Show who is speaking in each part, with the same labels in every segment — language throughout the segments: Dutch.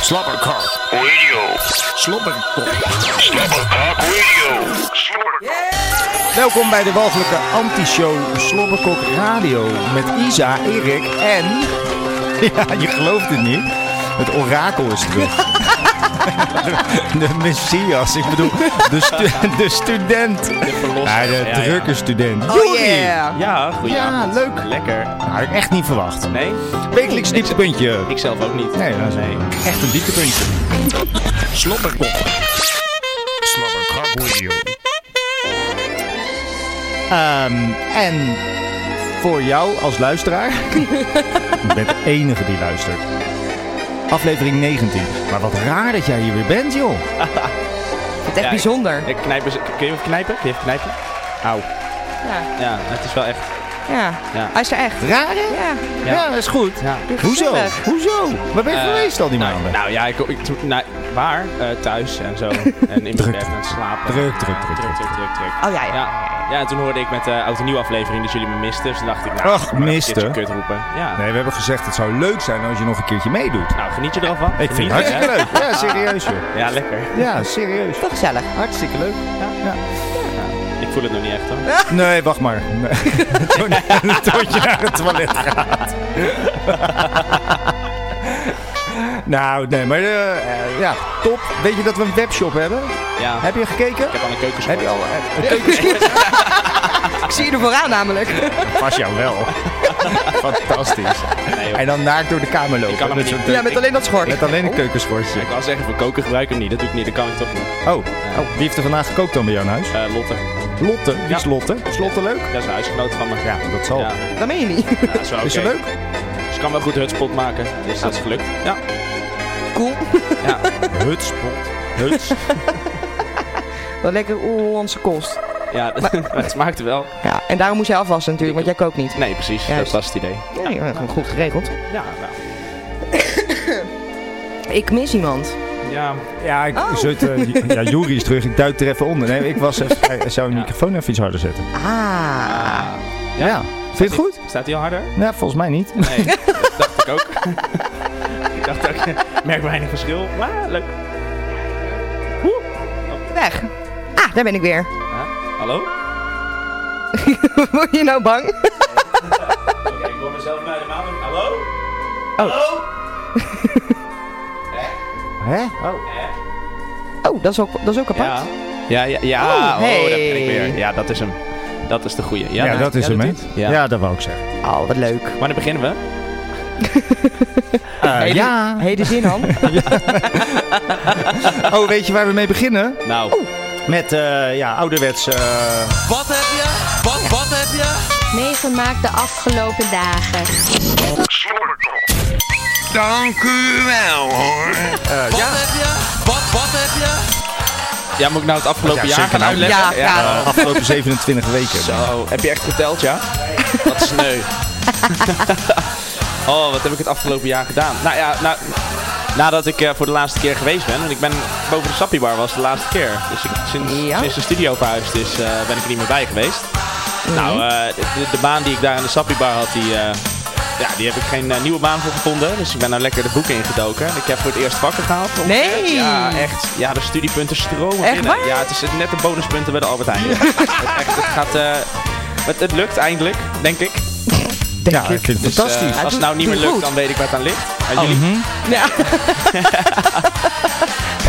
Speaker 1: Slobberkok
Speaker 2: Radio.
Speaker 1: Slobberkok.
Speaker 2: Slobberkok Radio. Slobberkok.
Speaker 1: Welkom bij de walgelijke anti-show Slobberkok Radio met Isa, Erik en... Ja, je gelooft het niet. Het orakel is terug. De, de messias, ik bedoel, de, stu- de student. Ja, de
Speaker 3: ja.
Speaker 1: drukke student.
Speaker 4: Oh
Speaker 1: Joeri.
Speaker 4: yeah.
Speaker 3: Ja, goedenavond.
Speaker 1: Ja, leuk.
Speaker 3: Lekker.
Speaker 1: Nou, had ik echt niet verwacht.
Speaker 3: Nee?
Speaker 1: Wekelijks dieptepuntje.
Speaker 3: Ik zelf ook niet.
Speaker 1: Nee, dat is
Speaker 3: nee.
Speaker 1: echt een dieptepuntje. Slobberkok.
Speaker 2: Slobberkok Radio.
Speaker 1: Ehm, en voor jou als luisteraar. je bent de enige die luistert. Aflevering 19. Maar wat raar dat jij hier weer bent, joh.
Speaker 4: Het is echt
Speaker 3: Ja,
Speaker 4: bijzonder.
Speaker 3: Eh, Knijpen, ze- kun je hem knijpen? Kun je even knijpen? Auw.
Speaker 4: Ja.
Speaker 3: Ja, het is wel echt.
Speaker 4: ja.
Speaker 3: Ja.
Speaker 4: Hij is er echt.
Speaker 1: Raar, hè?
Speaker 4: Ja.
Speaker 1: Ja, dat is goed.
Speaker 3: Ja.
Speaker 1: Hoezo?
Speaker 4: Gezellig.
Speaker 1: Hoezo? Waar ben je
Speaker 3: Eh,
Speaker 1: geweest al die
Speaker 3: nou,
Speaker 1: maanden?
Speaker 3: Nou ja, ik, ik toen- nou, waar? Eh, thuis en zo. en in mijn
Speaker 1: Druk.
Speaker 3: bed en slapen.
Speaker 1: Druk, druk, druk,
Speaker 3: druk, druk, druk, druk.
Speaker 4: Oh ja, ja.
Speaker 3: Ja. Ja, en toen hoorde ik met de oud en nieuw aflevering dat jullie me misten. Dus toen dacht ik, nou,
Speaker 1: Ach,
Speaker 3: ik ga maar een
Speaker 1: misten.
Speaker 3: keertje kut roepen. Ja.
Speaker 1: Nee, we hebben gezegd het zou leuk zijn als je nog een keertje meedoet.
Speaker 3: Nou, geniet je er al van?
Speaker 1: Ik vind het
Speaker 3: Geniet,
Speaker 1: hartstikke leuk. Ja, serieus joh.
Speaker 3: hè? Ja, lekker.
Speaker 1: Ja, serieus.
Speaker 4: Toch gezellig.
Speaker 1: Hartstikke leuk. Ja.
Speaker 3: Ik voel het nog niet echt hoor.
Speaker 1: Nee, wacht maar. Nee. Tot- Tot je naar het toilet gaat. nou, nee, maar eh, eh, ja, top. Weet je dat we een webshop hebben?
Speaker 3: Ja.
Speaker 1: Heb je gekeken?
Speaker 3: Ik heb al een
Speaker 1: Heb
Speaker 3: keukensport.
Speaker 1: je al? eh,
Speaker 4: Ik zie je er vooraan namelijk.
Speaker 1: Pas jou wel. Fantastisch.
Speaker 3: Nee, joh.
Speaker 1: En dan naakt door de kamer lopen.
Speaker 3: Ik kan hem
Speaker 1: Met
Speaker 3: niet.
Speaker 1: zo'n-
Speaker 4: Ja, met alleen dat schort.
Speaker 1: Met alleen een keukenschortje.
Speaker 3: Ik wou zeggen, voor koken gebruik ik hem niet. Dat doe ik niet. Dat kan ik toch niet.
Speaker 1: Oh. oh, wie heeft er vandaag gekookt dan bij jou in huis?
Speaker 3: Eh, Lotte,
Speaker 1: Lotte. Wie is
Speaker 3: Ja.
Speaker 1: Lotte? Is Lotte leuk?
Speaker 3: dat is een huisgenoot van me.
Speaker 1: Ja, dat zal.
Speaker 3: Ja,
Speaker 4: Dat meen je niet.
Speaker 3: ja, Oh. is wel
Speaker 1: Is ze
Speaker 3: oké.
Speaker 1: leuk?
Speaker 3: Ze kan wel goed hutspot maken, dus dat is gelukt. Ja,
Speaker 4: Cool.
Speaker 3: ja.
Speaker 1: Hutspot. Huts.
Speaker 4: Wat lekker Hollandse kost.
Speaker 3: ja dat- het smaakte wel.
Speaker 4: Ja, en daarom moest jij afwassen natuurlijk, want jij kookt niet.
Speaker 3: Nee, precies. Dat
Speaker 4: Juist.
Speaker 3: was het idee.
Speaker 4: Nee, ja, gewoon goed geregeld.
Speaker 3: Ja, nou.
Speaker 4: Ik mis iemand.
Speaker 3: Ja,
Speaker 1: Ja, ik
Speaker 4: Oh.
Speaker 1: zit, eh, J- ja, Juri is terug. Ik duik er even onder. Nee, ik was even, hij- zou je
Speaker 3: Ja.
Speaker 1: microfoon even iets harder zetten.
Speaker 4: Ah.
Speaker 1: Ja. Vind je het goed?
Speaker 3: staat hij al harder?
Speaker 1: Nou, volgens mij niet.
Speaker 3: Nee, dat dacht ik ook. ik dacht ook, ik merk weinig verschil. Maar leuk.
Speaker 4: Weg. Ah, daar ben ik weer.
Speaker 3: Ja, Hallo?
Speaker 4: Word je nou bang?
Speaker 3: Oké, ik hoor mezelf bij de maan. Hallo?
Speaker 4: Oh.
Speaker 1: Hè?
Speaker 4: Oh, dat is ook, dat is ook
Speaker 3: Ja.
Speaker 4: apart.
Speaker 3: Ja, ja, ja.
Speaker 4: Oh,
Speaker 3: Oh,
Speaker 4: hey.
Speaker 3: daar ben ik weer. Ja, dat is hem. Dat is de goeie.
Speaker 1: Ja,
Speaker 3: nou,
Speaker 1: dat is hem, hè?
Speaker 3: doet hij.
Speaker 1: Ja.
Speaker 3: Ja.
Speaker 1: dat wou ik zeggen.
Speaker 4: Oh, wat leuk.
Speaker 3: Wanneer beginnen we?
Speaker 1: Eh, ja.
Speaker 4: Hele zin, Han.
Speaker 1: Oh, weet je waar we mee beginnen?
Speaker 3: Nou,
Speaker 1: Met, eh, ja, ouderwets... eh,
Speaker 5: Wat heb je? Wat, wat heb je?
Speaker 6: meegemaakt de afgelopen dagen.
Speaker 2: Slobberkok. Dank u wel hoor.
Speaker 5: Wat heb je? Wat, wat heb je?
Speaker 3: ja, moet ik nou het
Speaker 1: Ja,
Speaker 3: afgelopen jaar
Speaker 1: zeker
Speaker 3: gaan
Speaker 1: nou.
Speaker 3: uitleggen?
Speaker 4: Ja, ja.
Speaker 1: de afgelopen 27 weken.
Speaker 3: Zo, heb je echt geteld, ja? Wat sneu. oh, wat heb ik het afgelopen jaar gedaan? Nou ja, nou, nadat ik eh, voor de laatste keer geweest ben, want ik ben boven de Sappie Bar was de laatste keer. Dus ik, sinds,
Speaker 4: Ja.
Speaker 3: sinds de studio verhuisd is, eh, ben ik er niet meer bij geweest. Nou, eh, de, de baan die ik daar aan de Sappie Bar had, die, eh, ja, die heb ik geen eh, nieuwe baan voor gevonden. Dus ik ben nou lekker de boeken ingedoken. Ik heb voor het eerst vakken gehaald.
Speaker 4: Nee!
Speaker 3: Ja, echt. Ja, de studiepunten stromen
Speaker 4: Echt
Speaker 3: binnen.
Speaker 4: waar?
Speaker 3: Ja, het is net de bonuspunten bij de Albert Heijn. Het- echt, het gaat... eh, het, het lukt eindelijk, denk ik.
Speaker 1: ja, ik vind het
Speaker 3: Dus,
Speaker 1: fantastisch.
Speaker 3: eh, als het nou niet meer
Speaker 4: doe
Speaker 3: lukt,
Speaker 4: goed.
Speaker 3: dan weet ik waar het aan ligt. Aan jullie.
Speaker 1: mhm.
Speaker 4: Ja.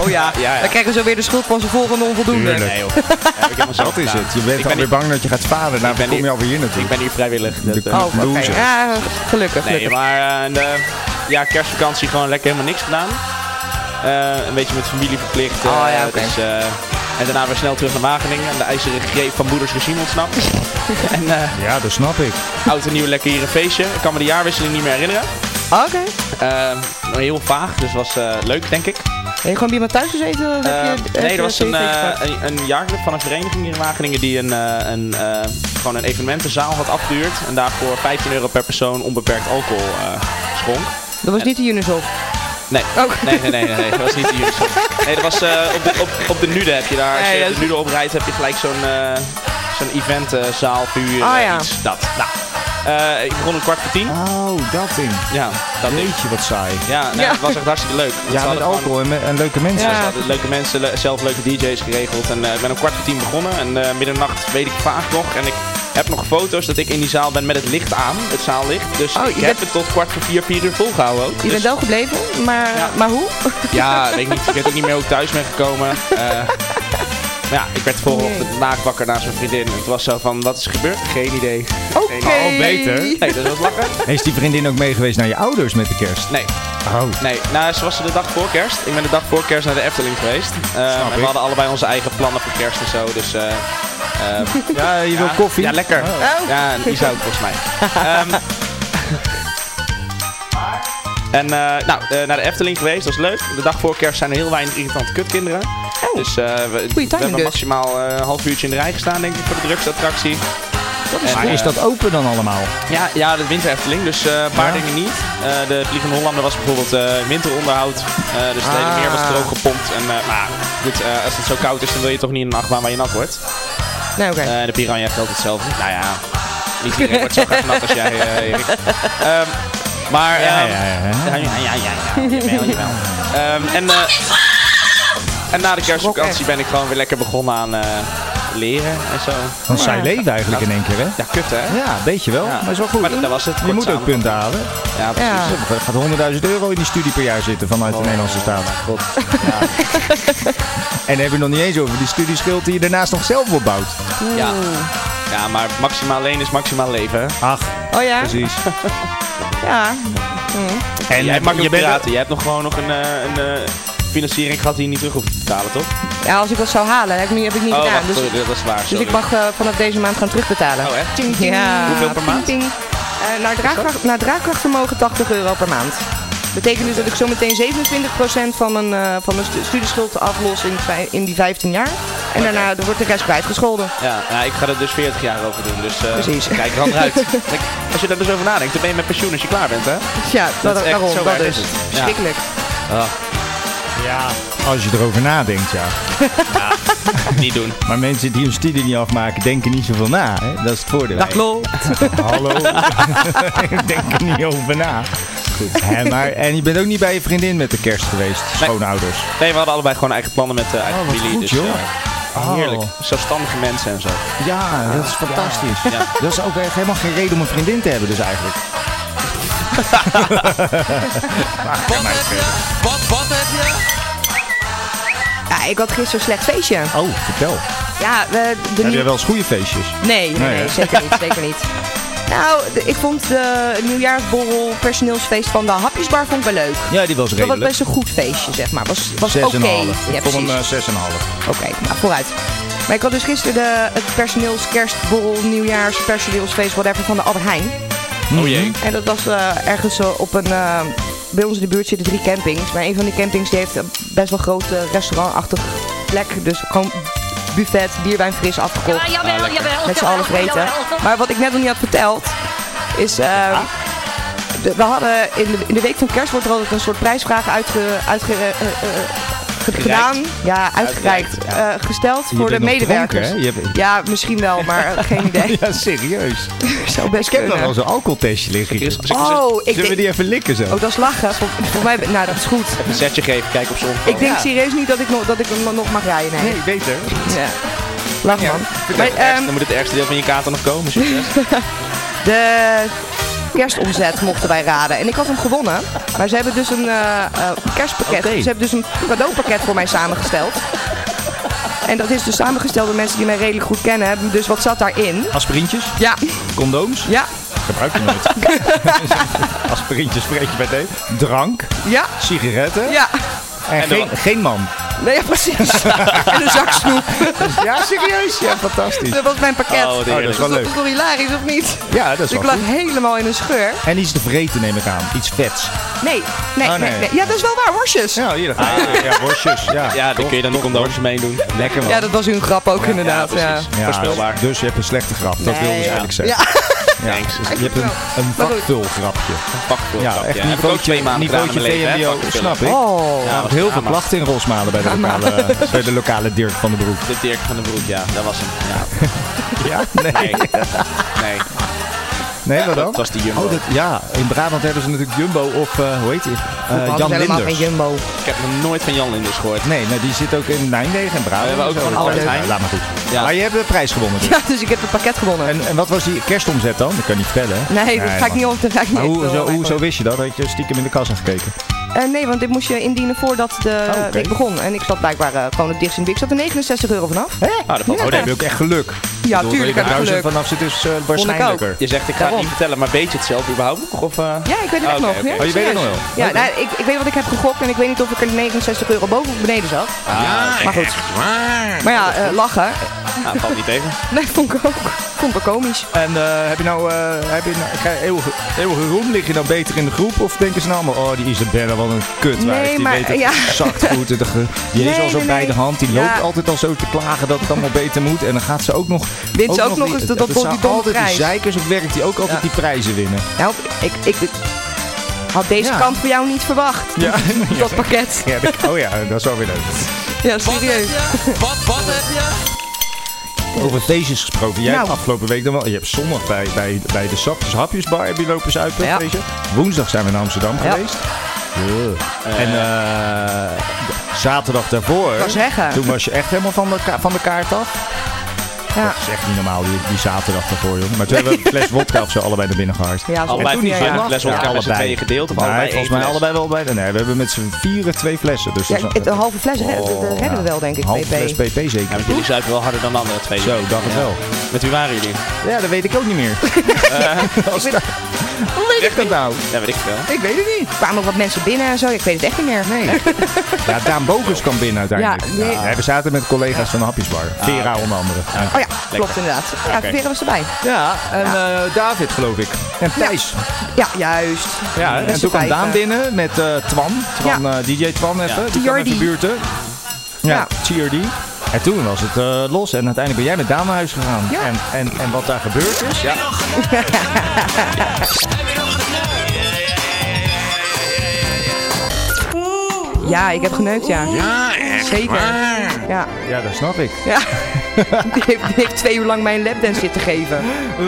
Speaker 3: Oh ja. ja,
Speaker 4: Dan krijgen we zo weer de schuld van zijn volgende onvoldoende.
Speaker 1: Tuurlijk.
Speaker 3: Nee joh. Ja, heb ik helemaal zelf
Speaker 1: dat is
Speaker 3: gedaan.
Speaker 1: het. Je
Speaker 3: Ik
Speaker 1: bent
Speaker 3: ben
Speaker 1: alweer
Speaker 3: hier-
Speaker 1: bang dat je gaat falen. Nou,
Speaker 3: ben
Speaker 1: kom je
Speaker 3: hier-
Speaker 1: alweer hier
Speaker 3: Ik
Speaker 1: natuurlijk.
Speaker 3: ben hier vrijwillig. Dat, eh,
Speaker 4: Oh, oké.
Speaker 1: Loser.
Speaker 4: Ja, gelukkig.
Speaker 3: nee,
Speaker 4: gelukkig.
Speaker 3: maar eh, de, ja, kerstvakantie gewoon lekker helemaal niks gedaan. Eh, een beetje met familie verplicht. eh,
Speaker 4: Oh, ja, oké.
Speaker 3: dus, eh, en daarna weer snel terug naar Wageningen. Aan de ijzeren greep van moeders gezien ontsnapt. en eh,
Speaker 1: Ja, dat snap ik.
Speaker 3: oud en nieuw lekker hier een feestje. Ik kan me de jaarwisseling niet meer herinneren.
Speaker 4: Oké.
Speaker 3: Eh, heel vaag, dus was eh, leuk, denk ik.
Speaker 4: Heb je Eh, gewoon bij iemand thuis gezeten? Of
Speaker 3: Eh,
Speaker 4: heb je, heb
Speaker 3: nee,
Speaker 4: je
Speaker 3: er was een,
Speaker 4: tv
Speaker 3: eh
Speaker 4: gepakt?
Speaker 3: een, een jaarclub van een vereniging hier in Wageningen die een, eh, een, eh, gewoon een evenementenzaal had afgehuurd. En daarvoor 15 euro per persoon onbeperkt alcohol eh, schonk.
Speaker 4: Dat was niet de Unisof.
Speaker 3: Nee.
Speaker 4: Ook.
Speaker 3: Nee, nee, nee, nee, nee, dat was niet hier. Nee, dat was eh, op, de, op, op de Nude heb je daar. Als
Speaker 4: Nee,
Speaker 3: je
Speaker 4: dat
Speaker 3: op
Speaker 4: is-
Speaker 3: de Nude oprijdt heb je gelijk zo'n eh, zo'n eventzaal. Uh,
Speaker 4: Ah, ja.
Speaker 3: iets, dat. Nou, Eh, ik begon om kwart voor tien.
Speaker 1: Oh, dat ding.
Speaker 3: Ja, dat ding.
Speaker 1: Jeetje, wat saai.
Speaker 3: Ja, nou,
Speaker 4: Ja.
Speaker 3: het was echt hartstikke leuk. Want ze
Speaker 1: Ja, met
Speaker 3: hadden gewoon-
Speaker 1: alcohol en, met- en leuke mensen.
Speaker 4: Ja.
Speaker 3: ze hadden leuke mensen, le- zelf leuke DJ's geregeld. En eh, ik ben om kwart voor tien begonnen. En eh middernacht weet ik vaag nog. En ik heb nog foto's dat ik in die zaal ben met het licht aan. Het zaallicht. Dus
Speaker 4: Oh, je
Speaker 3: ik heb
Speaker 4: bent-
Speaker 3: het tot kwart voor vier, vier uur volgehouden ook.
Speaker 4: Je
Speaker 3: Dus-
Speaker 4: bent wel gebleven, maar,
Speaker 3: Ja.
Speaker 4: maar hoe?
Speaker 3: Ja, weet ik niet. Ik weet ook niet meer hoe ik thuis ben gekomen. Eh, maar ja, ik werd de volgende
Speaker 4: Nee.
Speaker 3: ochtend naakt wakker naast mijn vriendin. En het was zo van, wat is er gebeurd? Geen idee.
Speaker 4: Oké.
Speaker 1: Oh, beter.
Speaker 3: Nee, dat was lachen.
Speaker 1: Is die vriendin ook mee geweest naar je ouders met de kerst?
Speaker 3: Nee,
Speaker 1: Oh.
Speaker 3: Nee, nou, ze was er de dag voor kerst. Ik ben de dag voor kerst naar de Efteling geweest. Ehm, en
Speaker 1: ik.
Speaker 3: we hadden allebei onze eigen plannen voor kerst en zo. Dus, eh, ehm,
Speaker 1: Ja, je wil
Speaker 3: ja.
Speaker 1: koffie?
Speaker 3: Ja, lekker.
Speaker 4: Oh.
Speaker 3: Ja, die zou ik volgens mij. Ehm, en eh, nou, eh, naar de Efteling geweest, dat was leuk. De dag voor kerst zijn er heel weinig irritante kutkinderen. Dus eh, we, we
Speaker 4: timing
Speaker 3: hebben
Speaker 4: dus.
Speaker 3: maximaal eh, een half uurtje in de rij gestaan, denk ik, voor de drugsattractie. En,
Speaker 1: Maar
Speaker 3: eh,
Speaker 1: is dat open dan allemaal?
Speaker 3: ja, ja, de winter Efteling, dus eh, een paar
Speaker 1: Ja.
Speaker 3: dingen niet. Eh, de Vliegende Hollander was bijvoorbeeld eh, winteronderhoud. Eh, dus het hele
Speaker 1: Ah.
Speaker 3: meer was droog gepompt. En, eh, maar goed, eh, als het zo koud is, dan wil je toch niet in een achtbaan waar je nat wordt.
Speaker 4: Nee, oké.
Speaker 3: Eh, de Piranha geldt hetzelfde. Nou ja, niet iedereen wordt zo graag nat als jij, eh, Erik. Ehm, maar... ehm,
Speaker 1: ja.
Speaker 3: ja, ja, ja, ja, ja. Jawel, jawel. Ehm, en, eh, en na de kerstvakantie ben ik gewoon weer lekker begonnen aan eh, leren en zo.
Speaker 1: Want zij leeft eigenlijk in één keer, hè?
Speaker 3: Ja, kut hè?
Speaker 1: Ja, een beetje wel.
Speaker 3: Ja.
Speaker 1: Maar is wel goed.
Speaker 3: Maar dat was het.
Speaker 1: je
Speaker 3: Kort
Speaker 1: moet ook
Speaker 3: samengevat.
Speaker 1: punten halen.
Speaker 3: Ja, precies.
Speaker 4: Ja.
Speaker 1: Er gaat 100.000 euro in die studie per jaar zitten vanuit de Nederlandse staat.
Speaker 3: God.
Speaker 1: En dan hebben we nog niet eens over die studieschuld die je daarnaast nog zelf opbouwt.
Speaker 3: Ja. ja, maar maximaal leen is maximaal leven. hè?
Speaker 1: Ach,
Speaker 4: Oh ja?
Speaker 1: precies.
Speaker 4: Ja.
Speaker 1: En
Speaker 3: Jij mag
Speaker 1: je
Speaker 3: niet
Speaker 1: bent-
Speaker 3: praten. Jij hebt nog gewoon nog een, eh, een eh, financiering gehad die je niet terug hoeft te betalen, toch?
Speaker 4: Ja, als ik dat zou halen, heb ik niet, heb ik niet
Speaker 3: oh,
Speaker 4: gedaan.
Speaker 3: wacht,
Speaker 4: Dus,
Speaker 3: sorry, dat is waar.
Speaker 4: dus
Speaker 3: sorry.
Speaker 4: ik mag eh, vanaf deze maand gaan terugbetalen.
Speaker 3: Oh, echt?
Speaker 4: Ja.
Speaker 3: Hoeveel per maand?
Speaker 4: Ting, ting. Eh, naar, draagkracht, naar draagkrachtvermogen 80 euro per maand. Betekent dus dat ik zometeen 27% van mijn, eh, van mijn stu- studieschuld aflos in, vij- in die 15 jaar. En daarna wordt de rest kwijtgescholden.
Speaker 3: Ja, nou, ik ga er dus 40 jaar over doen. Dus eh,
Speaker 4: Precies.
Speaker 3: kijk er anders uit. Kijk, als je daar dus over nadenkt, dan ben je met pensioen als je klaar bent, hè?
Speaker 4: Ja,
Speaker 3: Dat
Speaker 4: dat,
Speaker 3: is echt
Speaker 4: daarom.
Speaker 3: zo
Speaker 4: dat
Speaker 3: erg is
Speaker 4: dus.
Speaker 3: het. Ja.
Speaker 4: Verschrikkelijk.
Speaker 1: Ja, als je erover nadenkt, ja.
Speaker 3: Niet doen.
Speaker 1: Maar mensen die hun studie niet afmaken, denken niet zoveel na. Hè? Dat is het voordeel.
Speaker 4: Dat klopt.
Speaker 1: Hallo. Ik denk er niet over na. Goed. Hè, maar, en je bent ook niet bij je vriendin met de kerst geweest, schoonouders.
Speaker 3: Nee, we hadden allebei gewoon eigen plannen met eh eigen
Speaker 1: Oh, wat
Speaker 3: familie.
Speaker 1: goed,
Speaker 3: dus,
Speaker 1: joh.
Speaker 3: eh,
Speaker 1: Oh.
Speaker 3: Heerlijk. Zelfstandige mensen en zo.
Speaker 1: Ja, dat is fantastisch. Dat is ook echt helemaal geen reden om een vriendin te hebben dus eigenlijk.
Speaker 5: Wat heb je? Wat, wat heb je?
Speaker 4: Ja, ik had gisteren een slecht feestje.
Speaker 1: Oh, vertel.
Speaker 4: Ja, we, de
Speaker 1: Heb
Speaker 4: nieuwe-
Speaker 1: jij wel eens goede feestjes?
Speaker 4: Nee, nee,
Speaker 1: Nee,
Speaker 4: nee,
Speaker 1: hè?
Speaker 4: zeker niet, zeker niet. Nou, de- ik vond de nieuwjaarsborrel personeelsfeest van de hapjesbar vond ik wel leuk.
Speaker 1: Ja, die was
Speaker 4: Dat was
Speaker 1: redelijk.
Speaker 4: best een goed feestje, zeg maar. Was, was
Speaker 1: Zes
Speaker 4: oké.
Speaker 1: en een half.
Speaker 4: Ja,
Speaker 1: Ik vond hem
Speaker 4: precies.
Speaker 1: eh, zes en een half.
Speaker 4: Oké, nou vooruit. Maar ik had dus gisteren de, het personeelskerstborrel, nieuwjaars, personeelsfeest, whatever, van de Albert Heijn.
Speaker 1: Mhm.
Speaker 3: Oh jee.
Speaker 4: En dat was eh, ergens eh, op een... eh, bij ons in de buurt zitten drie campings. Maar een van die campings die heeft een best wel grote restaurantachtig plek. Dus gewoon buffet, bierwijn fris afgekocht.
Speaker 6: Ja, jawel, jawel. Ah,
Speaker 4: met z'n allen vreten. Maar wat ik net nog niet had verteld, is... ehm,
Speaker 1: Ah.
Speaker 4: de- we hadden in de, in de week van kerst wordt er altijd een soort prijsvraag uitge, uitge, eh, eh, eh, ge- gedaan. Ja, uitgereikt.
Speaker 3: Uitgereikt, ja.
Speaker 4: eh, gesteld
Speaker 1: Je
Speaker 4: voor de
Speaker 1: bent nog
Speaker 4: medewerkers.
Speaker 1: dronken, hè? Je hebt-
Speaker 4: Ja, misschien wel, maar eh, geen idee.
Speaker 1: Ja, serieus.
Speaker 4: Zou best
Speaker 1: Ik heb nog
Speaker 4: kunnen.
Speaker 1: wel zo'n alcoholtestje liggen.
Speaker 3: Er
Speaker 1: hier.
Speaker 3: is-
Speaker 1: Zullen
Speaker 3: zeg- zeg-
Speaker 4: Oh, ik
Speaker 1: we
Speaker 4: denk...
Speaker 1: die even likken zo?
Speaker 4: Oh, dat is lachen. Voor, voor mij... Nou, dat is goed.
Speaker 3: Een setje geven, kijk op z'n
Speaker 4: Ik denk
Speaker 3: ja.
Speaker 4: serieus niet dat ik, nog, dat ik hem nog mag rijden. Nee.
Speaker 1: Nee, beter.
Speaker 4: Ja. Lach, man. Maar,
Speaker 3: Het ergste-
Speaker 4: ehm,
Speaker 3: Dan moet het ergste deel van je kater nog komen. Succes.
Speaker 4: De kerstomzet mochten wij raden. En ik had hem gewonnen. Maar ze hebben dus een eh, eh, kerstpakket.
Speaker 1: Oké.
Speaker 4: Ze hebben dus een cadeaupakket voor mij samengesteld. En dat is dus samengesteld door mensen die mij redelijk goed kennen. Dus wat zat daarin?
Speaker 1: Aspirintjes,
Speaker 4: Ja,
Speaker 1: condooms.
Speaker 4: ja,
Speaker 1: Gebruik je nooit. Aspirintjes spreek je bij thee. Drank,
Speaker 4: ja,
Speaker 1: sigaretten
Speaker 4: ja.
Speaker 1: en,
Speaker 3: En
Speaker 1: geen,
Speaker 3: de-
Speaker 1: geen man.
Speaker 4: Nee, ja, precies. en een zak snoep.
Speaker 1: Ja, serieus? Ja, fantastisch.
Speaker 4: Dat was mijn pakket.
Speaker 3: Oh, wat
Speaker 1: Oh, dat is
Speaker 3: heerlijk.
Speaker 1: wel
Speaker 4: dat
Speaker 1: leuk.
Speaker 4: is toch hilarisch, of niet?
Speaker 1: Ja, dat is
Speaker 4: Dus ik
Speaker 1: wel
Speaker 4: lag
Speaker 1: goed.
Speaker 4: helemaal in een scheur.
Speaker 1: En iets te vreten neem ik aan. Iets vets.
Speaker 4: Nee, nee,
Speaker 1: Oh,
Speaker 4: nee.
Speaker 1: nee.
Speaker 4: nee. Ja, dat is wel waar, worstjes. Ja,
Speaker 1: Ja, hier daar ga je. Ja, worstjes. Ja,
Speaker 3: Ja, dan kun je dan de condooms meedoen. Lekker man.
Speaker 4: dat was hun grap ook inderdaad. Ja,
Speaker 3: precies. Voorspelbaar.
Speaker 1: Dus je hebt een slechte grap. Dat
Speaker 4: Nee,
Speaker 1: wilde ze
Speaker 4: ja.
Speaker 1: eigenlijk
Speaker 4: ja.
Speaker 1: zeggen. Ja.
Speaker 3: Thanks.
Speaker 1: Dus je hebt een, een
Speaker 4: Maar goed.
Speaker 1: vakvul grapje.
Speaker 3: Pak voor
Speaker 1: Ja,
Speaker 3: grapje.
Speaker 1: echt
Speaker 3: Heb ik ook
Speaker 1: niveautje-
Speaker 3: twee maanden gedaan in
Speaker 1: niveautje
Speaker 3: mijn leven, hè,
Speaker 1: VMBO,
Speaker 3: pak
Speaker 1: snap
Speaker 3: voor
Speaker 1: ik.
Speaker 4: Oh.
Speaker 1: Ja, heel
Speaker 3: dat was
Speaker 1: veel
Speaker 3: drama.
Speaker 1: klachten in Rosmalen bij de lokale, bij de lokale Dirk van de Broek.
Speaker 3: De Dirk van den Broek, ja, dat was hem. Ja.
Speaker 1: Ja? Nee.
Speaker 3: Nee. nee.
Speaker 1: Nee, wat dan?
Speaker 3: Dat was die Jumbo.
Speaker 1: Oh, dat, ja, in Brabant hebben ze natuurlijk Jumbo of, eh, hoe heet die? Eh,
Speaker 4: Hadden
Speaker 1: Jan
Speaker 4: ze helemaal
Speaker 1: Linders.
Speaker 4: geen Jumbo.
Speaker 3: Ik heb nog nooit van Jan Linders gehoord.
Speaker 1: Nee, nou, die zit ook in Nijmegen en Brabant.
Speaker 3: We hebben ook
Speaker 1: en zo.
Speaker 3: gewoon een
Speaker 1: Oh,
Speaker 3: partij.
Speaker 1: leuk. Laat maar goed.
Speaker 3: Ja.
Speaker 1: Maar je hebt de prijs gewonnen. dus.
Speaker 4: Ja, dus ik heb het pakket gewonnen.
Speaker 1: En, en wat was die kerstomzet dan? Dat kan niet vertellen. hè?
Speaker 4: nee, dat ga ik
Speaker 1: man.
Speaker 4: niet op. Dat ga ik niet
Speaker 1: Maar hoe,
Speaker 4: echt,
Speaker 1: zo,
Speaker 4: eh,
Speaker 1: hoe zo wist je dat? Had je stiekem in de kassa gekeken?
Speaker 4: Eh, nee, want dit moest je indienen voordat de
Speaker 1: Oh, oké.
Speaker 4: week begon. En ik zat blijkbaar eh, gewoon het dichtst in de week. Ik zat er 69 euro vanaf.
Speaker 3: Ah, dat valt
Speaker 1: Oh,
Speaker 3: wel
Speaker 1: dan heb
Speaker 3: mee.
Speaker 1: je ook echt geluk. Ik
Speaker 4: Ja,
Speaker 1: bedoel,
Speaker 4: tuurlijk
Speaker 1: dat
Speaker 4: heb ik
Speaker 1: je duizend
Speaker 4: geluk.
Speaker 1: vanaf zit is eh, waarschijnlijker.
Speaker 3: Je zegt, ik ga het
Speaker 4: Daarom.
Speaker 3: niet vertellen, maar weet je het zelf überhaupt nog? Of, eh?
Speaker 4: Ja, ik weet het echt
Speaker 3: Oké,
Speaker 4: nog.
Speaker 3: oké.
Speaker 4: ja,
Speaker 1: Oh, je weet het nog
Speaker 4: serieus.
Speaker 1: wel?
Speaker 4: Ja, nou, ik, ik weet wat ik heb gegokt en ik weet niet of ik er 69 euro boven of beneden zat.
Speaker 3: Ah,
Speaker 4: Maar goed.
Speaker 2: Echt waar?
Speaker 4: Maar ja, eh, lachen.
Speaker 3: nou, valt niet tegen.
Speaker 4: Nee, vond ik ook. Vond ik wel komisch.
Speaker 1: En eh, heb je nou, eh, heb je nou krijg je eeuwige, eeuwige roem? Lig je dan beter in de groep? Of denken ze nou allemaal, oh die Isabelle, wat een kut.
Speaker 4: Nee,
Speaker 1: die
Speaker 4: maar-
Speaker 1: weet het
Speaker 4: ja.
Speaker 1: zakt goed. en de ge- Die
Speaker 4: Nee,
Speaker 1: is al zo
Speaker 4: nee,
Speaker 1: bij
Speaker 4: nee.
Speaker 1: de hand. Die
Speaker 4: Ja.
Speaker 1: loopt altijd al zo te klagen dat het allemaal beter moet. En dan gaat ze ook nog...
Speaker 4: Wint ze ook nog
Speaker 1: die-
Speaker 4: eens dat- dat
Speaker 1: het zijn
Speaker 4: die domme
Speaker 1: altijd
Speaker 4: prijs.
Speaker 1: die zeikers op werk die ook altijd
Speaker 4: Ja.
Speaker 1: die prijzen winnen.
Speaker 4: Nou, ik, ik, ik had deze
Speaker 1: Ja.
Speaker 4: kant voor jou niet verwacht.
Speaker 1: Ja,
Speaker 4: Dat pakket.
Speaker 1: ja dat- oh ja, dat is wel weer leuk.
Speaker 4: Ja,
Speaker 5: Wat heb
Speaker 4: serieus.
Speaker 5: je? Wat, wat heb je?
Speaker 1: Over feestjes gesproken. Jij
Speaker 4: Nou.
Speaker 1: hebt afgelopen week dan wel. Je hebt zondag bij, bij, bij de Sapjes Hapjesbar heb je lopen zuipen.
Speaker 4: Ja.
Speaker 1: weet je. Woensdag zijn we naar Amsterdam
Speaker 4: Ja.
Speaker 1: geweest. En eh, zaterdag daarvoor.
Speaker 4: wou zeggen.
Speaker 1: Toen was je echt helemaal van de, ka- van de kaart af.
Speaker 4: Ja,
Speaker 1: Dat is echt niet normaal, die, die zaterdag daarvoor, jongen. Maar toen hebben we een fles wodka of zo allebei naar binnen gehard.
Speaker 4: ja, zo.
Speaker 3: Allebei
Speaker 1: toen die
Speaker 3: vier
Speaker 1: zondag?
Speaker 3: fles wodka
Speaker 1: Ja,
Speaker 3: met z'n
Speaker 1: allebei.
Speaker 3: tweeën gedeeld. Of
Speaker 1: Nee,
Speaker 3: allebei
Speaker 1: volgens
Speaker 3: één
Speaker 1: mij
Speaker 3: fles?
Speaker 1: allebei wel bij. Nee, we hebben met z'n vieren twee flessen. Dus
Speaker 4: Ja,
Speaker 1: dat is-
Speaker 4: het- een halve fles red- dat- dat redden we wel, denk ik,
Speaker 1: Een Oh. halve
Speaker 4: PP.
Speaker 1: fles PP
Speaker 3: Ja,
Speaker 1: zeker.
Speaker 3: want jullie zuipen wel harder dan de andere twee.
Speaker 1: Zo, dacht het
Speaker 3: Ja.
Speaker 1: wel.
Speaker 3: Met wie waren jullie?
Speaker 1: Ja, dat weet ik ook niet meer. Als dat- Hoe weet ik dat nou?
Speaker 3: Ja, weet ik veel.
Speaker 1: Ik weet het niet.
Speaker 4: Er kwamen nog wat mensen binnen en zo. Ik weet het echt niet meer. Oh Nee.
Speaker 1: Ja, Daan Bogus kwam binnen uiteindelijk.
Speaker 4: Ja, nee.
Speaker 1: Ja, Ah, we zaten met collega's van de Hapjesbar. Vera onder andere.
Speaker 4: Oh ja, klopt inderdaad. Ja, Vera was erbij.
Speaker 1: Ja, en eh, David geloof ik. En Thijs.
Speaker 4: Ja, juist.
Speaker 1: Ja,
Speaker 4: Met
Speaker 1: en
Speaker 4: z'n
Speaker 1: toen kwam
Speaker 4: vijven.
Speaker 1: Daan binnen met eh, Twan. Twan eh, DJ Twan even. Die kwam uit de
Speaker 4: TRD.
Speaker 1: buurten. Ja,
Speaker 4: Ja.
Speaker 1: TRD. En toen was het eh, los. En uiteindelijk ben jij met Daan naar huis gegaan.
Speaker 4: Ja.
Speaker 1: En, en, en wat daar gebeurd is. Ja.
Speaker 4: Ja, ik heb geneukt, ja.
Speaker 2: Ja, echt
Speaker 4: Zeker.
Speaker 2: waar?
Speaker 4: Ja.
Speaker 1: ja, dat snap ik.
Speaker 4: Ja. Die heeft, die heeft twee uur lang mijn lapdance zitten geven.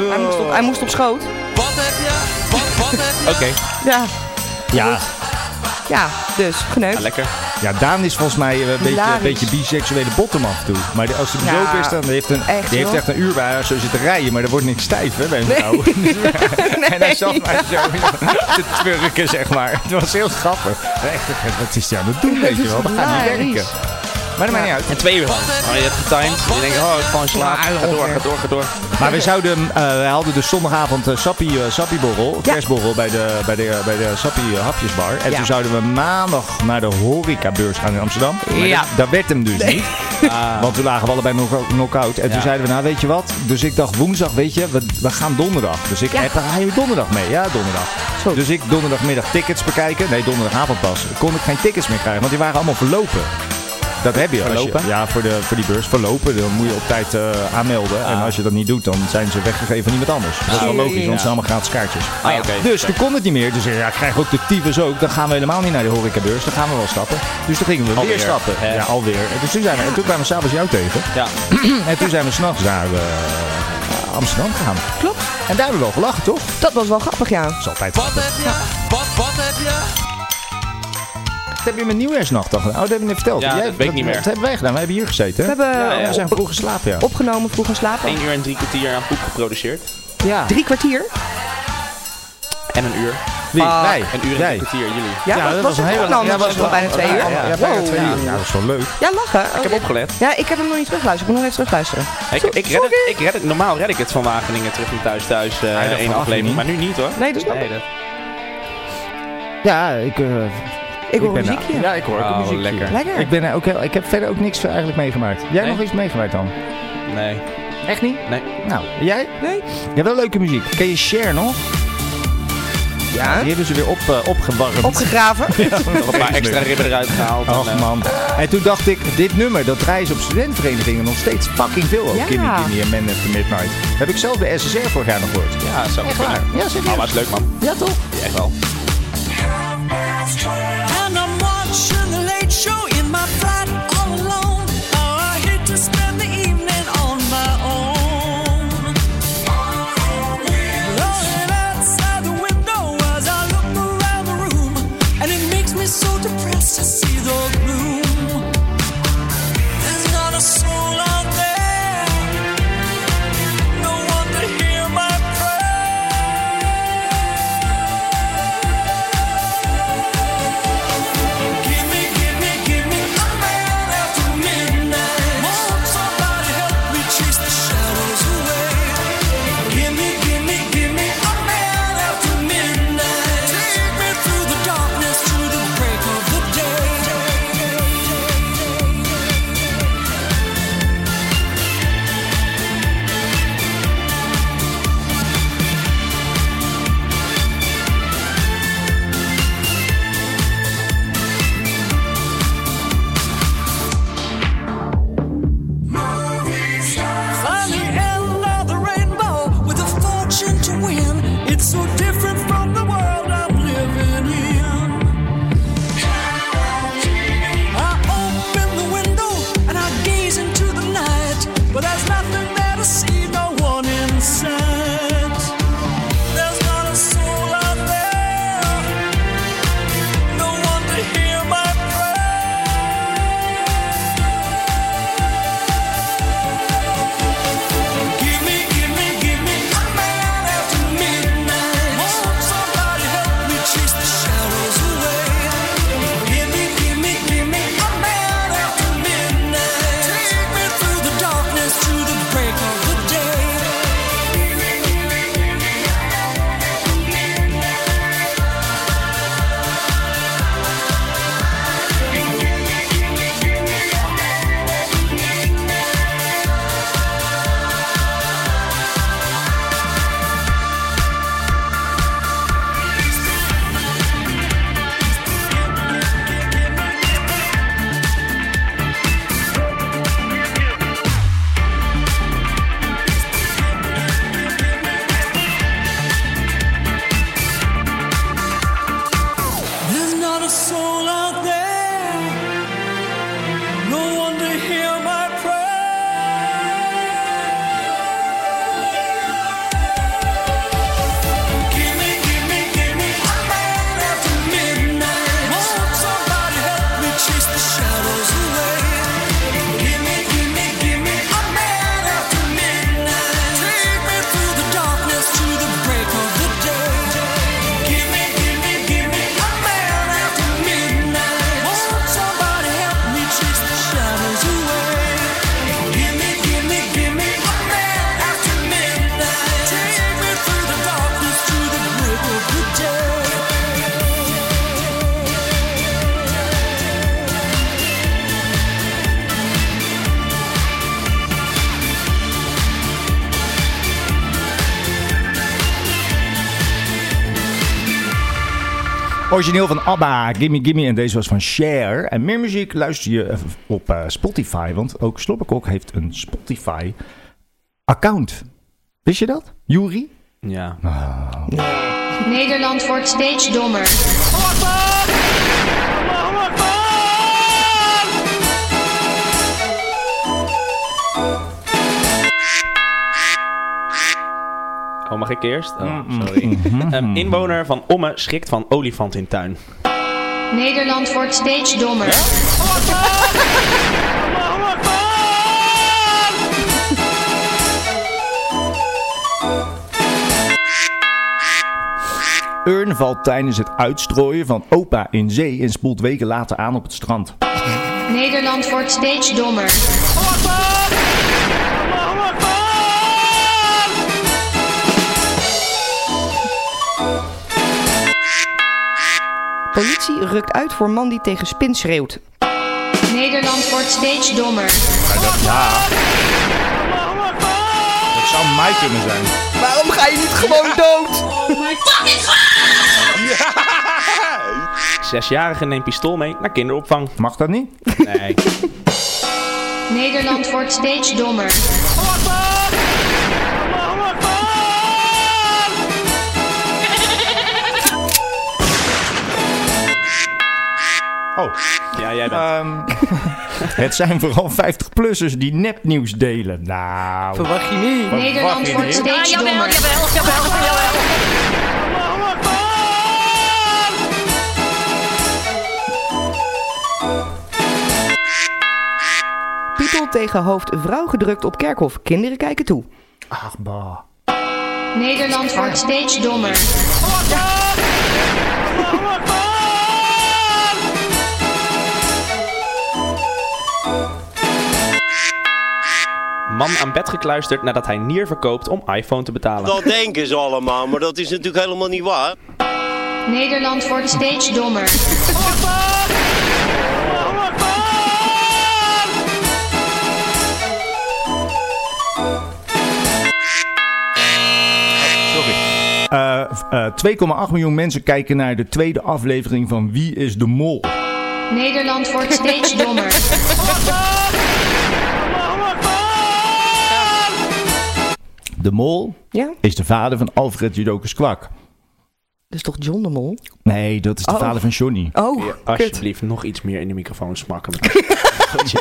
Speaker 4: Hij moest op, hij moest op schoot.
Speaker 5: Wat heb je? Wat, wat heb je?
Speaker 3: Oké,
Speaker 4: Ja,
Speaker 1: Ja,
Speaker 4: ja dus
Speaker 3: ja,
Speaker 4: geneukt.
Speaker 3: Nou, lekker.
Speaker 1: ja Daan is volgens mij eh, een beetje, een
Speaker 4: Hilarisch.
Speaker 1: beetje biseksuele bottom af en toe. Maar die- als hij bezopen
Speaker 4: Ja,
Speaker 1: is, dan heeft een,
Speaker 4: echt,
Speaker 1: die heeft
Speaker 4: hoor.
Speaker 1: echt een uur bij haar zo zitten rijden. Maar er wordt niks stijf hè, bij een vrouw. En hij zat mij zo te twurken, zeg maar. Het was heel grappig. Echt, wat is hij aan het doen, weet je wel? We gaan niet
Speaker 4: Hilarisch.
Speaker 1: werken. Maar dat maakt niet uit.
Speaker 3: En twee uur lang. Oh, je hebt getimed. Je denkt, oh, ik val in slaap. Ga door, ga door, ga door.
Speaker 1: Maar we, zouden, eh, we hadden dus zondagavond eh sappie, eh, sappieborrel,
Speaker 4: Ja.
Speaker 1: kerstborrel bij de, bij de, bij de sappie eh, hapjesbar. En
Speaker 4: Ja.
Speaker 1: toen zouden we maandag naar de horecabeurs gaan in Amsterdam. Maar
Speaker 4: Ja.
Speaker 1: dat, dat werd hem dus niet. Want we lagen we allebei knock- knock-out. En toen
Speaker 3: Ja.
Speaker 1: zeiden we, nou weet je wat? Dus ik dacht woensdag, weet je, we, we gaan donderdag. Dus ik
Speaker 4: Ja.
Speaker 1: heb ga je donderdag mee? Ja, donderdag.
Speaker 4: Zo.
Speaker 1: Dus ik donderdagmiddag tickets bekijken. Nee, donderdagavond pas. Kon ik geen tickets meer krijgen, want die waren allemaal verlopen. Dat heb je. als je-
Speaker 3: Verlopen?
Speaker 1: ja, voor, de, voor die beurs verlopen. Dan moet je op tijd eh, aanmelden. En als je dat niet doet, dan zijn ze weggegeven aan iemand anders. Dat is wel
Speaker 4: Ah.
Speaker 1: logisch, want het
Speaker 3: Ja.
Speaker 1: zijn allemaal gratis kaartjes.
Speaker 3: Ah, ja, oké.
Speaker 1: Dus toen kon het niet meer. Dus ja, ik krijg ook de tyfus ook. Dan gaan we helemaal niet naar de horecabeurs. Dan gaan we wel stappen. Dus toen gingen we
Speaker 3: Alweer.
Speaker 1: weer stappen.
Speaker 3: Ja.
Speaker 1: Ja, alweer. En, dus toen zijn we, en toen kwamen we s'avonds jou tegen.
Speaker 3: Ja,
Speaker 1: En toen zijn we s'nachts naar eh, Amsterdam gegaan.
Speaker 4: Klopt.
Speaker 1: En daar hebben we wel gelachen, toch? Dat
Speaker 4: Dat was wel grappig, ja.
Speaker 1: is altijd
Speaker 5: Wat
Speaker 1: grappig.
Speaker 5: heb je? Wat, wat heb je?
Speaker 1: Dat heb je met nieuwjaarsnacht al gedaan. Oh, dat heb je net verteld.
Speaker 3: Ja, dat weet ik niet meer.
Speaker 1: Dat hebben wij gedaan. We hebben hier gezeten.
Speaker 4: We
Speaker 1: hè?
Speaker 4: hebben
Speaker 3: Ja, ja.
Speaker 1: We zijn
Speaker 4: op-
Speaker 1: vroeg geslapen, ja.
Speaker 4: opgenomen, vroeg gaan slapen.
Speaker 3: één uur en drie kwartier aan poep geproduceerd.
Speaker 1: Ja.
Speaker 4: Drie kwartier.
Speaker 3: En een uur.
Speaker 1: Wie?
Speaker 4: Ah,
Speaker 1: Wij.
Speaker 3: Een uur en
Speaker 1: Wij.
Speaker 3: drie kwartier, jullie.
Speaker 4: Ja, dat was het ook dan?
Speaker 1: ja,
Speaker 4: Dat was wel bijna twee uur.
Speaker 1: Ja, ja, bijna
Speaker 4: Wow.
Speaker 1: twee uur. Ja, dat is wel leuk.
Speaker 4: Ja, lachen.
Speaker 3: Ik heb opgelet.
Speaker 4: Ja, ik heb hem nog niet teruggeluisterd. Ik moet nog even terugluisteren.
Speaker 3: Ik, ik, red het, ik red het. Normaal red ik het van Wageningen terug naar thuis thuis. eh,
Speaker 1: dat
Speaker 3: één
Speaker 1: verwacht je
Speaker 3: aflevering.
Speaker 1: niet.
Speaker 3: Maar nu niet hoor.
Speaker 4: Nee, dat snap
Speaker 3: Nee,
Speaker 4: ik.
Speaker 3: dat-
Speaker 1: Ja, ik, eh,
Speaker 4: Ik hoor
Speaker 1: ben
Speaker 4: muziekje.
Speaker 1: Ja, ik hoor ook
Speaker 3: Oh,
Speaker 1: een muziekje.
Speaker 3: lekker.
Speaker 4: Lekker.
Speaker 1: Ik, ben, eh, ook, heel- ik heb verder ook niks eh, eigenlijk meegemaakt. Jij
Speaker 3: Nee?
Speaker 1: nog iets meegemaakt dan?
Speaker 3: Nee.
Speaker 1: Echt niet?
Speaker 3: Nee.
Speaker 1: Nou, jij?
Speaker 4: Nee.
Speaker 1: Je hebt wel leuke muziek. Ken je Cher nog?
Speaker 4: Ja.
Speaker 1: Die hebben ze weer op, eh, opgewarmd.
Speaker 4: Opgegraven.
Speaker 3: Nog een paar extra ribben eruit gehaald. en,
Speaker 1: Ach
Speaker 3: eh,
Speaker 1: man. En toen dacht ik, dit nummer, dat draaien ze op studentenverenigingen nog steeds fucking veel. Ook.
Speaker 4: Ja.
Speaker 1: Kimmy Kimmy en Man After Midnight. Heb ik zelf bij SSR vorig jaar nog gehoord.
Speaker 3: Ja, zo. Nou,
Speaker 1: Echt waar? Ja, serieus.
Speaker 3: Maar Oh, was leuk man.
Speaker 1: Ja toch?
Speaker 3: Echt wel.
Speaker 7: And I'm watching the late show in my flat all alone. Oh, I hate to spend the evening on my own. Rolling
Speaker 8: so different from the world I'm living in. I open the window and I gaze into the night, but there's nothing there to see, no one inside. There's not a soul out there, no one to hear my prayer. Give me, give me, give me a man after midnight. somebody help me chase the shadows away. Give me, give me, give me a man after midnight. Take me through the darkness to the break of the day. There's not a soul out there. No one to hear my prayer. Give me, give me, give me a man after midnight. somebody help me chase the shadows away. Give me, give me, give me a man after midnight. Take me through the darkness to the break of the day. Give me, give me, give me a man after midnight. Won't somebody help me chase the shadows away? Give me, give me, give me a man after midnight. Take me through the darkness to the break of the day.
Speaker 1: Origineel van ABBA, Gimme Gimme en deze was van Cher. En meer muziek luister je eh, op eh, Spotify, want ook Slobberkok heeft een Spotify-account. Wist je dat, Juri?
Speaker 3: Ja.
Speaker 1: Nou.
Speaker 6: Nederland wordt steeds dommer.
Speaker 3: Oh, mag ik eerst? Oh, sorry.
Speaker 1: Mm-hmm.
Speaker 3: Een inwoner van Omme schrikt van olifant in tuin.
Speaker 6: Nederland wordt steeds dommer.
Speaker 1: Urn valt tijdens het uitstrooien van opa in zee en spoelt weken later aan op het strand.
Speaker 6: Nederland wordt steeds dommer.
Speaker 4: Politie rukt uit voor man die tegen spin schreeuwt.
Speaker 6: Nederland wordt steeds dommer.
Speaker 1: Dat zou mij kunnen zijn.
Speaker 4: Waarom ga je niet gewoon dood?
Speaker 3: Zesjarige neemt pistool mee naar kinderopvang.
Speaker 1: Mag dat niet?
Speaker 3: Nee.
Speaker 6: Nederland wordt steeds dommer.
Speaker 1: Oh,
Speaker 3: Ja, jij bent.
Speaker 1: ehm, het zijn vooral 50-plussers die nepnieuws delen. Nou,
Speaker 4: Verwacht je niet.
Speaker 6: Nederland wordt steeds dommer.
Speaker 4: Titel tegen hoofd vrouw gedrukt op kerkhof. Kinderen kijken toe.
Speaker 1: ach bah.
Speaker 6: Nederland wordt steeds dommer.
Speaker 3: Man aan bed gekluisterd nadat hij nier verkoopt om iPhone te betalen.
Speaker 2: Dat denken ze allemaal, maar dat is natuurlijk helemaal niet waar.
Speaker 6: Nederland wordt steeds dommer.
Speaker 1: Eh, f- eh, 2,8 miljoen mensen kijken naar de tweede aflevering van Wie is de Mol?
Speaker 6: Nederland wordt steeds dommer.
Speaker 1: De Mol
Speaker 4: Ja?
Speaker 1: is de vader van Alfred Judokus Kwak.
Speaker 4: is toch John de Mol?
Speaker 1: Nee, dat is de
Speaker 4: Oh.
Speaker 1: vader van Johnny.
Speaker 4: Oh, kut.
Speaker 3: Alsjeblieft, nog iets meer in de microfoon smakken. Godje.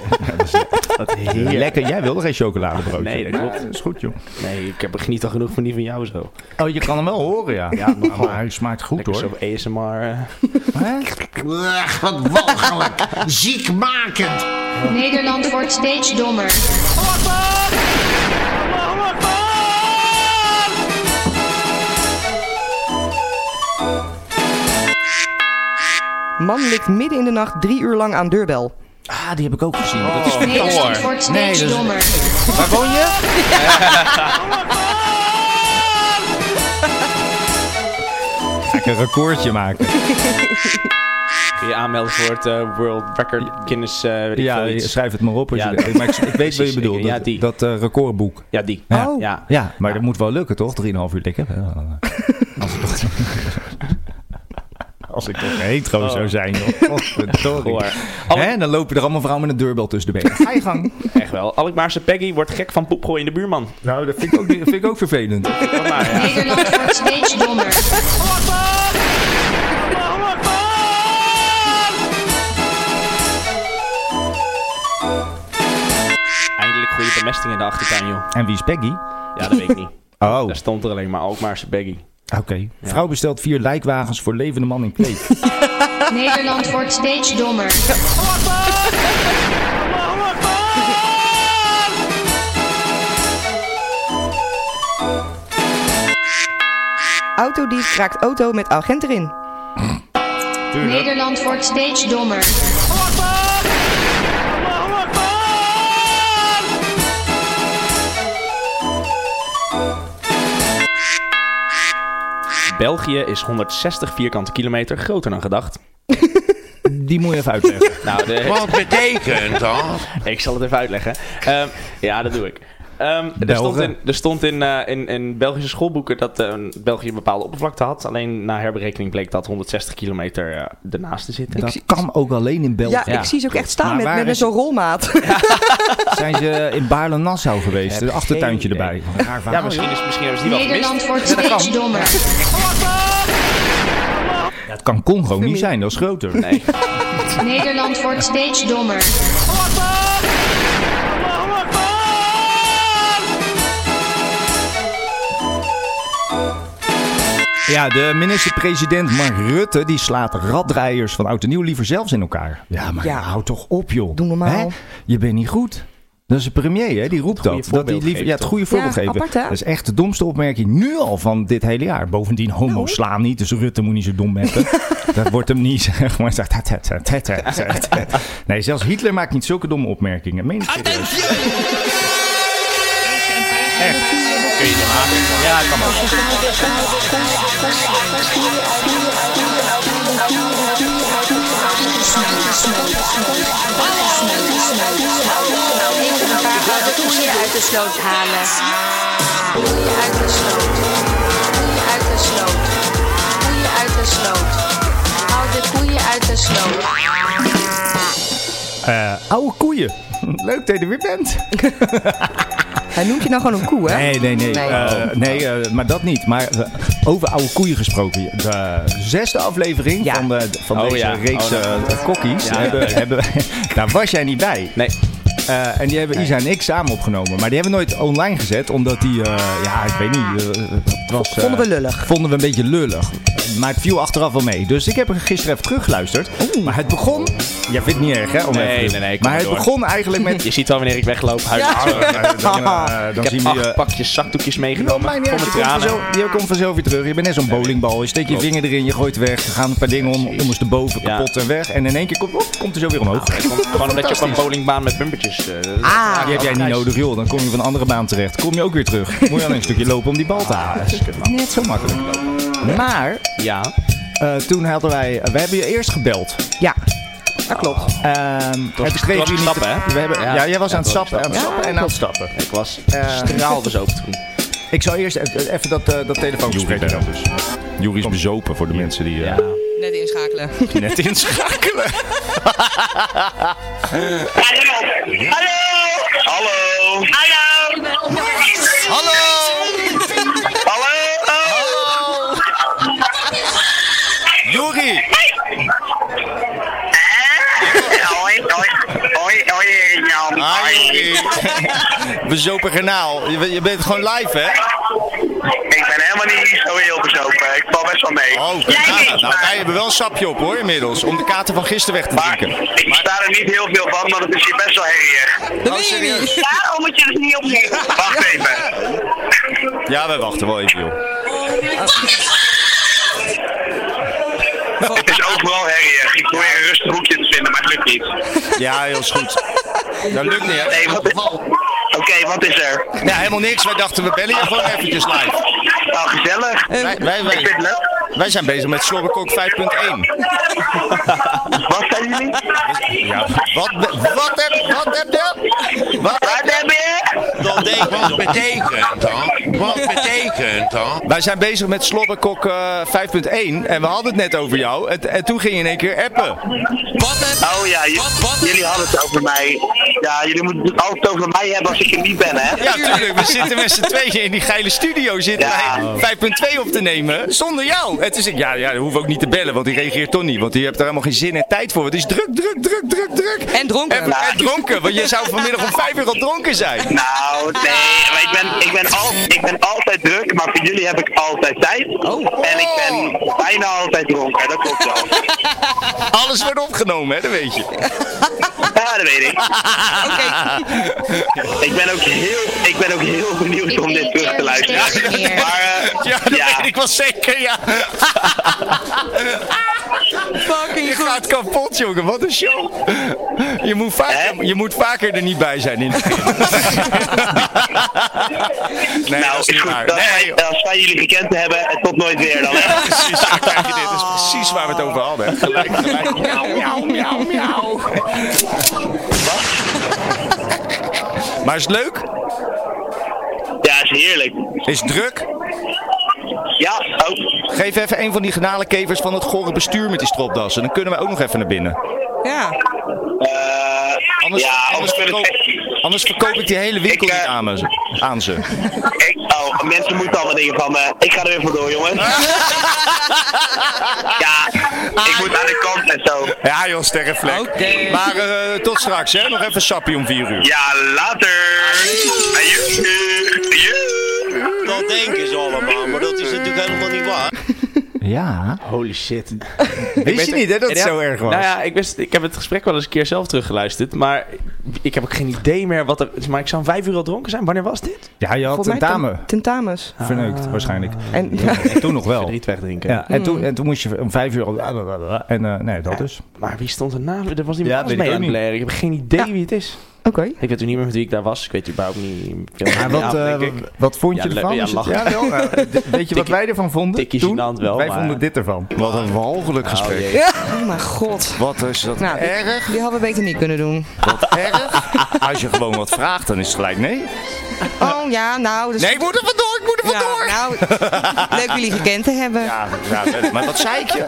Speaker 3: Wat heerlijk.
Speaker 1: Lekker, jij wilde geen chocoladebroodje.
Speaker 3: Nee, dat klopt.
Speaker 1: Ja, is goed, joh.
Speaker 3: Nee, ik heb er geniet al genoeg van die van jou zo.
Speaker 1: Oh, je kan hem wel horen, ja.
Speaker 3: Ja,
Speaker 1: maar,
Speaker 3: nogal.
Speaker 1: hij smaakt goed,
Speaker 3: Lekker
Speaker 1: hoor.
Speaker 3: zo ASMR. eh.
Speaker 1: Hè?
Speaker 9: Ugh, wat walgelijk. Ziekmakend.
Speaker 6: Nederland wordt steeds dommer.
Speaker 4: Man ligt midden in de nacht drie uur lang aan deurbel.
Speaker 1: Ah, die heb ik ook gezien. Dat is
Speaker 6: Nederland wordt steeds
Speaker 1: Nee, dat is-
Speaker 6: dommer.
Speaker 1: Waar woon je? Ga ik een recordje maken.
Speaker 3: Kun je aanmelden voor het eh, World Record Guinness... eh, weet ik
Speaker 1: Ja,
Speaker 3: veel
Speaker 1: je-
Speaker 3: iets.
Speaker 1: schrijf het maar op. Als
Speaker 3: Ja,
Speaker 1: je, maar ik, ik weet wat
Speaker 3: precies,
Speaker 1: je bedoelt.
Speaker 3: ja,
Speaker 1: dat
Speaker 3: die.
Speaker 1: dat eh, recordboek.
Speaker 3: ja, die.
Speaker 1: Ja.
Speaker 4: Oh.
Speaker 3: Ja.
Speaker 1: Ja, maar dat moet wel lukken, toch? 3,5 uur dikker. Ja. Als ik toch... Als ik toch hetero zou zijn, joh. Godverdorie.
Speaker 3: Goor.
Speaker 1: Hè, dan lopen er allemaal vrouwen met een deurbel tussen de benen. Ga je gang.
Speaker 3: Echt wel. Alkmaarse Peggy wordt gek van poep gooien in de buurman.
Speaker 1: Nou, dat vind ik ook, niet- vind ik ook vervelend.
Speaker 3: Kom maar, ja.
Speaker 6: Nederland wordt steeds dommer.
Speaker 3: Eindelijk goede bemesting in de achtertuin, joh.
Speaker 1: En wie is Peggy?
Speaker 3: Ja, dat weet ik niet.
Speaker 1: Oh,
Speaker 3: Daar
Speaker 1: oké.
Speaker 3: stond er alleen maar Alkmaarse Peggy.
Speaker 1: Vrouw bestelt vier lijkwagens voor levende man in kleed.
Speaker 6: Nederland wordt steeds dommer.
Speaker 4: Autodief raakt auto met agent erin.
Speaker 6: Nederland wordt steeds dommer.
Speaker 3: België is 160 vierkante kilometer groter dan gedacht.
Speaker 1: Die moet je even uitleggen.
Speaker 3: Nou, de,
Speaker 2: Wat betekent dat?
Speaker 3: ik zal het even uitleggen. Ehm, ja, dat doe ik. Ehm, er
Speaker 1: Belgen.
Speaker 3: stond, in, er stond in, eh, in, in Belgische schoolboeken dat eh, België een bepaalde oppervlakte had. Alleen na herberekening bleek dat 160 kilometer eh, ernaast te zitten.
Speaker 1: Dat kan ook alleen in België.
Speaker 4: Ja, ik zie ze ook echt staan
Speaker 1: Maar
Speaker 4: met,
Speaker 1: waar
Speaker 4: met, met
Speaker 1: is-
Speaker 4: zo'n rolmaat.
Speaker 1: Zijn ze in Baarle-Nassau geweest? Een
Speaker 3: Heb
Speaker 1: achtertuintje
Speaker 3: geen
Speaker 1: erbij. Raar verhaal,
Speaker 3: ja, misschien, is, misschien hebben ze die wel gemist.
Speaker 6: Nederland wordt steeds dommer.
Speaker 1: joh. Ja, het kan Congo niet zijn, dat is groter.
Speaker 3: Nee.
Speaker 6: Nederland wordt steeds dommer.
Speaker 1: Ja, de minister-president Mark Rutte die slaat raddraaiers van oud en nieuw liever zelfs in elkaar. Ja, maar
Speaker 4: Ja.
Speaker 1: hou toch op, joh.
Speaker 4: Doe normaal.
Speaker 1: Hè? Je bent niet goed. Dat is de premier, hè? die roept dat.
Speaker 3: goede
Speaker 1: dat die
Speaker 3: voorbeeld
Speaker 1: liever,
Speaker 3: geeft,
Speaker 1: ja, het goede voorbeeld
Speaker 4: Ja,
Speaker 1: geven.
Speaker 4: apart, hè?
Speaker 1: Dat is echt de domste opmerking nu al van dit hele jaar. Bovendien, homo's
Speaker 4: Nou.
Speaker 1: slaan niet, dus Rutte moet niet zo dom hebben. dat wordt hem niet, zeg maar. Zegt, "Het, het, het, het, het, het, het." Nee, zelfs Hitler maakt niet zulke domme opmerkingen. Meen ik
Speaker 4: Ah,
Speaker 1: serieus.
Speaker 3: Ja, kan ook.
Speaker 10: Even een paar oude koeien uit de sloot halen. Koeien uit de sloot. Koeien uit de sloot. Koeien uit de sloot. Haal de koeien uit de sloot.
Speaker 1: Eh, oude koeien. Leuk dat je er weer bent.
Speaker 4: Hij noemt je nou gewoon een koe, hè?
Speaker 1: Nee, nee, nee.
Speaker 4: Nee. Oh.
Speaker 1: Eh, nee, eh, maar dat niet. Maar eh, over oude koeien gesproken. De zesde aflevering
Speaker 4: Ja.
Speaker 1: van, de, van
Speaker 3: Oh,
Speaker 1: deze
Speaker 3: ja.
Speaker 1: reeks
Speaker 3: Oh, dat-
Speaker 1: eh, kokkies.
Speaker 3: Ja.
Speaker 1: hebben, hebben, daar was jij niet bij.
Speaker 3: Nee.
Speaker 1: Eh, en die hebben Isa en ik samen opgenomen. Maar die hebben we nooit online gezet. Omdat die, eh, ja, ik weet niet. eh, het was, eh,
Speaker 4: Vonden we lullig.
Speaker 1: Vonden we een beetje lullig. Maar het viel achteraf wel mee. Dus ik heb er gisteren even teruggeluisterd. Maar het begon... Jij vindt het niet erg, hè? Om
Speaker 3: Nee,
Speaker 1: even te-
Speaker 3: nee, nee, kom
Speaker 1: Maar het
Speaker 3: maar door.
Speaker 1: begon eigenlijk met...
Speaker 3: Je ziet wel wanneer ik wegloop. Huis.
Speaker 1: Eh, dan, eh, dan
Speaker 3: ik
Speaker 1: zien
Speaker 3: heb
Speaker 1: we
Speaker 3: acht
Speaker 1: je
Speaker 3: pakjes zakdoekjes
Speaker 1: Nou,
Speaker 3: meegenomen.
Speaker 1: maakt niet
Speaker 3: Voor
Speaker 1: uit,
Speaker 3: mijn
Speaker 1: je, komt
Speaker 3: tranen.
Speaker 1: vanzelf, je komt vanzelf weer terug. Je bent net zo'n bowlingbal. Je steekt je
Speaker 3: Klopt.
Speaker 1: vinger erin, je gooit weg. Er gaan een paar dingen om, ondersteboven,
Speaker 3: Ja.
Speaker 1: kapot en weg. En in één keer komt, op, komt er zo weer omhoog.
Speaker 3: Het komt Gewoon omdat je op een bowlingbaan met bumpertjes...
Speaker 1: Ah,
Speaker 3: eh, dat-
Speaker 1: Die heb jij niet nodig, joh. Dan kom je van een andere baan terecht. Kom je ook weer terug. Moet je alleen een stukje lopen om die bal te halen. Net zo makkelijk. Maar
Speaker 3: Ja.
Speaker 1: eh, toen hadden wij... We hebben je eerst gebeld.
Speaker 4: Ja, dat klopt.
Speaker 1: Ehm het
Speaker 3: het
Speaker 1: kreeg
Speaker 3: was
Speaker 1: je niet...
Speaker 3: stappen, hè?
Speaker 1: we hebben, ja,
Speaker 3: Ja.
Speaker 1: jij was
Speaker 3: Ja,
Speaker 1: aan het
Speaker 3: het was
Speaker 1: stappen. Aan het
Speaker 4: stappen.
Speaker 1: stappen en aan het stappen.
Speaker 3: Ik was straalbezopen toen.
Speaker 1: Ik zal eerst e- even dat, eh, dat telefoongesprek doen.
Speaker 11: Jury is bezopen voor de mensen die... eh,
Speaker 3: Ja.
Speaker 4: Net inschakelen.
Speaker 1: Net inschakelen.
Speaker 2: Hallo! Hallo! Hallo! Hallo! Hallo!
Speaker 1: Bezopen kanaal. Je, bent- je bent gewoon live, hè?
Speaker 2: Ik ben helemaal niet zo heel bezopen. Ik val best wel mee.
Speaker 1: Oh, kijk aan. Nou, wij hebben wel een sapje op, hoor, inmiddels. Om de kaarten van gisteren weg te drinken.
Speaker 2: Ik sta er niet heel veel van, maar het is hier best wel herrierig.
Speaker 1: Oh, serieus?
Speaker 2: Daarom moet je het niet opnemen. Wacht even.
Speaker 1: Ja, wij wachten wel even, joh. Ah.
Speaker 2: Het is overal herrierig. Ik probeer een rustig hoekje te vinden, maar het lukt niet.
Speaker 1: Ja, heel is goed. Dat lukt niet, hè?
Speaker 2: Nee, wat is- Oké, wat is er?
Speaker 1: Nou, helemaal niks. Wij dachten, we bellen je gewoon eventjes live.
Speaker 2: Nou, gezellig.
Speaker 4: Eh,
Speaker 1: Wij, wij, wij-
Speaker 2: Ik vind het leuk.
Speaker 1: wij zijn bezig met Slobberkok 5.1.
Speaker 2: Wat zijn jullie?
Speaker 1: Ja, wat, wat heb Wat heb je? Wat,
Speaker 2: heb je?
Speaker 1: Dan denk
Speaker 2: Wat
Speaker 1: betekent
Speaker 2: dan? Wat betekent
Speaker 1: dan? Wij zijn bezig met Slobberkok eh, 5.1 en we hadden het net over jou. En, en toen ging je in één keer appen.
Speaker 2: Oh ja, j- jullie hadden het over mij. Ja, jullie moeten het altijd over mij hebben als ik er niet ben, hè?
Speaker 1: Ja, tuurlijk. We zitten met z'n tweeën in die geile studio zitten
Speaker 2: Ja.
Speaker 1: wij 5.2 op te nemen zonder jou. En toen zei ik, ja, ja, dan hoef ik ook niet te bellen, want die reageert toch niet. Want die hebt er helemaal geen zin en tijd voor. Het is druk, druk, druk, druk, druk. En dronken. En, dronken, want je zou vanmiddag om 5 uur al dronken zijn.
Speaker 2: Nou, nee, maar ik ben, ik, ben al, ik ben altijd druk, maar voor jullie heb ik altijd tijd. En ik ben bijna altijd dronken, dat klopt wel.
Speaker 1: Alles wordt opgenomen, hè, dat weet je.
Speaker 2: Ja, dat weet ik. Ik ben ook heel, ik ben ook heel benieuwd om dit terug te luisteren. Maar, eh,
Speaker 1: Ja, dat weet ik wel zeker, ja. Fucking je gaat kapot, jongen. Wat een show. Je moet vaker, je moet vaker er niet bij zijn in Nee,
Speaker 2: nou,
Speaker 1: dat is
Speaker 2: is
Speaker 1: niet
Speaker 2: goed.
Speaker 1: waar.
Speaker 2: Dan-
Speaker 1: Nee,
Speaker 2: Als wij jullie gekend hebben, en tot nooit weer dan. hè?
Speaker 1: precies. Dan krijg je dit. Dat is precies waar we het over hadden. hè. Gelijk, gelijk. Miauw, miauw, miauw, miauw. Maar is het leuk?
Speaker 2: Ja, is heerlijk.
Speaker 1: Is het druk?
Speaker 2: Ja, oh, ook.
Speaker 1: Geef even een van die genadenkevers van het gore bestuur met die stropdassen. Dan kunnen we ook nog even naar binnen.
Speaker 4: Ja.
Speaker 2: Eh,
Speaker 1: Anders,
Speaker 2: ja,
Speaker 1: anders,
Speaker 2: anders kunnen
Speaker 1: verkoop, anders verkoop ik eh, die hele winkel niet aan, me- aan ze.
Speaker 2: Ik, oh, mensen moeten allemaal dingen van me. Ik ga er weer vandoor, jongens. ja, ik moet aan de kant en zo.
Speaker 1: Ja joh, sterrenvlek. Maar eh, tot straks hè, nog even sappie om 4 uur.
Speaker 2: Ja, later. Dat denken ze allemaal, maar dat is natuurlijk helemaal niet waar.
Speaker 1: Ja.
Speaker 3: Holy shit.
Speaker 1: Wist je niet, hè, dat het zo erg was?
Speaker 3: Nou ja, ik, wist, ik heb het gesprek wel eens een keer zelf teruggeluisterd. Maar ik heb ook geen idee meer wat er... Maar ik zou om vijf uur al dronken zijn. Wanneer was dit?
Speaker 1: Ja, je had
Speaker 4: Volgens mij
Speaker 1: tentamen
Speaker 4: ten- tentamens.
Speaker 1: verneukt waarschijnlijk.
Speaker 4: En,
Speaker 1: Ah. En Hmm. toen nog wel.
Speaker 3: Niet wegdrinken.
Speaker 1: Ja, en, toen, en toen moest je om 5 uur al... En eh, nee, dat dus.
Speaker 3: Maar wie stond er na? Er was
Speaker 1: Ja,
Speaker 3: iemand anders
Speaker 1: weet ik
Speaker 3: mee
Speaker 1: ook
Speaker 3: aan het
Speaker 1: niet.
Speaker 3: blaren. Ik heb geen idee wie het is.
Speaker 4: Oké.
Speaker 3: Ik weet ook niet meer met wie ik daar was. Ik weet überhaupt niet veel
Speaker 1: Maar
Speaker 3: van die
Speaker 1: wat,
Speaker 3: avond,
Speaker 1: eh,
Speaker 3: denk ik.
Speaker 1: wat vond je
Speaker 3: Ja, le-
Speaker 1: ervan?
Speaker 3: ja,
Speaker 1: Is het-
Speaker 3: lachen.
Speaker 1: ja, wel, eh, d- weet je wat wij ervan vonden?
Speaker 3: Tikkie
Speaker 1: toen?
Speaker 3: gênant wel,
Speaker 1: wij
Speaker 3: maar-
Speaker 1: vonden dit ervan. Wat een walgelijk gesprek.
Speaker 3: jee.
Speaker 4: Ja. Oh mijn god.
Speaker 1: Wat is dat
Speaker 4: Nou, die-
Speaker 1: erg? Oh.
Speaker 4: Die, hadden we beter niet kunnen doen.
Speaker 1: Wat erg? Als je gewoon wat vraagt, dan is het gelijk nee.
Speaker 4: Oh ja, nou. Dus
Speaker 1: Nee, ik moet er vandoor, ik moet er
Speaker 4: Ja,
Speaker 1: vandoor.
Speaker 4: nou, leuk jullie gekend te hebben.
Speaker 1: Ja, ja, maar wat zei ik je?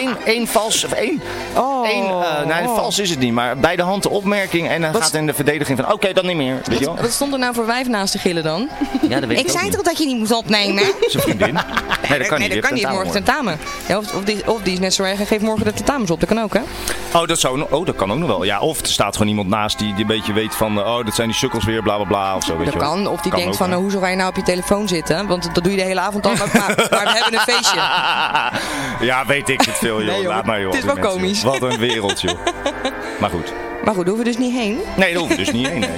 Speaker 1: Eén, één vals, of één,
Speaker 4: Oh.
Speaker 1: één eh, nee,
Speaker 4: oh.
Speaker 1: vals is het niet, maar bij de hand de opmerking en dan
Speaker 4: Wat-
Speaker 1: gaat in de verdediging van, oké, dan niet meer. Weet je wel?
Speaker 4: Wat stond er nou voor wijf naast te gillen dan?
Speaker 1: Ja, dat weet
Speaker 4: Ik,
Speaker 1: ook
Speaker 4: zei
Speaker 1: niet.
Speaker 4: toch dat je niet moest opnemen?
Speaker 1: Zijn vriendin? Nee, dat kan
Speaker 4: nee,
Speaker 1: niet. die
Speaker 4: dat kan
Speaker 1: heeft tentamen, hoor.
Speaker 4: niet. Morgen tentamen. Ja, of, of, die, of die is net zo erg en geeft morgen de tentamens op. Dat kan ook, hè?
Speaker 1: Oh dat, zou, oh, dat kan ook nog wel. Ja, of er staat gewoon iemand naast die, die een beetje weet van, eh, oh, dat zijn die sukkels weer, bla bla bla, of zo. Weet
Speaker 4: Dat
Speaker 1: je wel.
Speaker 4: kan. Of die denkt
Speaker 1: ook,
Speaker 4: van,
Speaker 1: hè.
Speaker 4: nou, hoe zou wij nou op je telefoon zitten? Want dat doe je de hele avond al, maar, maar, maar we hebben een feestje.
Speaker 1: ja, weet ik het veel, joh.
Speaker 4: Nee, joh,
Speaker 1: Laat maar, joh.
Speaker 4: het is
Speaker 1: die
Speaker 4: wel
Speaker 1: mensen,
Speaker 4: komisch.
Speaker 1: joh. Wat een wereld, joh. Maar goed.
Speaker 4: Maar goed, daar hoeven we dus niet heen.
Speaker 1: Nee, dat hoeft dus niet heen. nee.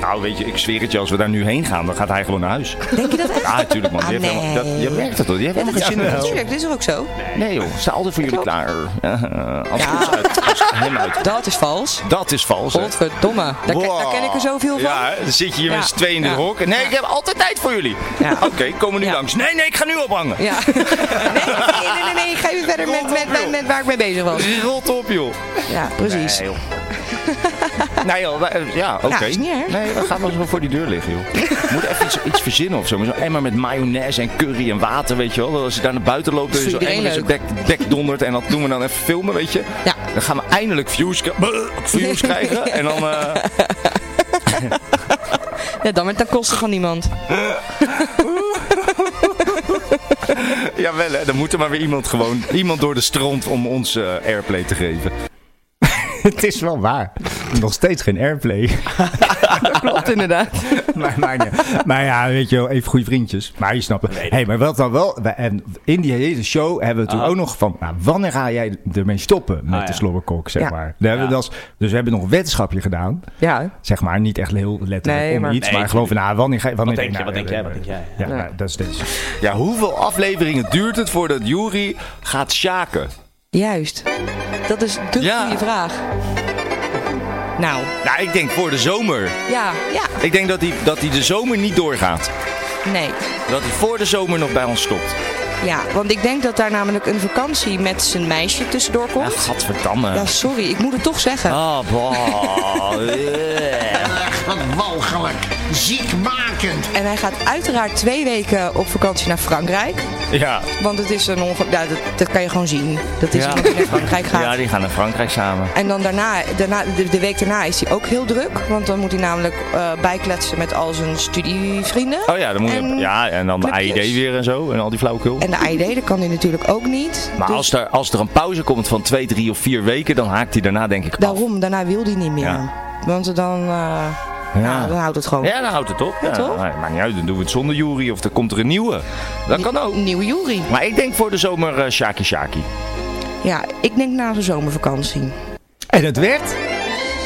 Speaker 1: Nou, weet je, ik zweer het je, als we daar nu heen gaan, dan gaat hij gewoon naar huis.
Speaker 4: Denk je dat echt?
Speaker 1: Ja, natuurlijk, man. Die
Speaker 4: Ah,
Speaker 1: heeft helemaal,
Speaker 4: nee.
Speaker 1: dat, je merkt het toch? Die heeft helemaal geen zin in het
Speaker 4: Natuurlijk, dit is toch ook zo?
Speaker 1: Nee, joh. Ze staan altijd voor jullie klaar. Ja, eh, als het ons uit. Als het hem uit.
Speaker 4: Dat is vals.
Speaker 1: Dat is vals, hè?
Speaker 4: Godverdomme. Daar, ken-
Speaker 1: Wow.
Speaker 4: daar ken ik er zoveel van.
Speaker 1: Ja, hè? dan zit je hier
Speaker 4: Ja.
Speaker 1: met z'n tweeën in de
Speaker 4: Ja.
Speaker 1: hok. Nee, ik heb altijd tijd voor jullie.
Speaker 4: Ja.
Speaker 1: Oké, komen nu
Speaker 4: Ja.
Speaker 1: langs. Nee, nee, ik ga nu ophangen.
Speaker 4: Ja. Nee, nee, nee, nee, nee, ik ga even verder met, met, met, met waar ik mee bezig was.
Speaker 1: Rot op, joh.
Speaker 4: Ja, precies.
Speaker 1: Nee, joh. nee, joh. wij- eh, Ja, oké.
Speaker 4: Ja, is niet erg.
Speaker 1: nee, we gaan wel zo voor die deur liggen, joh. Moet even iets, iets verzinnen of zo. Maar Zo'n emmer met mayonaise en curry en water, weet je wel. Dat Als je daar naar buiten loopt, dat
Speaker 4: is
Speaker 1: je zo'n
Speaker 4: voor
Speaker 1: emmer in zo'n
Speaker 4: iedereen
Speaker 1: bek, bek dondert. En dat doen we dan even filmen, weet je.
Speaker 4: Ja.
Speaker 1: Dan gaan we eindelijk views, kri- views krijgen. En dan... eh,
Speaker 4: Ja, dan met ten koste van niemand.
Speaker 1: Jawel, hè. Dan moet er maar weer iemand gewoon... Iemand door de stront om ons eh, airplay te geven. Het is wel waar. nog steeds geen airplay.
Speaker 4: Dat klopt inderdaad.
Speaker 1: maar, maar, ja. maar ja, weet je wel, even goede vriendjes. Maar je snapt het. hey, maar wat dan wel. wij- En in die hele show hebben we toen
Speaker 12: Ah.
Speaker 1: ook nog van. Nou, wanneer ga jij ermee stoppen met
Speaker 12: Ah,
Speaker 1: de
Speaker 12: ja.
Speaker 1: slobberkok, zeg
Speaker 12: Ja.
Speaker 1: maar. Daar hebben we dat, als- dus we hebben nog een wetenschapje gedaan.
Speaker 4: Ja.
Speaker 1: Zeg maar, niet echt heel letterlijk
Speaker 12: Nee,
Speaker 1: om
Speaker 12: maar-
Speaker 1: iets.
Speaker 12: Nee,
Speaker 1: maar geloof ik, nou, wanneer ga je.
Speaker 12: Wat
Speaker 1: Wanneer
Speaker 12: denk je,
Speaker 1: nou,
Speaker 12: wat denk
Speaker 1: eh,
Speaker 12: jij, wat denk jij?
Speaker 1: Ja, nou, dat is deze.
Speaker 12: Ja, hoeveel afleveringen duurt het voordat Jury gaat sjaken?
Speaker 4: Juist. Dat is de goede vraag. Nou.
Speaker 12: Nou, ik denk voor de zomer.
Speaker 4: Ja, ja,
Speaker 12: Ik denk dat hij, dat hij de zomer niet doorgaat.
Speaker 4: nee.
Speaker 12: Dat hij voor de zomer nog bij ons stopt.
Speaker 4: Ja, want ik denk dat daar namelijk een vakantie met zijn meisje tussendoor komt.
Speaker 12: Gadverdamme.
Speaker 4: Ja, sorry, ik moet het toch zeggen.
Speaker 1: Oh.
Speaker 12: Ah, Eh. bah.
Speaker 13: Echt wat walgelijk. Ziekmakend.
Speaker 4: En hij gaat uiteraard twee weken op vakantie naar Frankrijk.
Speaker 12: ja.
Speaker 4: Want het is een onge... Ja, dat, dat kan je gewoon zien. Dat is iemand die naar Frankrijk gaat.
Speaker 12: Ja, die gaan naar Frankrijk samen.
Speaker 4: En dan daarna, daarna de, de week daarna is hij ook heel druk. Want dan moet hij namelijk eh, bijkletsen met al zijn studievrienden.
Speaker 12: Oh ja, dan moet je,
Speaker 4: En-
Speaker 12: ja, en dan de AID weer en zo. En al die flauwekul.
Speaker 4: En dus- de AID, dat kan hij natuurlijk ook niet.
Speaker 12: Maar als er, als er een pauze komt van twee, drie of vier weken, dan haakt hij daarna denk ik af.
Speaker 4: Daarom, daarna wil hij niet meer. Want dan, eh,
Speaker 12: Ja.
Speaker 4: nou, dan houdt het gewoon.
Speaker 12: Ja, dan houdt het op. Ja,
Speaker 4: toch?
Speaker 12: maar Maakt niet uit, dan doen we het zonder Jury of er komt er een nieuwe. Dat kan ook.
Speaker 4: Nieuwe Jury.
Speaker 12: Maar ik denk voor de zomer eh Shaki Shaki.
Speaker 4: Ja, ik denk na de zomervakantie.
Speaker 1: En het werd?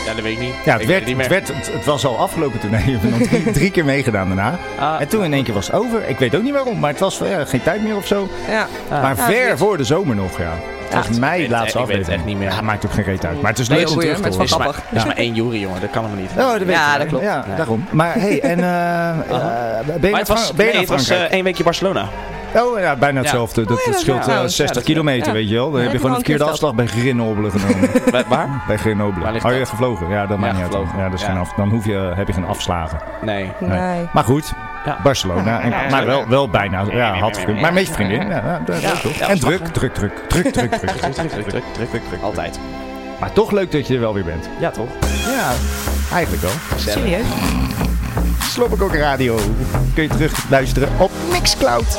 Speaker 3: Ja, dat weet ik niet.
Speaker 1: Ja, het,
Speaker 3: Ik
Speaker 1: werd,
Speaker 3: weet
Speaker 1: het,
Speaker 3: meer.
Speaker 1: werd, het, het was al afgelopen toen. Nee, we hebben nog drie, drie keer meegedaan daarna.
Speaker 3: Ah.
Speaker 1: en toen in één keer was het over. Ik weet ook niet waarom, maar het was ja, geen tijd meer of zo.
Speaker 3: Ah.
Speaker 4: Ja.
Speaker 1: Maar
Speaker 4: Ja,
Speaker 1: ver
Speaker 4: dit-
Speaker 1: voor de zomer nog, ja. Dat is
Speaker 3: Ik
Speaker 1: mijn
Speaker 3: weet-
Speaker 1: laatste
Speaker 3: ik weet
Speaker 1: aflevering.
Speaker 3: het echt niet meer.
Speaker 1: Ja, maakt ook geen reet uit. Maar het is
Speaker 3: Nee,
Speaker 1: leuk om
Speaker 3: goeie,
Speaker 1: terug te
Speaker 3: maar het is
Speaker 1: horen.
Speaker 3: maar- Het is maar één Jury, jongen. Dat kan hem niet.
Speaker 1: Ja. Oh, dat weet ik. Ja,
Speaker 3: Nee.
Speaker 1: daarom. Maar hey, en eh, eh, ben je
Speaker 3: Maar
Speaker 1: naar
Speaker 3: het was,
Speaker 1: Fran- ben je naar
Speaker 3: nee, het was eh,
Speaker 1: Frankrijk?
Speaker 3: één weekje Barcelona.
Speaker 1: Oh ja, bijna hetzelfde. Dat,
Speaker 3: Oh, ja,
Speaker 1: dat
Speaker 3: dat
Speaker 1: scheelt
Speaker 3: is
Speaker 1: eh,
Speaker 3: waar. Ja, dat is
Speaker 1: 60
Speaker 3: waar.
Speaker 1: kilometer,
Speaker 3: Ja.
Speaker 1: weet je wel. Dan
Speaker 3: Ja,
Speaker 1: heb je
Speaker 3: dat
Speaker 1: gewoon
Speaker 3: heb
Speaker 1: een
Speaker 3: ik al
Speaker 1: verkeerde
Speaker 3: een keer
Speaker 1: afslag bij Grenoble genomen.
Speaker 3: Waar?
Speaker 1: bij Grenoble.
Speaker 3: Waar ligt
Speaker 1: Oh, je
Speaker 3: dat?
Speaker 1: hebt gevlogen. Ja, dat maakt
Speaker 3: Ja,
Speaker 1: niet uit.
Speaker 3: gevlogen.
Speaker 1: Ja, dat is
Speaker 3: Ja.
Speaker 1: geen af, dan hoef je, heb je geen afslagen.
Speaker 3: Nee.
Speaker 1: Maar goed, Barcelona. En,
Speaker 3: Ja.
Speaker 1: Maar wel, wel bijna. Ja, had gekund. Maar met je vriendin. Ja, ja, dat is
Speaker 3: Ja.
Speaker 1: toch. En
Speaker 3: Ja, dat is
Speaker 1: druk, druk, druk, druk, druk, druk, druk,
Speaker 3: Druk, druk, druk, druk, druk, druk. Altijd.
Speaker 1: Maar toch leuk dat je er wel weer bent.
Speaker 3: Ja, toch?
Speaker 1: Ja, eigenlijk wel.
Speaker 4: Serieus?
Speaker 1: Slobberkok Radio. Kun je terug luisteren op Mixcloud.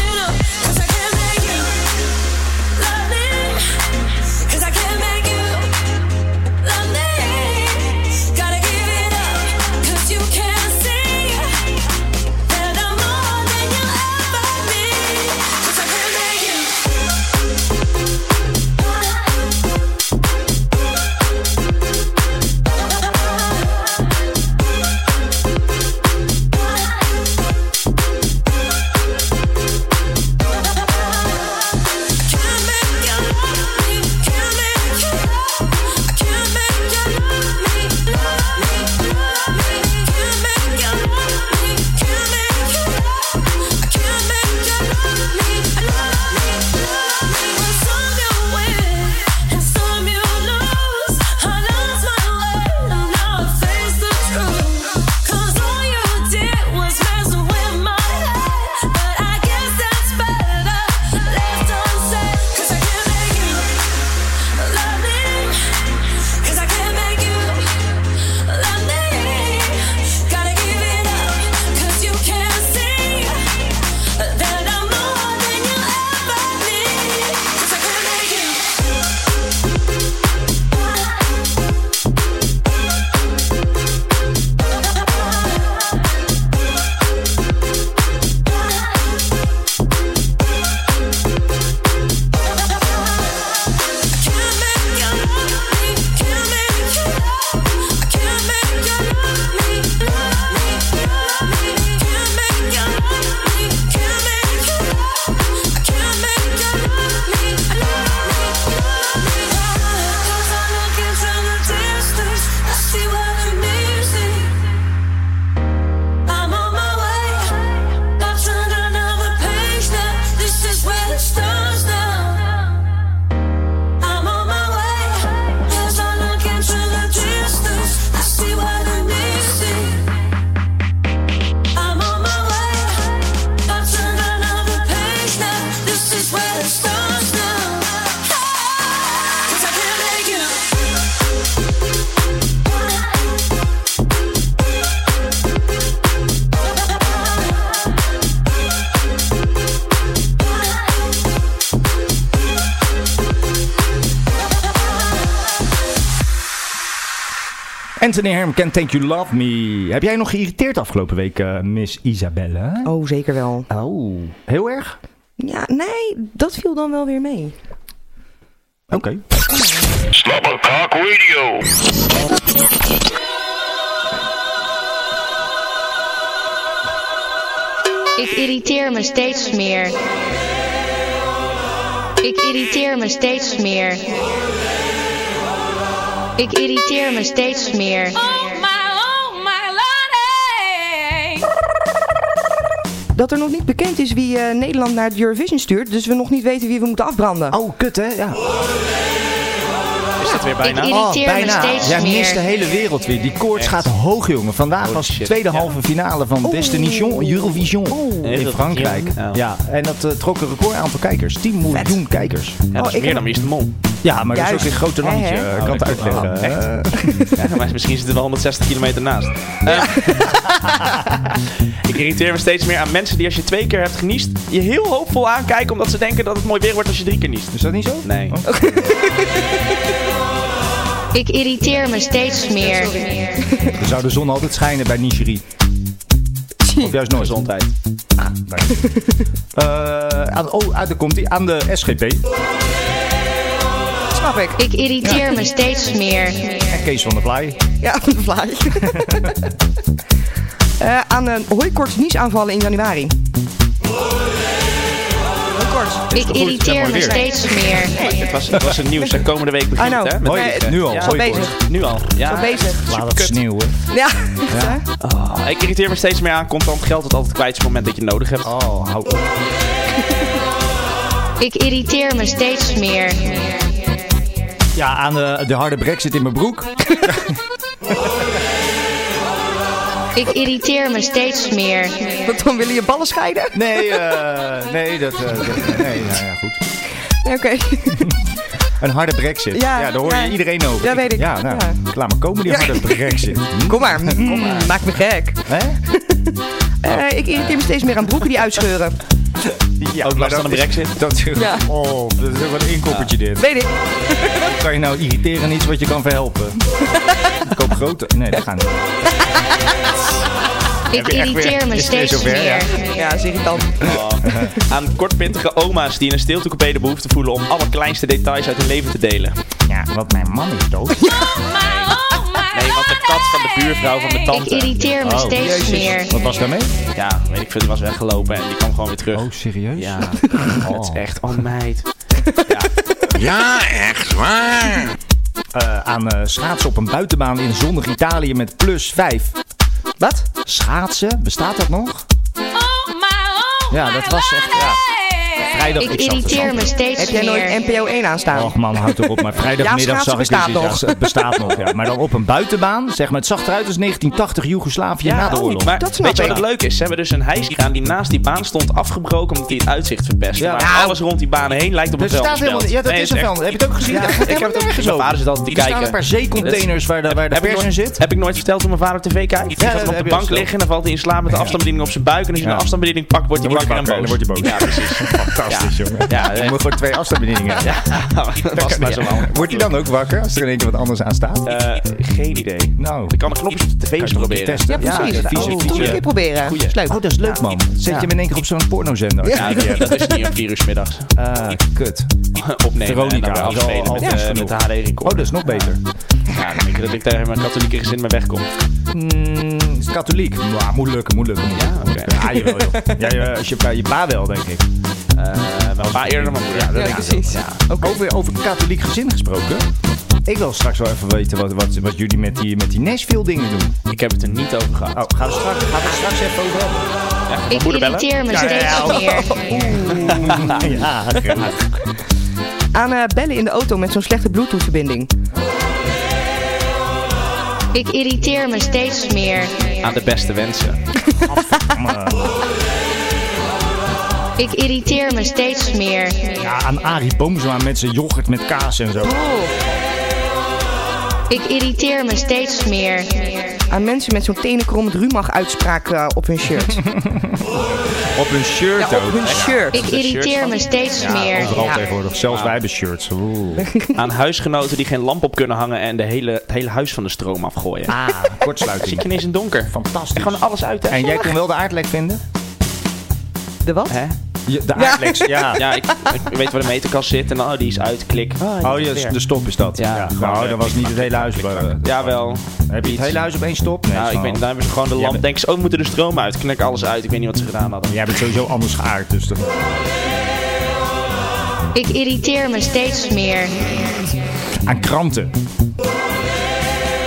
Speaker 8: Cause I can't make you love me
Speaker 1: Anthony Herm, Can Thank You Love Me. Heb jij nog geïrriteerd afgelopen week, eh, Miss Isabelle?
Speaker 4: Oh, zeker wel.
Speaker 1: Oh, heel erg?
Speaker 4: Ja, nee, dat viel dan wel weer mee.
Speaker 1: Oké.
Speaker 7: Slobberkok Radio.
Speaker 6: Ik irriteer me steeds meer. Ik irriteer me steeds meer. Ik irriteer me steeds meer. oh,
Speaker 4: Dat er nog niet bekend is wie eh, Nederland naar het Eurovision stuurt, dus we nog niet weten wie we moeten afbranden.
Speaker 1: Oh, kut hè? Ja.
Speaker 3: Is dat weer bijna?
Speaker 1: oh, bijna. Jij mist de hele wereld weer. Die koorts gaat hoog, jongen. Vandaag
Speaker 3: Oh,
Speaker 1: was de tweede halve finale van Destination Eurovision
Speaker 3: Oh.
Speaker 1: in
Speaker 3: Eurovision.
Speaker 1: Frankrijk.
Speaker 3: Ja.
Speaker 1: Ja, en dat eh, trok een record aantal kijkers. 10 miljoen kijkers.
Speaker 3: Ja, dat is meer dan Wie is de Mol.
Speaker 1: Ja, maar dat is ook een grote landje. Ik
Speaker 3: Oh,
Speaker 1: kan het
Speaker 3: dat klopt.
Speaker 1: uitleggen. Eh,
Speaker 3: Oh, echt? Ja, maar misschien zit het wel 160 kilometer naast. Eh, ik irriteer me steeds meer aan mensen die als je twee keer hebt geniest, je heel hoopvol aankijken omdat ze denken dat het mooi weer wordt als je drie keer niest. Dus-
Speaker 1: Is dat niet zo?
Speaker 3: Nee.
Speaker 6: Ik irriteer me steeds meer.
Speaker 1: Dan zou de zon altijd schijnen bij Nigeria. Of juist nooit.
Speaker 3: Gezondheid.
Speaker 1: Ah, dank je. Eh, aan, oh, ah, daar komt hij. Aan de SGP.
Speaker 4: Snap ik.
Speaker 6: Ik irriteer me steeds meer.
Speaker 1: En Kees van der Vlaai.
Speaker 4: Ja, van de vlaai. Eh, aan een hooikorts niesaanvallen in januari.
Speaker 6: Ik irriteer me steeds meer.
Speaker 3: Het was, het was een nieuws. En komende week begint
Speaker 4: I know.
Speaker 3: hè?
Speaker 4: Hoi,
Speaker 3: regen.
Speaker 1: nu al.
Speaker 3: Ja,
Speaker 1: Hoi,
Speaker 3: bezig. Nu al. Ja,
Speaker 4: Zo bezig.
Speaker 1: Laat het sneeuwen.
Speaker 4: Ja.
Speaker 1: Ja.
Speaker 3: Oh, ik irriteer me steeds meer aan contant geld dat altijd kwijt is op het moment dat je het nodig hebt.
Speaker 1: Oh, hou
Speaker 6: Ik irriteer me steeds meer.
Speaker 1: Ja, aan eh, de, de harde brexit in mijn broek.
Speaker 6: Ik irriteer me steeds meer.
Speaker 4: Want dan willen je ballen scheiden?
Speaker 1: Nee, eh, nee, dat, eh, dat- Nee, nou ja, goed.
Speaker 4: Nee, Oké.
Speaker 1: Een harde brexit.
Speaker 4: Ja,
Speaker 1: Ja, daar hoor
Speaker 4: ja.
Speaker 1: je iedereen over.
Speaker 4: Ja, weet ik.
Speaker 1: Ja, nou,
Speaker 4: Ja.
Speaker 1: laat maar komen die
Speaker 4: Ja.
Speaker 1: harde brexit. Hm,
Speaker 4: Kom maar. Mm, Maak me gek.
Speaker 1: Hè?
Speaker 4: Eh, ik irriteer me steeds meer aan broeken die uitscheuren.
Speaker 1: Ja,
Speaker 3: Ook
Speaker 1: maar
Speaker 3: last van
Speaker 1: dat
Speaker 3: de
Speaker 1: is-
Speaker 3: brexit.
Speaker 1: Dat,
Speaker 4: Ja.
Speaker 1: Oh, dat is ook wat een inkoppertje dit.
Speaker 4: Weet ik.
Speaker 1: Hoe Kan je nou irriteren aan iets wat je kan verhelpen? Ik Koop grote. Nee, dat gaat niet.
Speaker 6: Ik irriteer me steeds meer.
Speaker 4: Ja, zeg ik dan.
Speaker 3: Oh. Aan kortpintige oma's die in een stiltecoupé de behoefte voelen om alle kleinste details uit hun leven te delen.
Speaker 1: Ja, want mijn man is dood.
Speaker 6: oh,
Speaker 3: Nee, want de kat van de buurvrouw van mijn
Speaker 6: Ik
Speaker 3: tante.
Speaker 6: irriteer
Speaker 4: Oh.
Speaker 6: me steeds meer.
Speaker 1: Wat was daarmee?
Speaker 3: Ja, weet ik veel, die was weggelopen en die kwam gewoon weer terug.
Speaker 1: Oh, serieus?
Speaker 3: Ja, dat is echt, oh meid.
Speaker 9: Ja, echt waar.
Speaker 1: Eh, aan eh, schaatsen op een buitenbaan in zonnig Italië met plus 5.
Speaker 4: Wat?
Speaker 1: Schaatsen, bestaat dat nog?
Speaker 6: oh,
Speaker 1: Ja, dat was echt. Ja. Vrijdag
Speaker 6: Ik
Speaker 1: ik zat te
Speaker 6: irriteer me steeds
Speaker 4: Heb jij nooit
Speaker 6: meer.
Speaker 4: NPO 1 aanstaan?
Speaker 1: Och man, houd erop. Maar vrijdagmiddag
Speaker 4: Ja,
Speaker 1: zag ik
Speaker 4: schaatsen
Speaker 1: dus
Speaker 4: bestaat
Speaker 1: iets. Ja, het bestaat nog. Ja. Maar dan op een buitenbaan. Zeg maar, het zag eruit als 1980 Joegoslavië na de oorlog.
Speaker 3: oh, Maar
Speaker 4: dat snap
Speaker 3: weet je wat
Speaker 4: ik.
Speaker 3: leuk is? Ze hebben dus een hijskraan die naast die baan stond afgebroken omdat hij het uitzicht verpest.
Speaker 1: Ja.
Speaker 3: Maar alles rond die baan heen lijkt op een
Speaker 1: Er staat helemaal
Speaker 3: vuilnisbelt.
Speaker 1: niet- ja, dat
Speaker 3: Nee,
Speaker 1: is een
Speaker 3: echt-
Speaker 1: vuilnis- heb je het ook gezien?
Speaker 3: Ja,
Speaker 1: Daar gaat
Speaker 3: ik heb
Speaker 1: helemaal
Speaker 3: het ook
Speaker 1: nergens
Speaker 3: gezien. Mijn
Speaker 1: over.
Speaker 3: vader zit altijd te
Speaker 1: Er
Speaker 3: kijken.
Speaker 1: staan een paar zeecontainers waar de, waar de
Speaker 3: Heb ik
Speaker 1: pers in
Speaker 3: nooit-
Speaker 1: zit.
Speaker 3: Heb ik nooit verteld hoe mijn vader tv kijkt? Die gaat
Speaker 1: dat
Speaker 3: dan op
Speaker 1: heb
Speaker 3: de
Speaker 1: je
Speaker 3: bank
Speaker 1: verteld.
Speaker 3: liggen en dan valt hij in slaap met de afstandsbediening op zijn buik. En als je
Speaker 1: Ja.
Speaker 3: de afstandsbediening pakt, wordt hij wakker en boos.
Speaker 1: Ja, precies. Fantastisch, jongen.
Speaker 3: Ja,
Speaker 1: Je
Speaker 3: eh,
Speaker 1: moet gewoon twee afstandsbedieningen hebben.
Speaker 3: dat was maar zo wel.
Speaker 1: Wordt hij dan ook wakker als er in één keer wat anders aan staat?
Speaker 3: Eh, geen idee.
Speaker 1: Nou,
Speaker 3: Ik kan de knopjes op de tv eens proberen.
Speaker 4: Ja,
Speaker 1: vieze,
Speaker 4: precies. Oh,
Speaker 1: vieze.
Speaker 4: Doe het een keer proberen.
Speaker 3: Goeie.
Speaker 4: Is leuk.
Speaker 1: Oh, dat is leuk, man. Zet je hem in één keer op zo'n pornozender.
Speaker 3: Ja, die, eh, dat is niet om 4 uur 's middags.
Speaker 1: Ah, kut.
Speaker 3: Eh, Opnemen en
Speaker 1: Veronica,
Speaker 3: dan weer
Speaker 1: dat is al-
Speaker 3: afspelen met,
Speaker 1: al- ja,
Speaker 3: eh,
Speaker 1: is genoeg.
Speaker 3: met de HD-record.
Speaker 1: Oh, dat is nog beter.
Speaker 3: Ja, dan denk ik dat ik tegen mijn katholieke gezin maar wegkom. Eh,
Speaker 1: Mm, is katholiek. Ja, moet lukken, moet lukken. Moet lukken.
Speaker 3: Ja, oké.
Speaker 1: Ja, jawel, joh. Ja, jawel, als je, bij je pa wel, denk ik.
Speaker 3: Eh, wel een paar eerder dan mijn moeder. Ja, dat
Speaker 4: Ja, precies.
Speaker 1: Over, over katholiek gezin gesproken. Ik wil straks wel even weten wat, wat, wat jullie met die, met die Nashville dingen doen.
Speaker 3: Ik heb het er niet over gehad.
Speaker 1: Oh, gaan we straks, gaan we straks even over hebben.
Speaker 6: Ik irriteer me steeds meer.
Speaker 1: Ja, graag.
Speaker 4: Aan eh, bellen in de auto met zo'n slechte bluetooth-verbinding.
Speaker 6: Ik irriteer me steeds meer.
Speaker 3: Aan de beste wensen.
Speaker 6: Ik irriteer me steeds meer.
Speaker 1: Ja, aan Arie Boomsma met zijn yoghurt met kaas en zo.
Speaker 6: Ik irriteer me steeds meer.
Speaker 4: Aan mensen met zo'n tenenkrommend rumach uitspraak eh, op hun shirt.
Speaker 1: Op hun shirt
Speaker 4: Ja, op
Speaker 1: ook.
Speaker 4: hun shirt.
Speaker 6: Ik irriteer me steeds
Speaker 3: Ja,
Speaker 6: meer.
Speaker 1: Overal
Speaker 6: Ja.
Speaker 1: tegenwoordig. Zelfs
Speaker 3: Ja.
Speaker 1: wij hebben shirts. Oeh.
Speaker 3: Aan huisgenoten die geen lamp op kunnen hangen en de hele, het hele huis van de stroom afgooien.
Speaker 1: Ah, kortsluiting.
Speaker 3: Zie je ineens in donker.
Speaker 1: Fantastisch.
Speaker 3: En gewoon alles uit. hè?
Speaker 1: En jij kon wel de aardlek vinden?
Speaker 4: De wat?
Speaker 3: Hè?
Speaker 1: Je- de aardlek, ja.
Speaker 3: Ja, ik, ik weet waar de meterkast zit en dan, oh, die is uit, klik.
Speaker 1: Oh, ja,
Speaker 3: weer.
Speaker 1: de stop is dat. Ja,
Speaker 3: gewoon,
Speaker 1: nou,
Speaker 3: eh,
Speaker 1: dat was niet het hele huis.
Speaker 3: Jawel.
Speaker 1: Heb je het
Speaker 3: Iets.
Speaker 1: hele huis op één stop? Nee,
Speaker 3: nou, ik
Speaker 1: gewoon-
Speaker 3: weet, dan hebben ze gewoon de lamp.
Speaker 1: bent-
Speaker 3: Denken ze, oh, we moeten de stroom uit. Knik alles uit. Ik weet niet wat ze gedaan hadden.
Speaker 1: Jij bent sowieso anders geaard, dus dat...
Speaker 6: Ik irriteer me steeds meer.
Speaker 1: Aan kranten.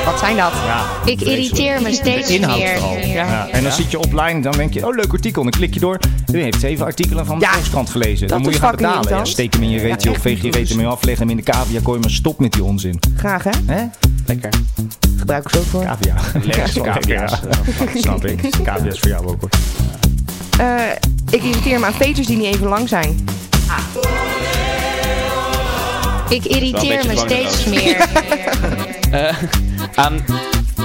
Speaker 4: Wat zijn dat?
Speaker 1: Ja.
Speaker 6: Ik irriteer me steeds
Speaker 1: De inhoud
Speaker 6: meer.
Speaker 1: vooral. Ja. En dan zit je offline, dan denk je, oh leuk artikel. En dan klik je door. Iedereen heeft zeven artikelen van de Volkskrant gelezen. Dan
Speaker 4: dat
Speaker 1: moet je
Speaker 4: is
Speaker 1: gaan
Speaker 4: fucking
Speaker 1: betalen. Ja,
Speaker 4: irritant.
Speaker 1: steek hem in je reet, joh. Veeg je reet ermee af, leg hem in de cavia. Gooi maar stop met die onzin.
Speaker 4: Graag hè?
Speaker 1: Hè?
Speaker 3: Lekker.
Speaker 4: Gebruik ik ze ook voor.
Speaker 1: Cavia. Lekker cavia's. Ja, Snap ik. Cavia's voor jou ook hoor.
Speaker 4: Eh, ik irriteer me aan veters die niet even lang zijn.
Speaker 6: Ik irriteer me
Speaker 3: beetje
Speaker 6: steeds
Speaker 3: dwangloos.
Speaker 6: meer.
Speaker 3: Eh, aan...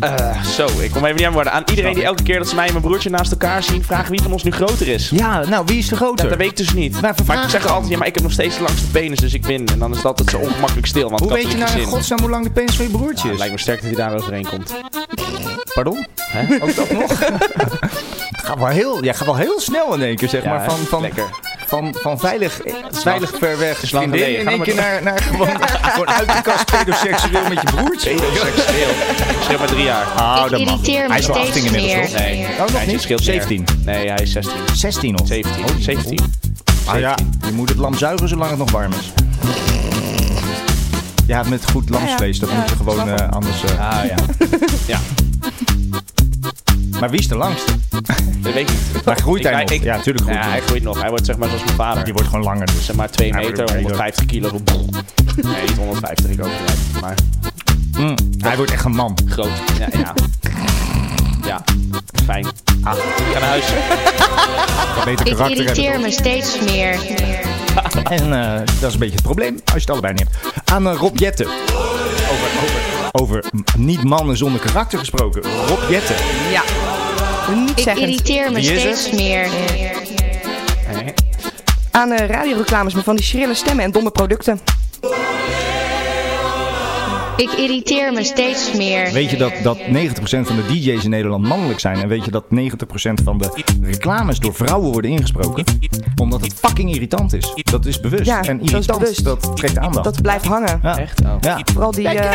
Speaker 3: eh, zo, ik kom even niet aan worden. Aan iedereen die elke keer dat ze mij en mijn broertje naast elkaar zien, vragen wie van ons nu groter is.
Speaker 1: Ja, nou, wie is de
Speaker 3: Ja, dat
Speaker 1: groter?
Speaker 3: weet ik dus niet.
Speaker 1: Maar
Speaker 3: Maar,
Speaker 1: vervraag
Speaker 3: ik zeg
Speaker 1: het
Speaker 3: altijd, ja, maar ik heb nog steeds de langste penis, dus ik win. En dan is dat het zo ongemakkelijk stil. Want
Speaker 1: Hoe
Speaker 3: dat
Speaker 1: weet je
Speaker 3: doet
Speaker 1: nou in
Speaker 3: zin.
Speaker 1: godsnaam hoe lang de penis van je broertje
Speaker 3: Ja,
Speaker 1: is?
Speaker 3: het lijkt me sterk dat hij daar overheen komt.
Speaker 1: Pardon?
Speaker 3: Hè?
Speaker 1: Ook dat nog? Ga wel heel, ja, ga wel heel snel in één keer, zeg
Speaker 3: Ja,
Speaker 1: maar. Van,
Speaker 3: hè?
Speaker 1: van,
Speaker 3: Lekker.
Speaker 1: van, van veilig, veilig ver weg
Speaker 3: is lang
Speaker 1: vriendin
Speaker 3: geleden.
Speaker 1: in
Speaker 3: Ga
Speaker 1: één
Speaker 3: maar
Speaker 1: keer
Speaker 3: door.
Speaker 1: naar, naar gewoon, gewoon uit de kast pedoseksueel met je broertje.
Speaker 3: Seksueel. Scheelt maar drie jaar.
Speaker 1: Ah,
Speaker 6: Ik irriteer
Speaker 1: Hij
Speaker 6: me
Speaker 1: is wel 18
Speaker 6: steeds
Speaker 1: inmiddels, toch?
Speaker 6: meer.
Speaker 3: Nee,
Speaker 1: Oh, nog
Speaker 3: hij
Speaker 1: niet?
Speaker 3: scheelt meer.
Speaker 1: 17.
Speaker 3: Nee, hij is 16.
Speaker 1: 16 of?
Speaker 3: 17.
Speaker 1: Oh,
Speaker 3: 17.
Speaker 1: Ah ja, je moet het lam zuigen zolang het nog warm is. Ja, met goed lamsvlees, dat
Speaker 4: Ja, ja.
Speaker 1: moet je
Speaker 4: Ja,
Speaker 1: gewoon
Speaker 4: snap ik.
Speaker 1: eh, anders... eh,
Speaker 3: Ah ja. ja,
Speaker 1: Maar wie is de langste?
Speaker 3: dat weet ik niet.
Speaker 1: Maar groeit hij nog?
Speaker 3: Ik,
Speaker 1: Ja, tuurlijk groeit
Speaker 3: ja,
Speaker 1: hij
Speaker 3: hij groeit nog. Hij wordt zeg maar zoals mijn vader.
Speaker 1: Die wordt gewoon langer dus.
Speaker 3: zeg maar 2
Speaker 1: Hij
Speaker 3: meter,
Speaker 1: wordt- hij
Speaker 3: 150 kilo. Nee, niet 150, ik ook niet. Maar
Speaker 1: Mm, Hij wordt echt een man.
Speaker 3: groot. Ja, ja. Ja, fijn. Ah, ik ga naar huis.
Speaker 1: Kan beter
Speaker 6: Ik
Speaker 1: karakter hebben.
Speaker 6: irriteer me steeds meer.
Speaker 1: En eh, dat is een beetje het probleem, als je het allebei niet hebt. Aan eh, Rob Jetten. Over, over, over m- niet mannen zonder karakter gesproken. Rob Jetten.
Speaker 4: Ja. Niet
Speaker 6: Ik
Speaker 4: zeggen.
Speaker 6: irriteer me
Speaker 1: Wie is
Speaker 6: steeds
Speaker 1: het?
Speaker 6: meer.
Speaker 3: Nee.
Speaker 4: Aan eh, radioreclames met van die schrille stemmen en domme producten.
Speaker 6: Ik irriteer me steeds meer.
Speaker 1: Weet je dat, dat 90% van de DJ's in Nederland mannelijk zijn? En weet je dat 90% van de reclames door vrouwen worden ingesproken? Omdat het fucking irritant is. Dat is bewust.
Speaker 4: Ja,
Speaker 1: en
Speaker 4: dat is
Speaker 1: irritant,
Speaker 4: bewust.
Speaker 1: dat trekt aandacht.
Speaker 4: Dat blijft hangen.
Speaker 1: ja.
Speaker 3: Echt? Oh.
Speaker 1: Ja.
Speaker 4: Vooral die, eh,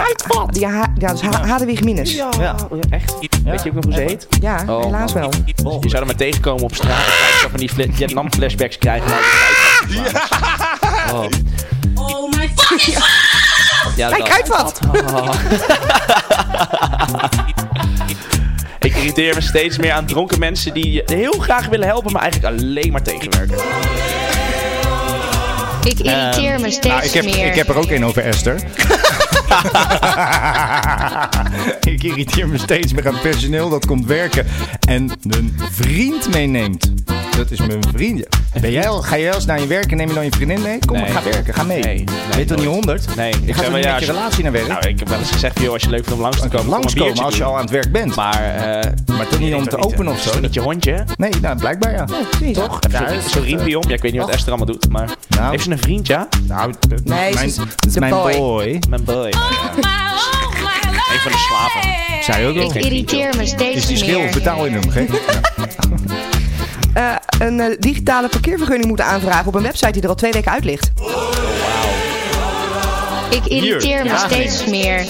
Speaker 4: die ha- ja, dus ha Hadewig Minus. Ja,
Speaker 1: Oh, Ja.
Speaker 3: Echt? Weet je ook nog hoe ze heet? Oh,
Speaker 4: helaas wel.
Speaker 3: Je zou er maar tegenkomen op straat. en kijken of we die fla- Vietnam-flashbacks krijgen. Maar ja. Oh.
Speaker 7: Oh my fucking god!
Speaker 3: Ja,
Speaker 4: Kijk
Speaker 3: dat.
Speaker 4: uit wat!
Speaker 3: Ik irriteer me steeds meer aan dronken mensen die je heel graag willen helpen, maar eigenlijk alleen maar tegenwerken.
Speaker 6: Ik irriteer me
Speaker 1: Nou, ik
Speaker 6: steeds
Speaker 1: heb, ik heb
Speaker 6: meer.
Speaker 1: er ook één over Esther. ik irriteer me steeds meer aan personeel dat komt werken en een vriend meeneemt. Dat is mijn vriendje. Ben jij al, ga jij eens naar je werk en neem je dan je vriendin mee? Kom,
Speaker 3: Nee.
Speaker 1: ga werken, ga mee.
Speaker 3: Nee, nee,
Speaker 1: ben je toch niet
Speaker 3: nooit.
Speaker 1: honderd?
Speaker 3: Nee,
Speaker 1: ik
Speaker 3: ik
Speaker 1: ga
Speaker 3: zeg
Speaker 1: toch
Speaker 3: maar,
Speaker 1: niet met
Speaker 3: ja,
Speaker 1: je
Speaker 3: als je-
Speaker 1: relatie naar werk?
Speaker 3: Nou, ik heb wel eens gezegd, joh, als je leuk vindt om langs te komen, kom een
Speaker 1: langskomen
Speaker 3: biertje
Speaker 1: als je
Speaker 3: doen.
Speaker 1: al aan het werk bent.
Speaker 3: Maar, eh,
Speaker 1: Maar toch niet om te openen of zo.
Speaker 3: Met je hondje.
Speaker 1: Nee, nou, blijkbaij ja.
Speaker 3: Toch? Zo'n zo riempie om. Ja, ik weet niet wat Esther allemaal doet, maar...
Speaker 1: Nou.
Speaker 3: Heeft ze een vriend, ja?
Speaker 1: Nou,
Speaker 4: Nee,
Speaker 1: mijn,
Speaker 4: ze is- ze
Speaker 1: mijn
Speaker 4: boy.
Speaker 1: boy.
Speaker 3: Mijn boy.
Speaker 6: oh,
Speaker 3: Een van de slaven.
Speaker 1: Zij ook
Speaker 6: Ik
Speaker 1: wel.
Speaker 6: irriteer me
Speaker 1: Is
Speaker 6: steeds
Speaker 1: die schil,
Speaker 6: meer.
Speaker 1: betaal je hem, geen?
Speaker 4: Eh, een eh, digitale parkeervergunning moeten aanvragen op een website die er al twee weken uit ligt.
Speaker 6: Ik irriteer me steeds meer.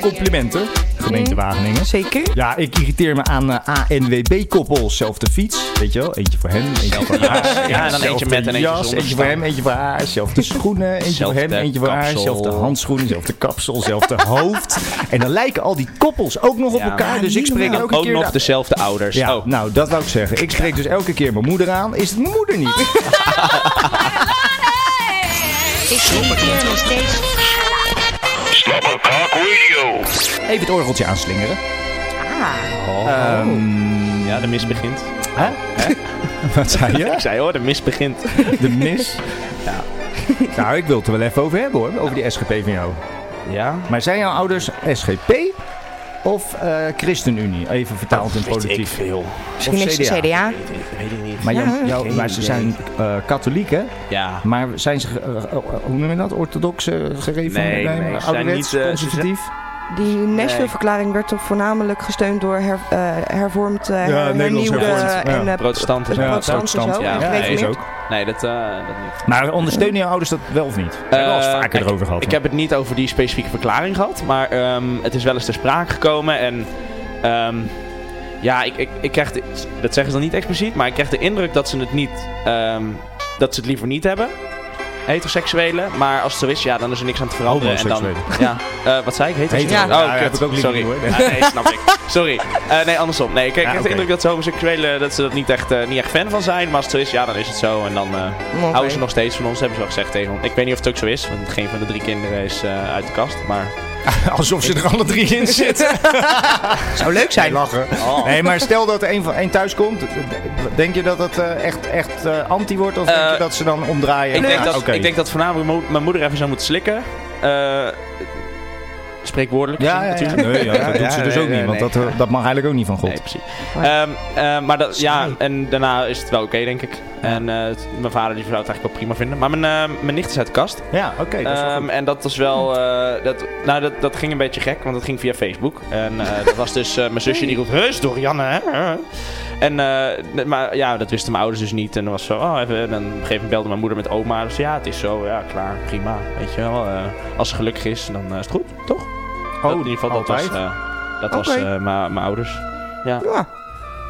Speaker 1: Complimenten, gemeente Wageningen.
Speaker 4: Zeker.
Speaker 1: Ja, ik irriteer me aan eh, ANWB-koppels. Zelf de fiets, weet je wel. Eentje voor hem, eentje voor haar.
Speaker 3: Ja, en dan eentje met en eentje
Speaker 1: jas,
Speaker 3: zonder
Speaker 1: eentje voor hem,
Speaker 3: staan.
Speaker 1: eentje voor haar. Zelf de schoenen, eentje
Speaker 3: Zelf
Speaker 1: voor hem,
Speaker 3: de
Speaker 1: eentje voor haar.
Speaker 3: kapsel.
Speaker 1: Zelf de handschoenen, zelf de kapsel, zelf de hoofd. En dan lijken al die koppels ook nog op
Speaker 3: Ja.
Speaker 1: elkaar. Dus ik spreek
Speaker 3: En
Speaker 1: elke
Speaker 3: ook
Speaker 1: keer...
Speaker 3: nog
Speaker 1: de-
Speaker 3: dezelfde ouders.
Speaker 1: ja,
Speaker 3: Oh.
Speaker 1: nou, dat wou ik zeggen. Ik spreek dus elke keer mijn moeder aan. Is het mijn moeder
Speaker 3: Ah.
Speaker 1: niet?
Speaker 6: Ik irriteer me steeds.
Speaker 1: Even het orgeltje aanslingeren.
Speaker 3: Ja, de mis begint.
Speaker 1: Hè? Wat zei je?
Speaker 3: Ik zei, hoor, de mis begint.
Speaker 1: De mis. Nou, ik wil het er wel even over hebben hoor, over die SGP van jou.
Speaker 3: Ja.
Speaker 1: Maar zijn jouw ouders SGP of eh, ChristenUnie? Even vertaald in
Speaker 3: weet ik
Speaker 1: politiek.
Speaker 3: veel.
Speaker 4: Misschien is het CDA.
Speaker 3: Weet ik niet.
Speaker 1: Maar, jou-
Speaker 4: Ja.
Speaker 1: jou- maar ze zijn eh, katholiek, hè?
Speaker 3: Ja.
Speaker 1: Maar zijn ze, eh, eh, hoe noem je dat, orthodox eh, gereformeerd?
Speaker 3: Nee, nee, ze zijn
Speaker 1: ouderwets,
Speaker 3: niet, eh, ze
Speaker 1: conservatief?
Speaker 4: Die Nashville-verklaring werd toch voornamelijk gesteund door her, eh, hervormd, eh, hernieuwde en eh,
Speaker 3: protestanten.
Speaker 4: eh, protestanten zo. en
Speaker 3: nee,
Speaker 4: gereformeerd.
Speaker 3: Nee, dat, eh, dat niet.
Speaker 1: Maar ondersteunen jouw ouders dat wel of niet? We hebben al eens
Speaker 3: Eh,
Speaker 1: vaker
Speaker 3: ik-
Speaker 1: erover gehad.
Speaker 3: Ik heb het niet over die specifieke verklaring gehad, maar ehm, het is wel eens ter sprake gekomen. En ehm, ja, ik, ik, ik krijg, de- dat zeggen ze dan niet expliciet, maar ik krijg de indruk dat ze het niet, ehm, dat ze het liever niet hebben. Heteroseksuelen, maar als het zo is, ja, dan is er niks aan te veranderen. En dan, ja,
Speaker 1: Homoseksuelen.
Speaker 3: eh, wat zei ik?
Speaker 1: Heteroseksuelen.
Speaker 3: Heteroseksuelen. Oh,
Speaker 1: Ja,
Speaker 3: kut,
Speaker 1: heb ik ook liever
Speaker 3: sorry.
Speaker 1: niet, hoor.
Speaker 3: Ah, nee, snap ik. Sorry. Eh, nee, andersom. Nee, ik
Speaker 1: Ja,
Speaker 3: ik heb de
Speaker 1: Ah, oké.
Speaker 3: indruk dat ze homoseksuelen dat ze dat niet echt, eh, niet echt fan van zijn. Maar als het zo is, ja, dan is het zo. En dan eh,
Speaker 4: Oké.
Speaker 3: houden ze nog steeds van ons, hebben ze wel gezegd tegen ons. Ik weet niet of het ook zo is, want geen van de drie kinderen is eh, uit de kast. Maar
Speaker 1: Alsof ze er alle drie in zitten. Zou leuk zijn. lachen.
Speaker 3: Oh.
Speaker 1: Nee, maar stel dat er één van één thuis komt. Denk je dat het eh, echt, echt eh, anti wordt? Of denk je
Speaker 3: Eh,
Speaker 1: dat ze dan omdraaien?
Speaker 3: ik, denk
Speaker 1: Ja,
Speaker 3: dat,
Speaker 1: oké.
Speaker 3: ik denk dat voornamelijk mo- mijn moeder even zou moeten slikken. Eh, spreekwoordelijk
Speaker 1: Ja,
Speaker 3: gezien,
Speaker 1: ja, ja.
Speaker 3: natuurlijk.
Speaker 1: Nee, ja, dat doet ze dus ook niet. Want dat, eh, dat mag eigenlijk ook niet van God.
Speaker 3: Nee, precies. Ehm, eh, maar dat, ja, en daarna is het wel oké, denk ik. En eh, het- mijn vader die zou het eigenlijk wel prima vinden. Maar mijn, eh, mijn nicht is uit de kast.
Speaker 1: Ja, oké. dat is wel
Speaker 3: Ehm,
Speaker 1: goed.
Speaker 3: en dat was wel. eh, dat, nou, dat, dat ging een beetje gek, want dat ging via Facebook. En eh, dat was dus eh, mijn zusje die roept: Heus, Dorianne, hè? En, eh, nee, maar ja, dat wisten mijn ouders dus niet. En dan was zo, oh, even. En dan op een gegeven moment belde mijn moeder met oma. Dus ja, het is zo, ja, klaar, prima. Weet je wel, eh, als ze gelukkig is, dan eh, is het goed, toch? Oh, in ieder geval, dat was,
Speaker 1: altijd.
Speaker 3: eh, dat was
Speaker 4: Oké.
Speaker 3: eh, mijn- mijn ouders. Ja.
Speaker 4: Ja.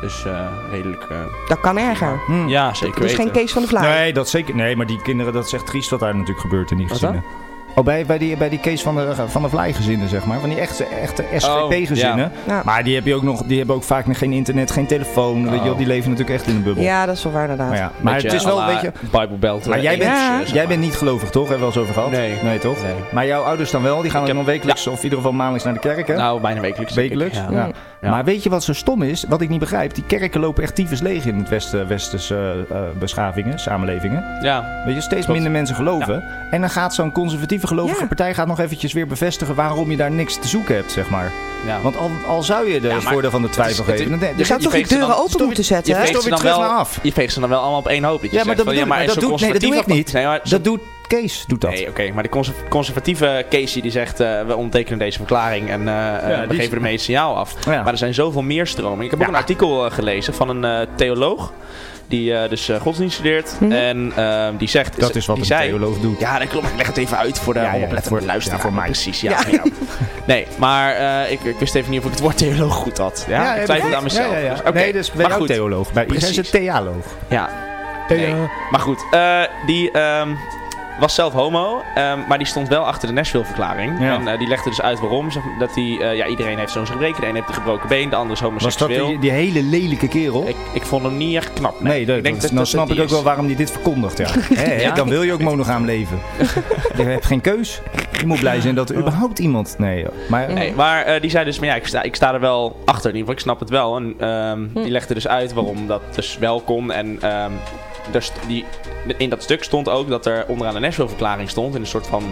Speaker 3: Dus eh, redelijk. eh,
Speaker 4: Dat kan erger.
Speaker 1: Hm.
Speaker 3: ja, zeker.
Speaker 4: Dat
Speaker 1: Dus
Speaker 4: is geen
Speaker 3: weten.
Speaker 4: Kees van de Vlaar.
Speaker 1: Nee, dat zeker. Nee, maar die kinderen, dat is echt triest wat daar natuurlijk gebeurt in die
Speaker 3: Wat dan?
Speaker 1: gezinnen. Oh, bij, bij, die, bij die Kees van de, van de Vlaai gezinnen, zeg maar. Van die echte, echte SGP-gezinnen.
Speaker 4: ja. Ja.
Speaker 1: Maar die, heb je ook nog, die hebben ook vaak nog geen internet, geen telefoon. Weet je wel, die leven natuurlijk echt in een bubbel.
Speaker 4: Ja, dat is wel waar inderdaad.
Speaker 1: Maar, ja, maar
Speaker 3: Beetje
Speaker 1: het is wel,
Speaker 3: à la
Speaker 1: weet Oh. je...
Speaker 3: Bible Belt.
Speaker 1: Maar
Speaker 3: eh,
Speaker 1: jij bent,
Speaker 3: Engels, eh, zeg
Speaker 1: jij bent niet gelovig, toch? Hebben we wel eens over gehad?
Speaker 3: Nee.
Speaker 1: Nee, toch? Maar jouw ouders dan wel? Die gaan dan wekelijks of in ieder geval maandelijks naar de kerk, hè?
Speaker 3: Nou, bijna wekelijks. denk ik,
Speaker 1: Wekelijks? Ja.
Speaker 3: ja. Ja.
Speaker 1: Maar weet je wat zo stom is? Wat ik niet begrijp. Die kerken lopen echt tyfus leeg in het westen, westerse eh, eh, beschavingen, samenlevingen.
Speaker 3: Ja.
Speaker 1: Weet je, steeds
Speaker 3: Klopt.
Speaker 1: minder mensen geloven. En dan gaat zo'n conservatieve gelovige
Speaker 4: Ja.
Speaker 1: partij gaat nog eventjes weer bevestigen waarom je daar niks te zoeken hebt, zeg maar.
Speaker 3: Ja.
Speaker 1: Want al, al zou je er het
Speaker 3: maar
Speaker 1: voordeel van de
Speaker 3: het is-
Speaker 1: twijfel
Speaker 3: het is-
Speaker 1: geven. dan- dan-
Speaker 3: je
Speaker 4: zou
Speaker 3: veegt
Speaker 4: toch die
Speaker 3: ze dan-
Speaker 4: deuren open
Speaker 1: stop-
Speaker 4: moeten
Speaker 3: Je
Speaker 4: zetten? hè?
Speaker 1: Stel
Speaker 3: veegt, ze
Speaker 1: weer
Speaker 3: dan
Speaker 1: terug
Speaker 3: wel,
Speaker 1: naar af.
Speaker 3: je veegt ze dan wel allemaal op één hoop. Dat je
Speaker 1: Ja, maar
Speaker 3: zegt
Speaker 1: dat
Speaker 3: van,
Speaker 1: bedoel ik.
Speaker 3: maar
Speaker 1: Maar dat,
Speaker 3: zo'n
Speaker 1: doet, nee, dat doe ik
Speaker 3: conservatieve-
Speaker 1: niet.
Speaker 3: Nee, maar zo'n-
Speaker 1: dat doet Kees, doet dat.
Speaker 3: Nee, oké. maar de cons- conservatieve Casey die zegt, eh, we ondertekenen deze verklaring en eh, eh, we
Speaker 1: die is-
Speaker 3: geven ermee het signaal af.
Speaker 1: Ja.
Speaker 3: Maar er zijn zoveel meer stromingen. Ik heb ook een artikel eh, gelezen van een eh, theoloog. Die eh, dus eh, godsdienst studeert. En eh, die zegt...
Speaker 1: Mhm. Dat is wat
Speaker 3: die
Speaker 1: een
Speaker 3: zei-
Speaker 1: theoloog doet.
Speaker 3: Ja, dat klopt. maar Ik leg het even uit voor de
Speaker 1: Ja, ja,
Speaker 3: onoplettende
Speaker 1: voor-
Speaker 3: luisteraar.
Speaker 1: ja, voor mij.
Speaker 3: Precies, ja. ja. Nee, maar eh, ik, ik wist even niet of ik het woord theoloog goed had. Ja, ik twijfelde aan mezelf.
Speaker 1: Ja, ja, ja.
Speaker 3: Dus, oké.
Speaker 1: Nee, dat is bij
Speaker 3: Maar
Speaker 1: jou
Speaker 3: goed.
Speaker 1: theoloog. Bij Precies.
Speaker 3: Precies.
Speaker 1: is het theoloog.
Speaker 3: Ja. Nee. Maar goed, eh, die ehm, was zelf homo, ehm, maar die stond wel achter de Nashville-verklaring.
Speaker 1: Ja.
Speaker 3: En eh, die legde dus uit waarom. zeg- Dat die, eh, ja, iedereen heeft zo'n gebreken. De een heeft een gebroken been, de ander is
Speaker 1: Was dat
Speaker 3: homoseksueel.
Speaker 1: die, die hele lelijke kerel?
Speaker 3: ik, ik vond hem niet echt knap.
Speaker 1: Nee, dat,
Speaker 3: ik denk
Speaker 1: dat-
Speaker 3: dat-
Speaker 1: dan
Speaker 3: dat-
Speaker 1: snap
Speaker 3: dat
Speaker 1: ik
Speaker 3: die
Speaker 1: ook wel
Speaker 3: is.
Speaker 1: waarom die dit verkondigt. Ja. Hè, hè,
Speaker 3: Ja?
Speaker 1: Dan wil je ook monogaam leven. je hebt geen keus. Je moet blij zijn dat er überhaupt iemand... Nee, joh. maar
Speaker 3: Nee, maar eh, die zei dus, maar ja, ik sta, ik sta er wel achter. In ieder geval, ik snap het wel. En ehm,
Speaker 1: Hm.
Speaker 3: die legde dus uit waarom dat dus wel kon. En ehm, daar st- die, in dat stuk stond ook dat er onderaan de Nashville-verklaring stond... in een soort van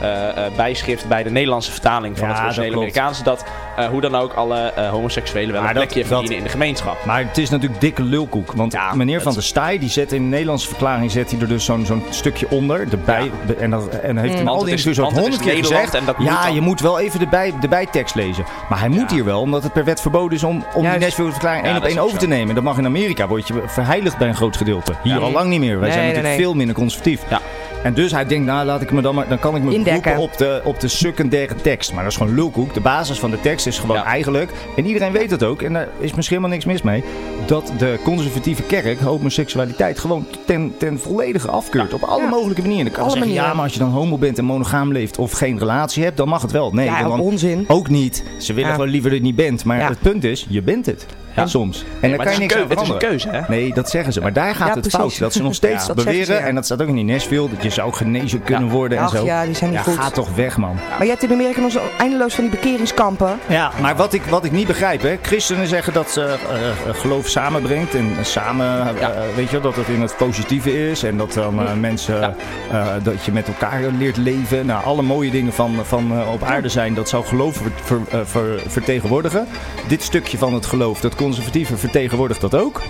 Speaker 3: eh, eh, bijschrift bij de Nederlandse vertaling van
Speaker 1: Ja,
Speaker 3: het
Speaker 1: dat
Speaker 3: originele
Speaker 1: klopt.
Speaker 3: Amerikaanse... dat eh, hoe dan ook alle eh, homoseksuelen wel
Speaker 1: Maar
Speaker 3: een
Speaker 1: dat-
Speaker 3: plekje
Speaker 1: dat-
Speaker 3: verdienen in de gemeenschap.
Speaker 1: Maar het is natuurlijk dikke lulkoek. Want meneer Van
Speaker 3: het-
Speaker 1: der Staaij, die zet in de Nederlandse verklaring zet hij er dus zo'n zo'n stukje onder. Erbij, be- En, dat, en heeft in
Speaker 3: Mm. Want
Speaker 1: al
Speaker 3: het
Speaker 1: die
Speaker 3: is-
Speaker 1: interviews ook
Speaker 3: want het is
Speaker 1: honderd keer
Speaker 3: Nederland
Speaker 1: gezegd.
Speaker 3: en dat moet
Speaker 1: ja,
Speaker 3: dan.
Speaker 1: je moet wel even de, bij, de bijtekst lezen. Maar hij moet hier wel, omdat het per wet verboden is om, om die
Speaker 4: Juist.
Speaker 1: Nashville-verklaring
Speaker 3: Ja,
Speaker 1: één op
Speaker 3: dat
Speaker 1: één
Speaker 3: is ook
Speaker 1: over te
Speaker 3: zo.
Speaker 1: nemen. Dat mag in Amerika, word je verheiligd bij een groot gedeelte. Hier al lang niet meer. Wij
Speaker 4: Nee,
Speaker 1: zijn
Speaker 4: nee,
Speaker 1: natuurlijk
Speaker 4: nee.
Speaker 1: veel minder conservatief.
Speaker 3: Ja.
Speaker 1: En dus hij denkt, nou laat ik me dan maar, dan kan ik me
Speaker 4: Indekken.
Speaker 1: beroepen op de, op de secundaire tekst. Maar dat is gewoon lulkoek. De basis van de tekst is gewoon
Speaker 3: Ja.
Speaker 1: eigenlijk, en iedereen weet dat ook, en daar is misschien helemaal niks mis mee, dat de conservatieve kerk homoseksualiteit gewoon ten, ten volledige afkeurt. Op alle
Speaker 4: Ja.
Speaker 1: mogelijke manieren. Dan kan je
Speaker 4: Alle
Speaker 1: zeggen, ja,
Speaker 4: manieren.
Speaker 1: maar als je dan homo bent en monogaam leeft of geen relatie hebt, dan mag het wel. Nee,
Speaker 4: Ja,
Speaker 1: dan
Speaker 4: onzin.
Speaker 1: ook niet. Ze willen
Speaker 4: Ja.
Speaker 1: gewoon liever dat je niet bent. Maar
Speaker 4: Ja.
Speaker 1: het punt is, je bent het. Soms. En daar
Speaker 3: maar
Speaker 1: kan je
Speaker 3: het is
Speaker 1: niks
Speaker 3: een
Speaker 1: aan
Speaker 3: keu- het is een
Speaker 1: veranderen.
Speaker 3: keuze, hè?
Speaker 1: Nee, dat zeggen ze. Maar daar gaat
Speaker 4: Ja,
Speaker 1: het
Speaker 4: precies.
Speaker 1: fout. Dat ze nog steeds
Speaker 4: Ja. Dat
Speaker 1: beweren,
Speaker 4: zeggen ze, ja.
Speaker 1: en dat staat ook in die Nashville, dat je zou genezen kunnen worden en
Speaker 4: Ach
Speaker 1: zo.
Speaker 4: ja, die zijn niet hem goed.
Speaker 1: Ga toch weg, man.
Speaker 4: Maar je hebt in Amerika nog zo eindeloos van die bekeringskampen.
Speaker 1: Ja, maar wat ik, wat ik niet begrijp, hè. Christenen zeggen dat ze eh, eh, geloof samenbrengt en samen, eh, eh, weet je wel, dat het in het positieve is. En dat dan eh, mensen, eh, dat je met elkaar leert leven. Nou, alle mooie dingen van, van eh, op aarde zijn, dat zou geloof ver- ver- eh, ver- vertegenwoordigen. Dit stukje van het geloof, dat conservatieve, vertegenwoordigt dat ook.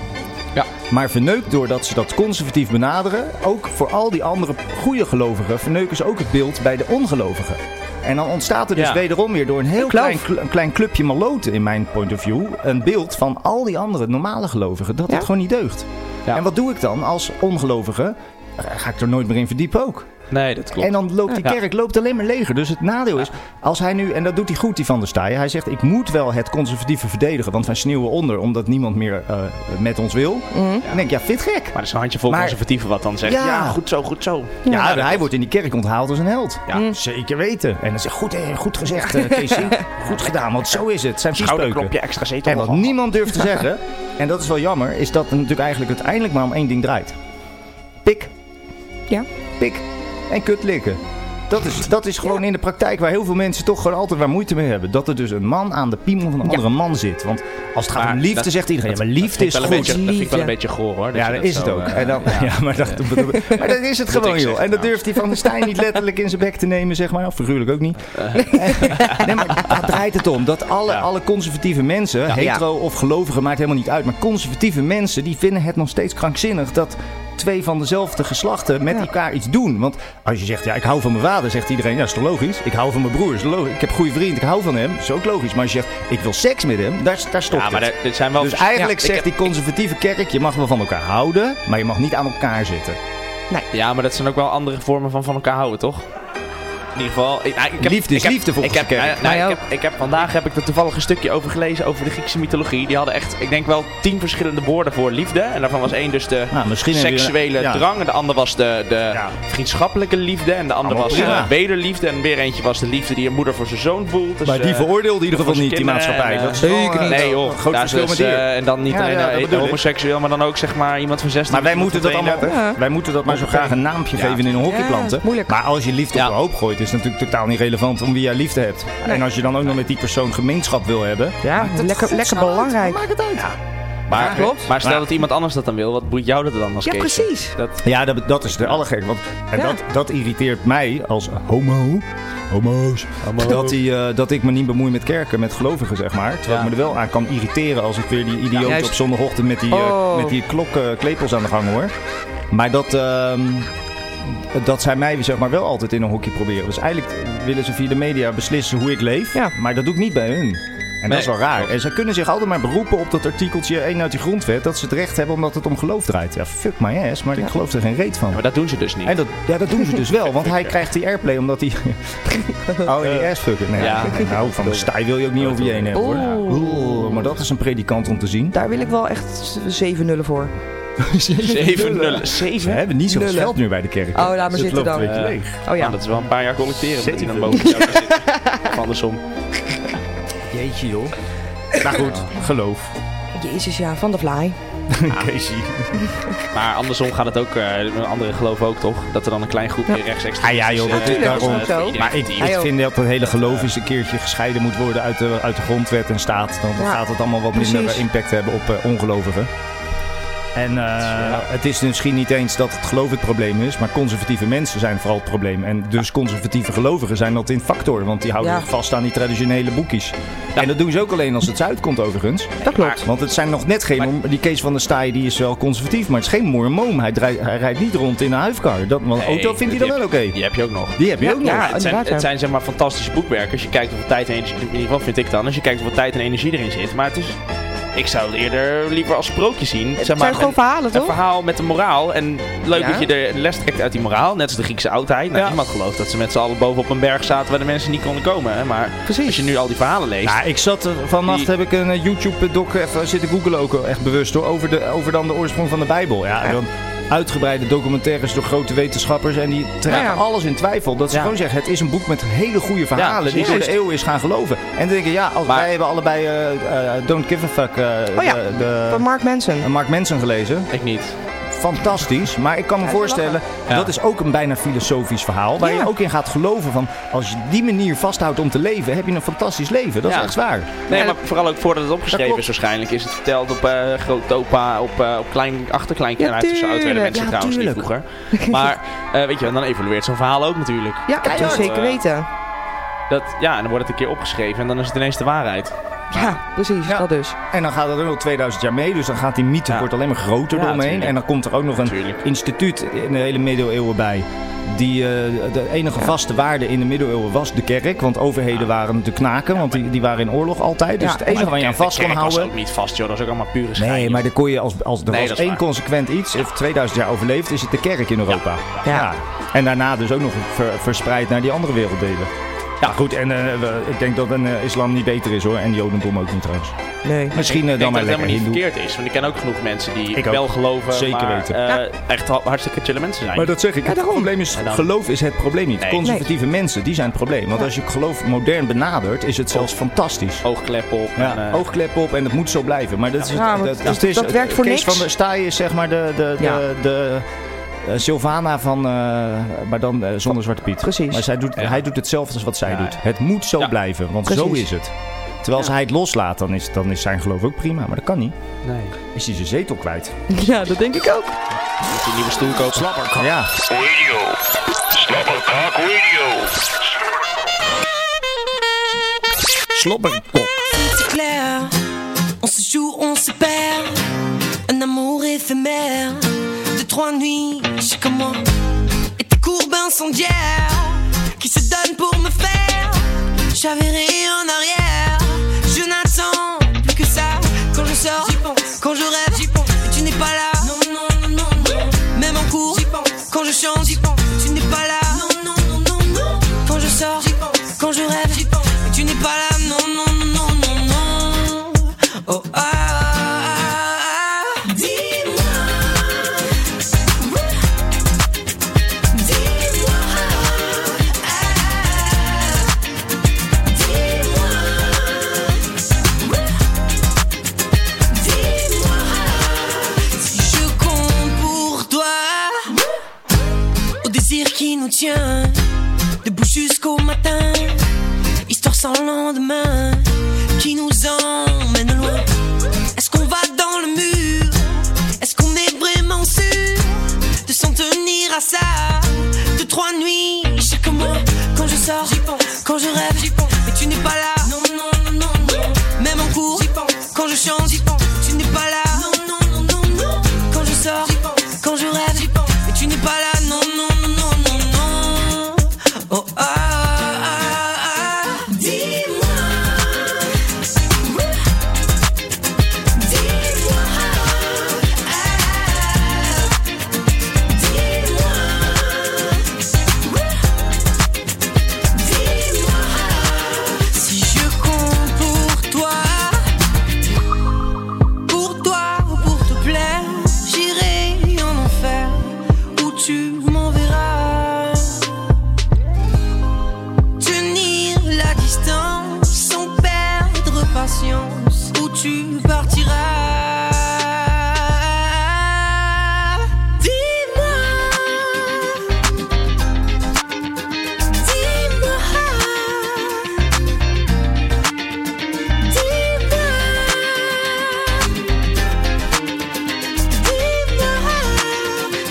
Speaker 1: Ja. Maar verneukt doordat ze dat conservatief benaderen, ook voor al die andere goede gelovigen, verneuken ze ook het beeld bij de ongelovigen. En dan ontstaat er dus
Speaker 11: Ja.
Speaker 1: wederom weer door een heel klein, kle- een klein clubje maloten in mijn point of view. Een beeld van al die andere normale gelovigen. Dat het gewoon niet deugt. En wat doe ik dan als ongelovige? Eh, Ga ik er nooit meer in verdiepen ook.
Speaker 3: Nee, dat klopt.
Speaker 1: En dan loopt die
Speaker 3: Ja.
Speaker 1: kerk loopt alleen maar leger. Dus het nadeel is, als hij nu, en dat doet hij goed, die Van der Staaien. Hij zegt, ik moet wel het conservatieve verdedigen, want wij sneeuwen onder, omdat niemand meer eh, met ons wil. Dan denk ik, ja, fit gek. Maar
Speaker 3: dat is een handjevol conservatieven wat dan zegt.
Speaker 1: Ja.
Speaker 3: Ja. goed zo, goed zo.
Speaker 1: Ja, hij wordt in die kerk onthaald als een held. Zeker weten. En dan zegt, goed, hè, goed gezegd, eh, Casey. goed gedaan, want zo is het. Zijn
Speaker 3: Schouderklopje
Speaker 1: viespreuken.
Speaker 3: extra zetel.
Speaker 1: En wat niemand durft te zeggen, en dat is wel jammer, is dat het natuurlijk eigenlijk uiteindelijk maar om één ding draait. Pik.
Speaker 4: Ja.
Speaker 1: Pik. En kut likken. Dat is, dat is gewoon in de praktijk waar heel veel mensen toch gewoon altijd waar moeite mee hebben. Dat er dus een man aan de piemel van een andere man zit. Want als het gaat om liefde, zegt iedereen, ja, maar liefde
Speaker 3: dat
Speaker 1: is
Speaker 3: vind
Speaker 1: goed.
Speaker 3: ik wel Een beetje, dat vind ik wel een
Speaker 1: Liefde.
Speaker 3: beetje goor hoor.
Speaker 1: Ja, dat is het ook.
Speaker 3: eh,
Speaker 1: En dan, ja. maar, dat, maar dat is het
Speaker 3: Moet
Speaker 1: gewoon,
Speaker 3: ik
Speaker 1: joh.
Speaker 3: zeggen,
Speaker 1: En dat durft die Van der Stijn niet letterlijk in zijn bek te nemen, zeg maar. Of figuurlijk ook niet. nee, maar daar draait het om. Dat alle, alle conservatieve mensen, hetero of gelovigen, maakt helemaal niet uit. Maar conservatieve mensen, die vinden het nog steeds krankzinnig dat twee van dezelfde geslachten met elkaar iets doen. Want als je zegt, ja, ik hou van mijn vader, zegt iedereen, ja, is toch logisch? Ik hou van mijn broer, is toch logisch? Ik heb een goede vriend, ik hou van hem, is ook logisch. Maar als je zegt, ik wil seks met hem, daar, daar stopt
Speaker 3: Ja, maar
Speaker 1: het.
Speaker 3: er, er zijn wel
Speaker 1: Dus eigenlijk
Speaker 3: Ja, ik
Speaker 1: zegt die conservatieve kerk, je mag wel van elkaar houden, maar je mag niet aan elkaar zitten.
Speaker 3: heb- Ja, maar dat zijn ook wel andere vormen van van elkaar houden, toch? In ieder geval... Ik, nou, ik heb,
Speaker 1: Liefde is
Speaker 3: ik heb-
Speaker 1: liefde volgens
Speaker 3: ik heb,
Speaker 1: de kerk.
Speaker 3: nou, nou, ik, heb, ik heb Vandaag heb ik er toevallig een stukje over gelezen over de Griekse mythologie. Die hadden echt, ik denk wel, tien verschillende woorden voor liefde. En daarvan was één dus de
Speaker 1: Nou, misschien hebben we-
Speaker 3: seksuele
Speaker 1: ja.
Speaker 3: drang. En de ander was de, de vriendschappelijke liefde. En de ander
Speaker 1: Allemaal
Speaker 3: was
Speaker 1: prima.
Speaker 3: eh, wederliefde. En weer eentje was de liefde die een moeder voor zijn zoon voelt. Dus,
Speaker 1: Maar die
Speaker 3: eh,
Speaker 1: veroordeelde in ieder geval
Speaker 3: voor zijn
Speaker 1: niet, die
Speaker 3: kinderen
Speaker 1: maatschappij.
Speaker 3: en,
Speaker 1: Dat
Speaker 3: eh,
Speaker 1: zeker niet.
Speaker 3: Nee
Speaker 1: Een
Speaker 3: joh,
Speaker 1: groot
Speaker 3: Daar is
Speaker 1: verschil
Speaker 3: dus,
Speaker 1: met hier.
Speaker 3: eh, En dan niet
Speaker 1: Ja,
Speaker 3: alleen
Speaker 1: ja, dat
Speaker 3: eh,
Speaker 1: bedoel ik.
Speaker 3: homoseksueel, maar dan ook zeg maar iemand van 16.
Speaker 1: Maar wij
Speaker 3: tot
Speaker 1: moeten dat allemaal,
Speaker 3: 32.
Speaker 1: wij moeten dat maar zo'n graag een naampje
Speaker 3: Ja.
Speaker 1: geven in een hockey
Speaker 3: Ja,
Speaker 1: planten. maar als je liefde op de hoop gooit, is het natuurlijk totaal niet relevant om wie jij liefde hebt. En als je dan ook nog met die persoon gemeenschap wil hebben.
Speaker 4: Ja, Ah, lekker, lekker belangrijk.
Speaker 1: Maakt het uit.
Speaker 3: Maar,
Speaker 1: Ja, klopt.
Speaker 3: maar stel
Speaker 1: Maar-
Speaker 3: dat iemand anders dat dan wil, wat boeit jou dat dan als
Speaker 4: Ja,
Speaker 3: Kees?
Speaker 4: precies.
Speaker 3: Dat,
Speaker 1: Ja, dat, dat is de allergek. Want, en
Speaker 4: Ja.
Speaker 1: dat, dat irriteert mij als homo. Homo's. Dat, die, eh, dat ik me niet bemoei met kerken, met gelovigen, zeg maar. Terwijl ik me er wel aan kan irriteren als ik weer die idioot
Speaker 11: juist.
Speaker 1: op zondagochtend met die, eh,
Speaker 11: Oh.
Speaker 1: met die klokklepels aan de gang hoor. Maar dat, ehm, dat zij mij zeg maar, wel altijd in een hokje proberen. Dus eigenlijk willen ze via de media beslissen hoe ik leef. Maar dat doe ik niet bij hun. En dat
Speaker 11: Nee,
Speaker 1: is wel raar. En ze kunnen zich altijd maar beroepen op dat artikeltje 1 uit die grondwet. Dat ze het recht hebben omdat het om geloof draait. Ja, fuck my ass. Maar ik geloof er geen reet van.
Speaker 3: maar dat doen ze dus niet.
Speaker 1: En dat, ja, dat doen ze dus wel, want hij krijgt die airplay omdat hij... Oh, en die assfucker. Nee,
Speaker 3: Ja.
Speaker 1: Nou, van de staai wil je ook niet over je heen hebben, hoor. Oeh, maar dat is een predikant om te zien.
Speaker 4: Daar wil ik wel echt 7 nullen voor.
Speaker 3: 7 nullen.
Speaker 1: Ze hebben niet zoveel
Speaker 4: Nullen.
Speaker 1: geld meer bij de kerk.
Speaker 4: Oh, laat maar zitten dan.
Speaker 1: Het loopt een beetje
Speaker 4: Eh,
Speaker 1: leeg.
Speaker 4: Oh ja.
Speaker 3: Nou, dat is wel een paar jaar collecteren dat hij dan boven jou zit. Of andersom.
Speaker 1: Jeetje, joh. Maar Nou goed, geloof.
Speaker 4: Jezus, ja, van de fly.
Speaker 1: Casey.
Speaker 3: Maar andersom gaat het ook, eh anderen geloven ook toch, dat er dan een klein groepje rechtsextremisten
Speaker 1: Ah ja, joh, dat is
Speaker 3: eh,
Speaker 1: daarom.
Speaker 3: eh, iedereen
Speaker 1: Maar ik,
Speaker 3: die-
Speaker 1: ik vind dat het hele geloof eens een keertje gescheiden moet worden uit de, uit de grondwet en staat. Dan
Speaker 11: Ja,
Speaker 1: gaat het allemaal wat minder
Speaker 11: precies.
Speaker 1: impact hebben op eh, ongelovigen. En eh, het is misschien niet eens dat het geloof het probleem is, maar conservatieve mensen zijn vooral het probleem. En dus conservatieve gelovigen zijn dat in factor, want die houden
Speaker 11: Ja.
Speaker 1: zich vast aan die traditionele boekjes. En dat doen ze ook alleen als het zuid komt overigens. Dat klopt. Want het zijn nog net geen, mor- die Kees van der Staaij die is wel conservatief, maar het is geen mormoom. Hij, draai- hij rijdt niet rond in een huifkar. Dat, want een
Speaker 3: Nee,
Speaker 1: auto vindt hij dan
Speaker 3: die
Speaker 1: wel
Speaker 3: heb-
Speaker 1: oké.
Speaker 3: Die heb je ook nog.
Speaker 1: Die heb
Speaker 4: Oh,
Speaker 1: je ook nog.
Speaker 3: het, zijn, het zijn zeg maar fantastische boekwerken. Als je kijkt hoeveel tijd en energie, in ieder geval vind ik dan, als je kijkt hoeveel tijd en energie erin zit. Maar het is, ik zou het eerder liever als sprookje zien. Zeg maar,
Speaker 4: zijn gewoon
Speaker 3: een-
Speaker 4: verhalen, toch?
Speaker 3: Een verhaal met een moraal. En leuk
Speaker 4: Ja.
Speaker 3: dat je de les trekt uit die moraal. Net als de Griekse oudheid. Nou, Niemand gelooft dat ze met z'n allen bovenop een berg zaten waar de mensen niet konden komen. Hè? Maar als je nu al die verhalen leest.
Speaker 1: Ja, ik zat eh, vannacht heb ik een eh, YouTube doc even zitten googelen ook eh, echt bewust hoor, over, de, over dan de oorsprong van de Bijbel. Ja, en dan uitgebreide documentaires door grote wetenschappers en die trekken
Speaker 11: Ja, ja.
Speaker 1: alles in twijfel. Dat ze gewoon zeggen, het is een boek met hele goede verhalen die
Speaker 11: precies.
Speaker 1: door de eeuwen is gaan geloven. En dan denk je, ja, als, wij hebben allebei eh, eh, Don't Give a Fuck eh,
Speaker 4: Oh ja,
Speaker 1: de, de-
Speaker 4: van Mark Manson.
Speaker 1: Mark Manson gelezen.
Speaker 3: Ik niet.
Speaker 1: fantastisch. Maar ik kan me
Speaker 11: Ja,
Speaker 1: voorstellen,
Speaker 11: Ja.
Speaker 1: dat is ook een bijna filosofisch verhaal. Waar je ook in gaat geloven van, als je die manier vasthoudt om te leven, heb je een fantastisch leven. Dat
Speaker 3: Ja.
Speaker 1: is echt waar.
Speaker 3: Nee, maar vooral ook voordat het opgeschreven
Speaker 1: klopt.
Speaker 3: is waarschijnlijk. Is het verteld op eh grootopa, op, eh, op klein achterkleinkje.
Speaker 1: Ja,
Speaker 3: Ja, nou, tussen oudere
Speaker 1: tuurlijk. Ja,
Speaker 3: mensen trouwens, niet
Speaker 1: tuurlijk.
Speaker 3: vroeger. Maar eh, weet je wel, dan evolueert zo'n verhaal ook natuurlijk.
Speaker 4: Ja, dat
Speaker 3: Keihard.
Speaker 4: zeker
Speaker 3: Eh,
Speaker 4: weten.
Speaker 3: Dat, ja, en dan wordt het een keer opgeschreven en dan is het ineens de waarheid.
Speaker 4: Ja, precies. Dat dus.
Speaker 1: En dan gaat dat ook nog 2000 jaar mee. Dus dan gaat die mythe wordt alleen maar groter
Speaker 3: Ja,
Speaker 1: doorheen.
Speaker 3: tuurlijk.
Speaker 1: En dan komt er ook nog een instituut in de hele middeleeuwen bij. Die, eh, de enige vaste waarde in de middeleeuwen was de kerk. Want overheden waren te knaken. Want die, die waren in oorlog altijd. Dus
Speaker 3: Ja,
Speaker 1: het enige
Speaker 3: maar
Speaker 1: waar je aan
Speaker 3: de kerk
Speaker 1: vast kon
Speaker 3: was
Speaker 1: houden...
Speaker 3: ook niet vast, joh. Dat is ook allemaal pure schijn.
Speaker 1: Nee, maar dan kon je als, als er
Speaker 3: Nee, dat
Speaker 1: was
Speaker 3: is
Speaker 1: één
Speaker 3: waar.
Speaker 1: consequent iets, heeft 2000 jaar overleefd, is het de kerk in Europa. Ja. En daarna dus ook nog ver- verspreid naar die andere werelddelen. Ja, goed, en eh, we- ik denk dat een eh, islam niet beter is hoor. En jodendom ook niet trouwens.
Speaker 4: Nee.
Speaker 1: Misschien eh,
Speaker 3: ik
Speaker 1: dan
Speaker 3: denk
Speaker 1: maar
Speaker 3: dat het
Speaker 1: lekker
Speaker 3: helemaal niet
Speaker 1: hindoe.
Speaker 3: verkeerd is. Want ik ken ook genoeg mensen die
Speaker 1: Ik ook.
Speaker 3: wel geloven,
Speaker 1: Zeker
Speaker 3: maar,
Speaker 1: weten.
Speaker 3: eh,
Speaker 1: Ja.
Speaker 3: echt ha- hartstikke chille mensen zijn.
Speaker 1: Maar dat zeg ik. het probleem is,
Speaker 3: En dan-
Speaker 1: geloof is het probleem niet.
Speaker 3: Nee.
Speaker 1: Conservatieve mensen, die zijn het probleem. Want als je geloof modern benadert, is het zelfs fantastisch.
Speaker 3: Oogklep op.
Speaker 1: Ja,
Speaker 3: en, eh,
Speaker 1: oogklep op en het moet zo blijven. Maar dat, is, het-
Speaker 4: Ja,
Speaker 1: dat,
Speaker 4: want
Speaker 1: dat, is,
Speaker 4: dat werkt voor
Speaker 1: Kees
Speaker 4: niks.
Speaker 1: van der Staaij is zeg maar de, de, de,
Speaker 4: Ja.
Speaker 1: de, eh, Sylvana van, eh, maar dan eh, zonder Zwarte Piet. Precies. Maar zij doet, hij doet hetzelfde als wat zij doet. Het moet zo blijven, want zo
Speaker 11: Precies.
Speaker 1: is het. Terwijl als hij het loslaat, dan is, dan is zijn geloof ook prima. Maar dat kan niet.
Speaker 3: Nee.
Speaker 1: Is hij zijn zetel kwijt.
Speaker 4: Ja, dat denk ik ook.
Speaker 3: Moet je een nieuwe stoel kopen.
Speaker 1: Slapper. Ja.
Speaker 7: Radio. Slobberkok Radio.
Speaker 1: Slobberkok.
Speaker 8: C'est clair, on se joue, on se perd. Un amour éphémère de trois nuits chez moi. Et tes courbes incendiaires qui se donnent pour me faire. J'avérais en arrière, je n'attends plus que ça. Quand je sors, quand je rêve, et tu n'es pas là. Non, non, non, non, non. Même en cours, quand je chante, tu n'es pas là. Non, non, non, non, non. Quand je sors, quand je rêve, et tu n'es pas là. Non, non, non, non, non, non. Oh ah, ah, ah. dis-moi. Dis-moi. Dis-moi. Dis-moi. Si je compte pour toi Au désir qui nous tient Debout jusqu'au matin Histoire sans lendemain Qui nous emmène loin Est-ce qu'on va dans le mur Est-ce qu'on est vraiment sûr de s'en tenir à ça. De trois nuits chaque mois, quand je sors, j'y pense. Quand je rêve, j'y pense. Mais tu n'es pas là. Non, non, non, non, non. Même en cours, j'y pense. Quand je chante, j'y pense. Tu n'es pas là. Non, non, non, non, non. Quand je sors, j'y pense. Quand je rêve, j'y pense. Mais tu n'es pas là. Non, non, non, non, non, non. Oh ah, ah, ah. Dis-moi. Dis-moi. Si je compte pour toi, pour toi ou pour te plaire, j'irai en enfer où tu m'enverras. Tenir la distance sans perdre patience où tu partiras. Dis-moi, dis-moi.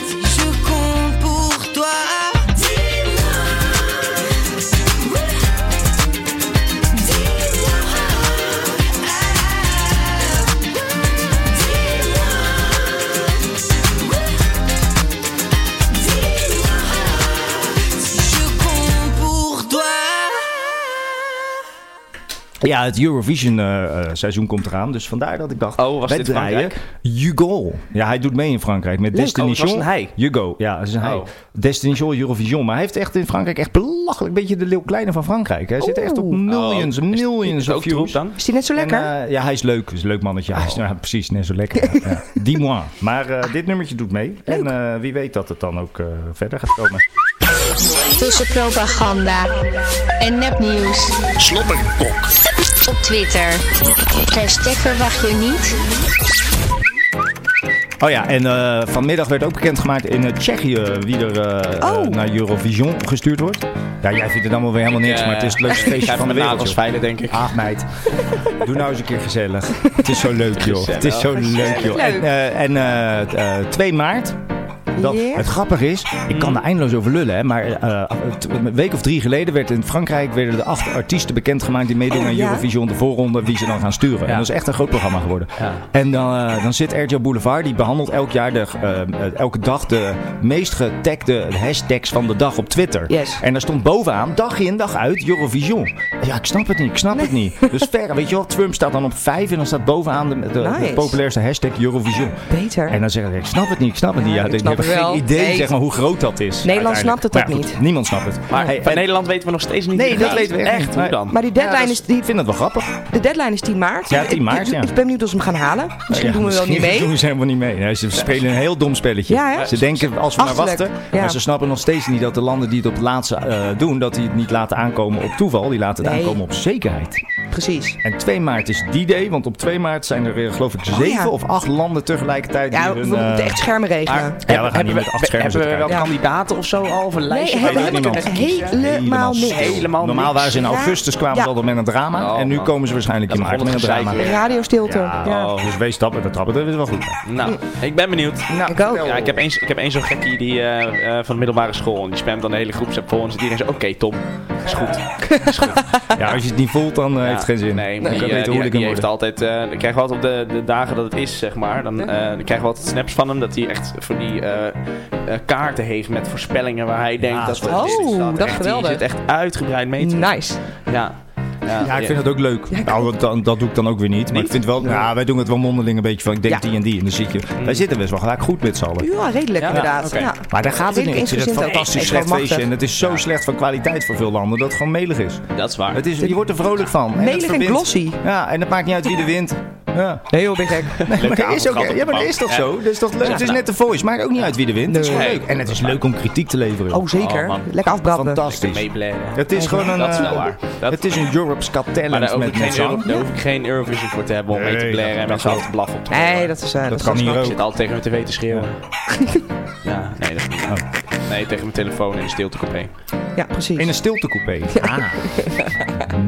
Speaker 8: Si je compte pour toi, dis-moi. Si je compte pour toi.
Speaker 1: Ja, het Eurovision eh, eh, seizoen komt eraan. Dus vandaar dat ik dacht, oh,
Speaker 3: was dit Frankrijk?
Speaker 1: Hugo. Ja, hij doet mee in Frankrijk met
Speaker 3: Leuk.
Speaker 1: Destiny
Speaker 3: Oh, het was
Speaker 1: Shore.
Speaker 3: een hij. Oh.
Speaker 1: Hugo, ja, dat is een hij. Destiny Shore, Eurovision. Maar hij heeft echt in Frankrijk echt belachelijk. Beetje de Leeuw Kleine van Frankrijk. Hij zit echt op
Speaker 3: Oh.
Speaker 1: millions, millions of views.
Speaker 4: Is die net zo lekker?
Speaker 1: En, eh, ja, hij is leuk. Is een leuk mannetje. Hij is
Speaker 3: Oh.
Speaker 1: ja, precies net zo lekker. ja. Dis-moi. Maar eh, dit nummertje doet mee. En eh, wie weet dat het dan ook eh, verder gaat komen.
Speaker 6: Tussen propaganda en nepnieuws.
Speaker 1: Slobberkok.
Speaker 6: Op Twitter. Hashtag verwacht je niet.
Speaker 1: Oké, Oh ja, en eh, vanmiddag werd ook bekendgemaakt in eh, Tsjechië wie er eh, eh,
Speaker 11: Oh.
Speaker 1: naar Eurovision gestuurd wordt. Ja, jij vindt het allemaal weer helemaal niks,
Speaker 3: Ik, eh,
Speaker 1: maar het is het leukste
Speaker 3: ik ga
Speaker 1: feestje
Speaker 3: even
Speaker 1: van de
Speaker 3: mijn
Speaker 1: wereld.
Speaker 3: nagels
Speaker 1: joh.
Speaker 3: veilen, denk ik.
Speaker 1: Ach meid, doe nou eens een keer gezellig. Het is zo leuk joh, het is zo
Speaker 3: Gezellig.
Speaker 1: leuk joh. En, eh, en eh, eh, 2 maart. Dat,
Speaker 11: Ja.
Speaker 1: Het grappige is, ik kan er eindeloos over lullen, hè, maar eh, t- een week of drie geleden werd in Frankrijk werden de acht artiesten bekendgemaakt die meedoen
Speaker 11: Oh,
Speaker 1: aan
Speaker 11: ja.
Speaker 1: Eurovision, de voorronde, wie ze dan gaan sturen. En dat is echt een groot programma geworden. En dan, eh, dan zit RTL Boulevard, die behandelt elk jaar de, eh, eh, elke dag de meest getagde hashtags van de dag op Twitter. En daar stond bovenaan, dag in, dag uit, Eurovision. Ja, ik snap het niet, ik snap het niet. Dus ver, weet je wel, Trump staat dan op vijf en dan staat bovenaan de, de, de
Speaker 11: Nice.
Speaker 1: populairste hashtag Eurovision.
Speaker 4: Beter.
Speaker 1: En dan zeggen ze, ik snap het niet, ik snap het niet. Ja, ik
Speaker 4: snap
Speaker 1: heb
Speaker 4: het wel.
Speaker 1: geen idee
Speaker 4: Nee.
Speaker 1: zeg maar, hoe groot dat is.
Speaker 4: Nederland
Speaker 1: uiteindelijk.
Speaker 4: snapt het
Speaker 1: Maar
Speaker 4: ook
Speaker 1: ja, goed,
Speaker 4: niet.
Speaker 1: Niemand snapt het.
Speaker 3: Maar
Speaker 1: Hey,
Speaker 3: van
Speaker 1: en-
Speaker 3: Nederland weten we nog steeds niet.
Speaker 1: Oh, Nee, dat weten we echt niet.
Speaker 3: Hoe
Speaker 1: Nee.
Speaker 3: dan?
Speaker 4: Maar die deadline
Speaker 1: Ja, dat
Speaker 4: is... Die,
Speaker 1: Ik vind het wel grappig.
Speaker 4: de deadline is 10 maart.
Speaker 1: Ja, 10 maart,
Speaker 4: Ik- ik-
Speaker 1: ja.
Speaker 4: Ik ben benieuwd of ze hem gaan halen. Misschien
Speaker 1: Ja,
Speaker 4: doen we wel niet
Speaker 1: misschien
Speaker 4: mee.
Speaker 1: doen ze helemaal niet mee. Nee, ze spelen een heel dom spelletje.
Speaker 4: Ja, hè?
Speaker 1: Ze denken, als we maar
Speaker 4: Achterlijk.
Speaker 1: wachten.
Speaker 4: Ja.
Speaker 1: Maar ze snappen nog steeds niet dat de landen die het op het laatste eh, doen... dat die het niet laten aankomen op toeval. Die laten het
Speaker 4: Nee.
Speaker 1: aankomen op zekerheid.
Speaker 4: Precies.
Speaker 1: En 2 maart is die day. Want op 2 maart zijn er eh, geloof ik
Speaker 4: Oh, ja.
Speaker 1: zeven of acht landen tegelijkertijd.
Speaker 4: Ja,
Speaker 1: die
Speaker 4: we
Speaker 1: hun,
Speaker 4: moeten
Speaker 1: eh,
Speaker 4: echt schermen regelen.
Speaker 1: Maar- ja, we gaan niet met acht schermen
Speaker 3: Hebben we
Speaker 1: zitten
Speaker 3: wel
Speaker 1: kijken.
Speaker 3: kandidaten of zo al? Of een
Speaker 4: Nee,
Speaker 3: lijstje?
Speaker 4: helemaal,
Speaker 1: Weet niemand.
Speaker 4: helemaal niks.
Speaker 1: stil. Normaal waren ze in augustus, kwamen ze
Speaker 4: Ja.
Speaker 1: altijd met een drama. en nu
Speaker 3: man.
Speaker 1: komen ze waarschijnlijk in
Speaker 3: Dat
Speaker 1: maart met een
Speaker 3: begon het
Speaker 1: drama.
Speaker 3: gezeik weer.
Speaker 4: Radiostilte.
Speaker 1: Ja,
Speaker 4: Ja.
Speaker 1: oh, dus wees stappen, dat trappen, dat is wel goed.
Speaker 3: Nou, ik ben benieuwd.
Speaker 4: ik ook.
Speaker 3: Ja, ik heb één ik heb één zo'n gekkie die, eh, eh, van de middelbare school. En die spamt dan de hele groepsapp voor ons. En iedereen zegt, oké Tom, is goed. Nou,
Speaker 1: Ja, als je het niet voelt, dan eh, heeft het geen zin.
Speaker 3: Nee,
Speaker 1: dan
Speaker 3: maar die,
Speaker 1: kan
Speaker 3: eh,
Speaker 1: het
Speaker 3: die,
Speaker 1: beter
Speaker 3: die
Speaker 1: ik
Speaker 3: heeft
Speaker 1: worden.
Speaker 3: altijd, eh, dan krijgen we altijd op de, de dagen dat het is, zeg maar. Dan, eh, dan krijgen we altijd snaps van hem dat hij echt voor die eh, eh, kaarten heeft met voorspellingen waar hij denkt dat
Speaker 1: dat
Speaker 3: het
Speaker 1: is-
Speaker 3: is.
Speaker 1: oh,
Speaker 4: dat is
Speaker 3: echt,
Speaker 4: geweldig.
Speaker 3: Die zit echt uitgebreid mee te
Speaker 4: Nice.
Speaker 3: Ja.
Speaker 1: Ja, ik vind dat ook leuk. Nou, dat- dat, dat doe ik dan ook weer niet. Maar ik vind wel, ja, wij doen het wel mondeling een beetje van, ik denk die en die. En dan zie ik je, wij zitten best wel gelijk goed met z'n allen.
Speaker 4: Ja, redelijk inderdaad.
Speaker 1: oké.
Speaker 4: Ja.
Speaker 1: Maar daar gaat het niet.
Speaker 4: Redelijk
Speaker 1: Ik vind het
Speaker 4: eensgezind ook.
Speaker 1: fantastisch
Speaker 4: Ik
Speaker 1: slecht
Speaker 4: geloof
Speaker 1: feestje. En
Speaker 4: machtig.
Speaker 1: het is zo slecht van kwaliteit voor veel landen dat het gewoon melig is.
Speaker 3: Dat is waar.
Speaker 1: Het is, je wordt er vrolijk van. En het
Speaker 4: Melig en
Speaker 1: verbindt.
Speaker 4: glossy.
Speaker 1: Ja, en het maakt niet uit wie er wint. Ja.
Speaker 4: Nee joh, ben gek.
Speaker 1: Nee, maar dat is ook, ja, maar dat is toch zo? Dat is toch leuk? Het is net de voice. Maakt ook niet uit wie er wint. Het is gewoon
Speaker 3: Nee.
Speaker 1: leuk. En het is leuk om kritiek te leveren.
Speaker 4: Oh zeker.
Speaker 1: Oh, man.
Speaker 4: Lekker afbranden.
Speaker 1: Fantastisch.
Speaker 3: meeblaren.
Speaker 1: Het is gewoon een...
Speaker 3: Oh, Dat is wel
Speaker 1: eh,
Speaker 3: waar.
Speaker 1: Het is een Europe's Got
Speaker 3: Maar daar
Speaker 1: Talent
Speaker 3: hoef,
Speaker 1: met
Speaker 3: ik
Speaker 1: met
Speaker 3: geen Euro,
Speaker 1: zang.
Speaker 3: daar hoef ik geen Eurovision voor te hebben om mee te
Speaker 1: Nee,
Speaker 3: blaren en
Speaker 1: dat-
Speaker 3: mensen altijd te blaffen op te
Speaker 4: Nee, dat is... eh,
Speaker 1: Dat kan
Speaker 4: is
Speaker 1: hier
Speaker 3: Ik
Speaker 1: ook.
Speaker 3: zit altijd tegen mijn tv te schreeuwen. ja, nee, dat niet. Nee, tegen mijn telefoon in de stiltecoupé.
Speaker 4: Ja, precies.
Speaker 1: In een stiltecoupé. Ah.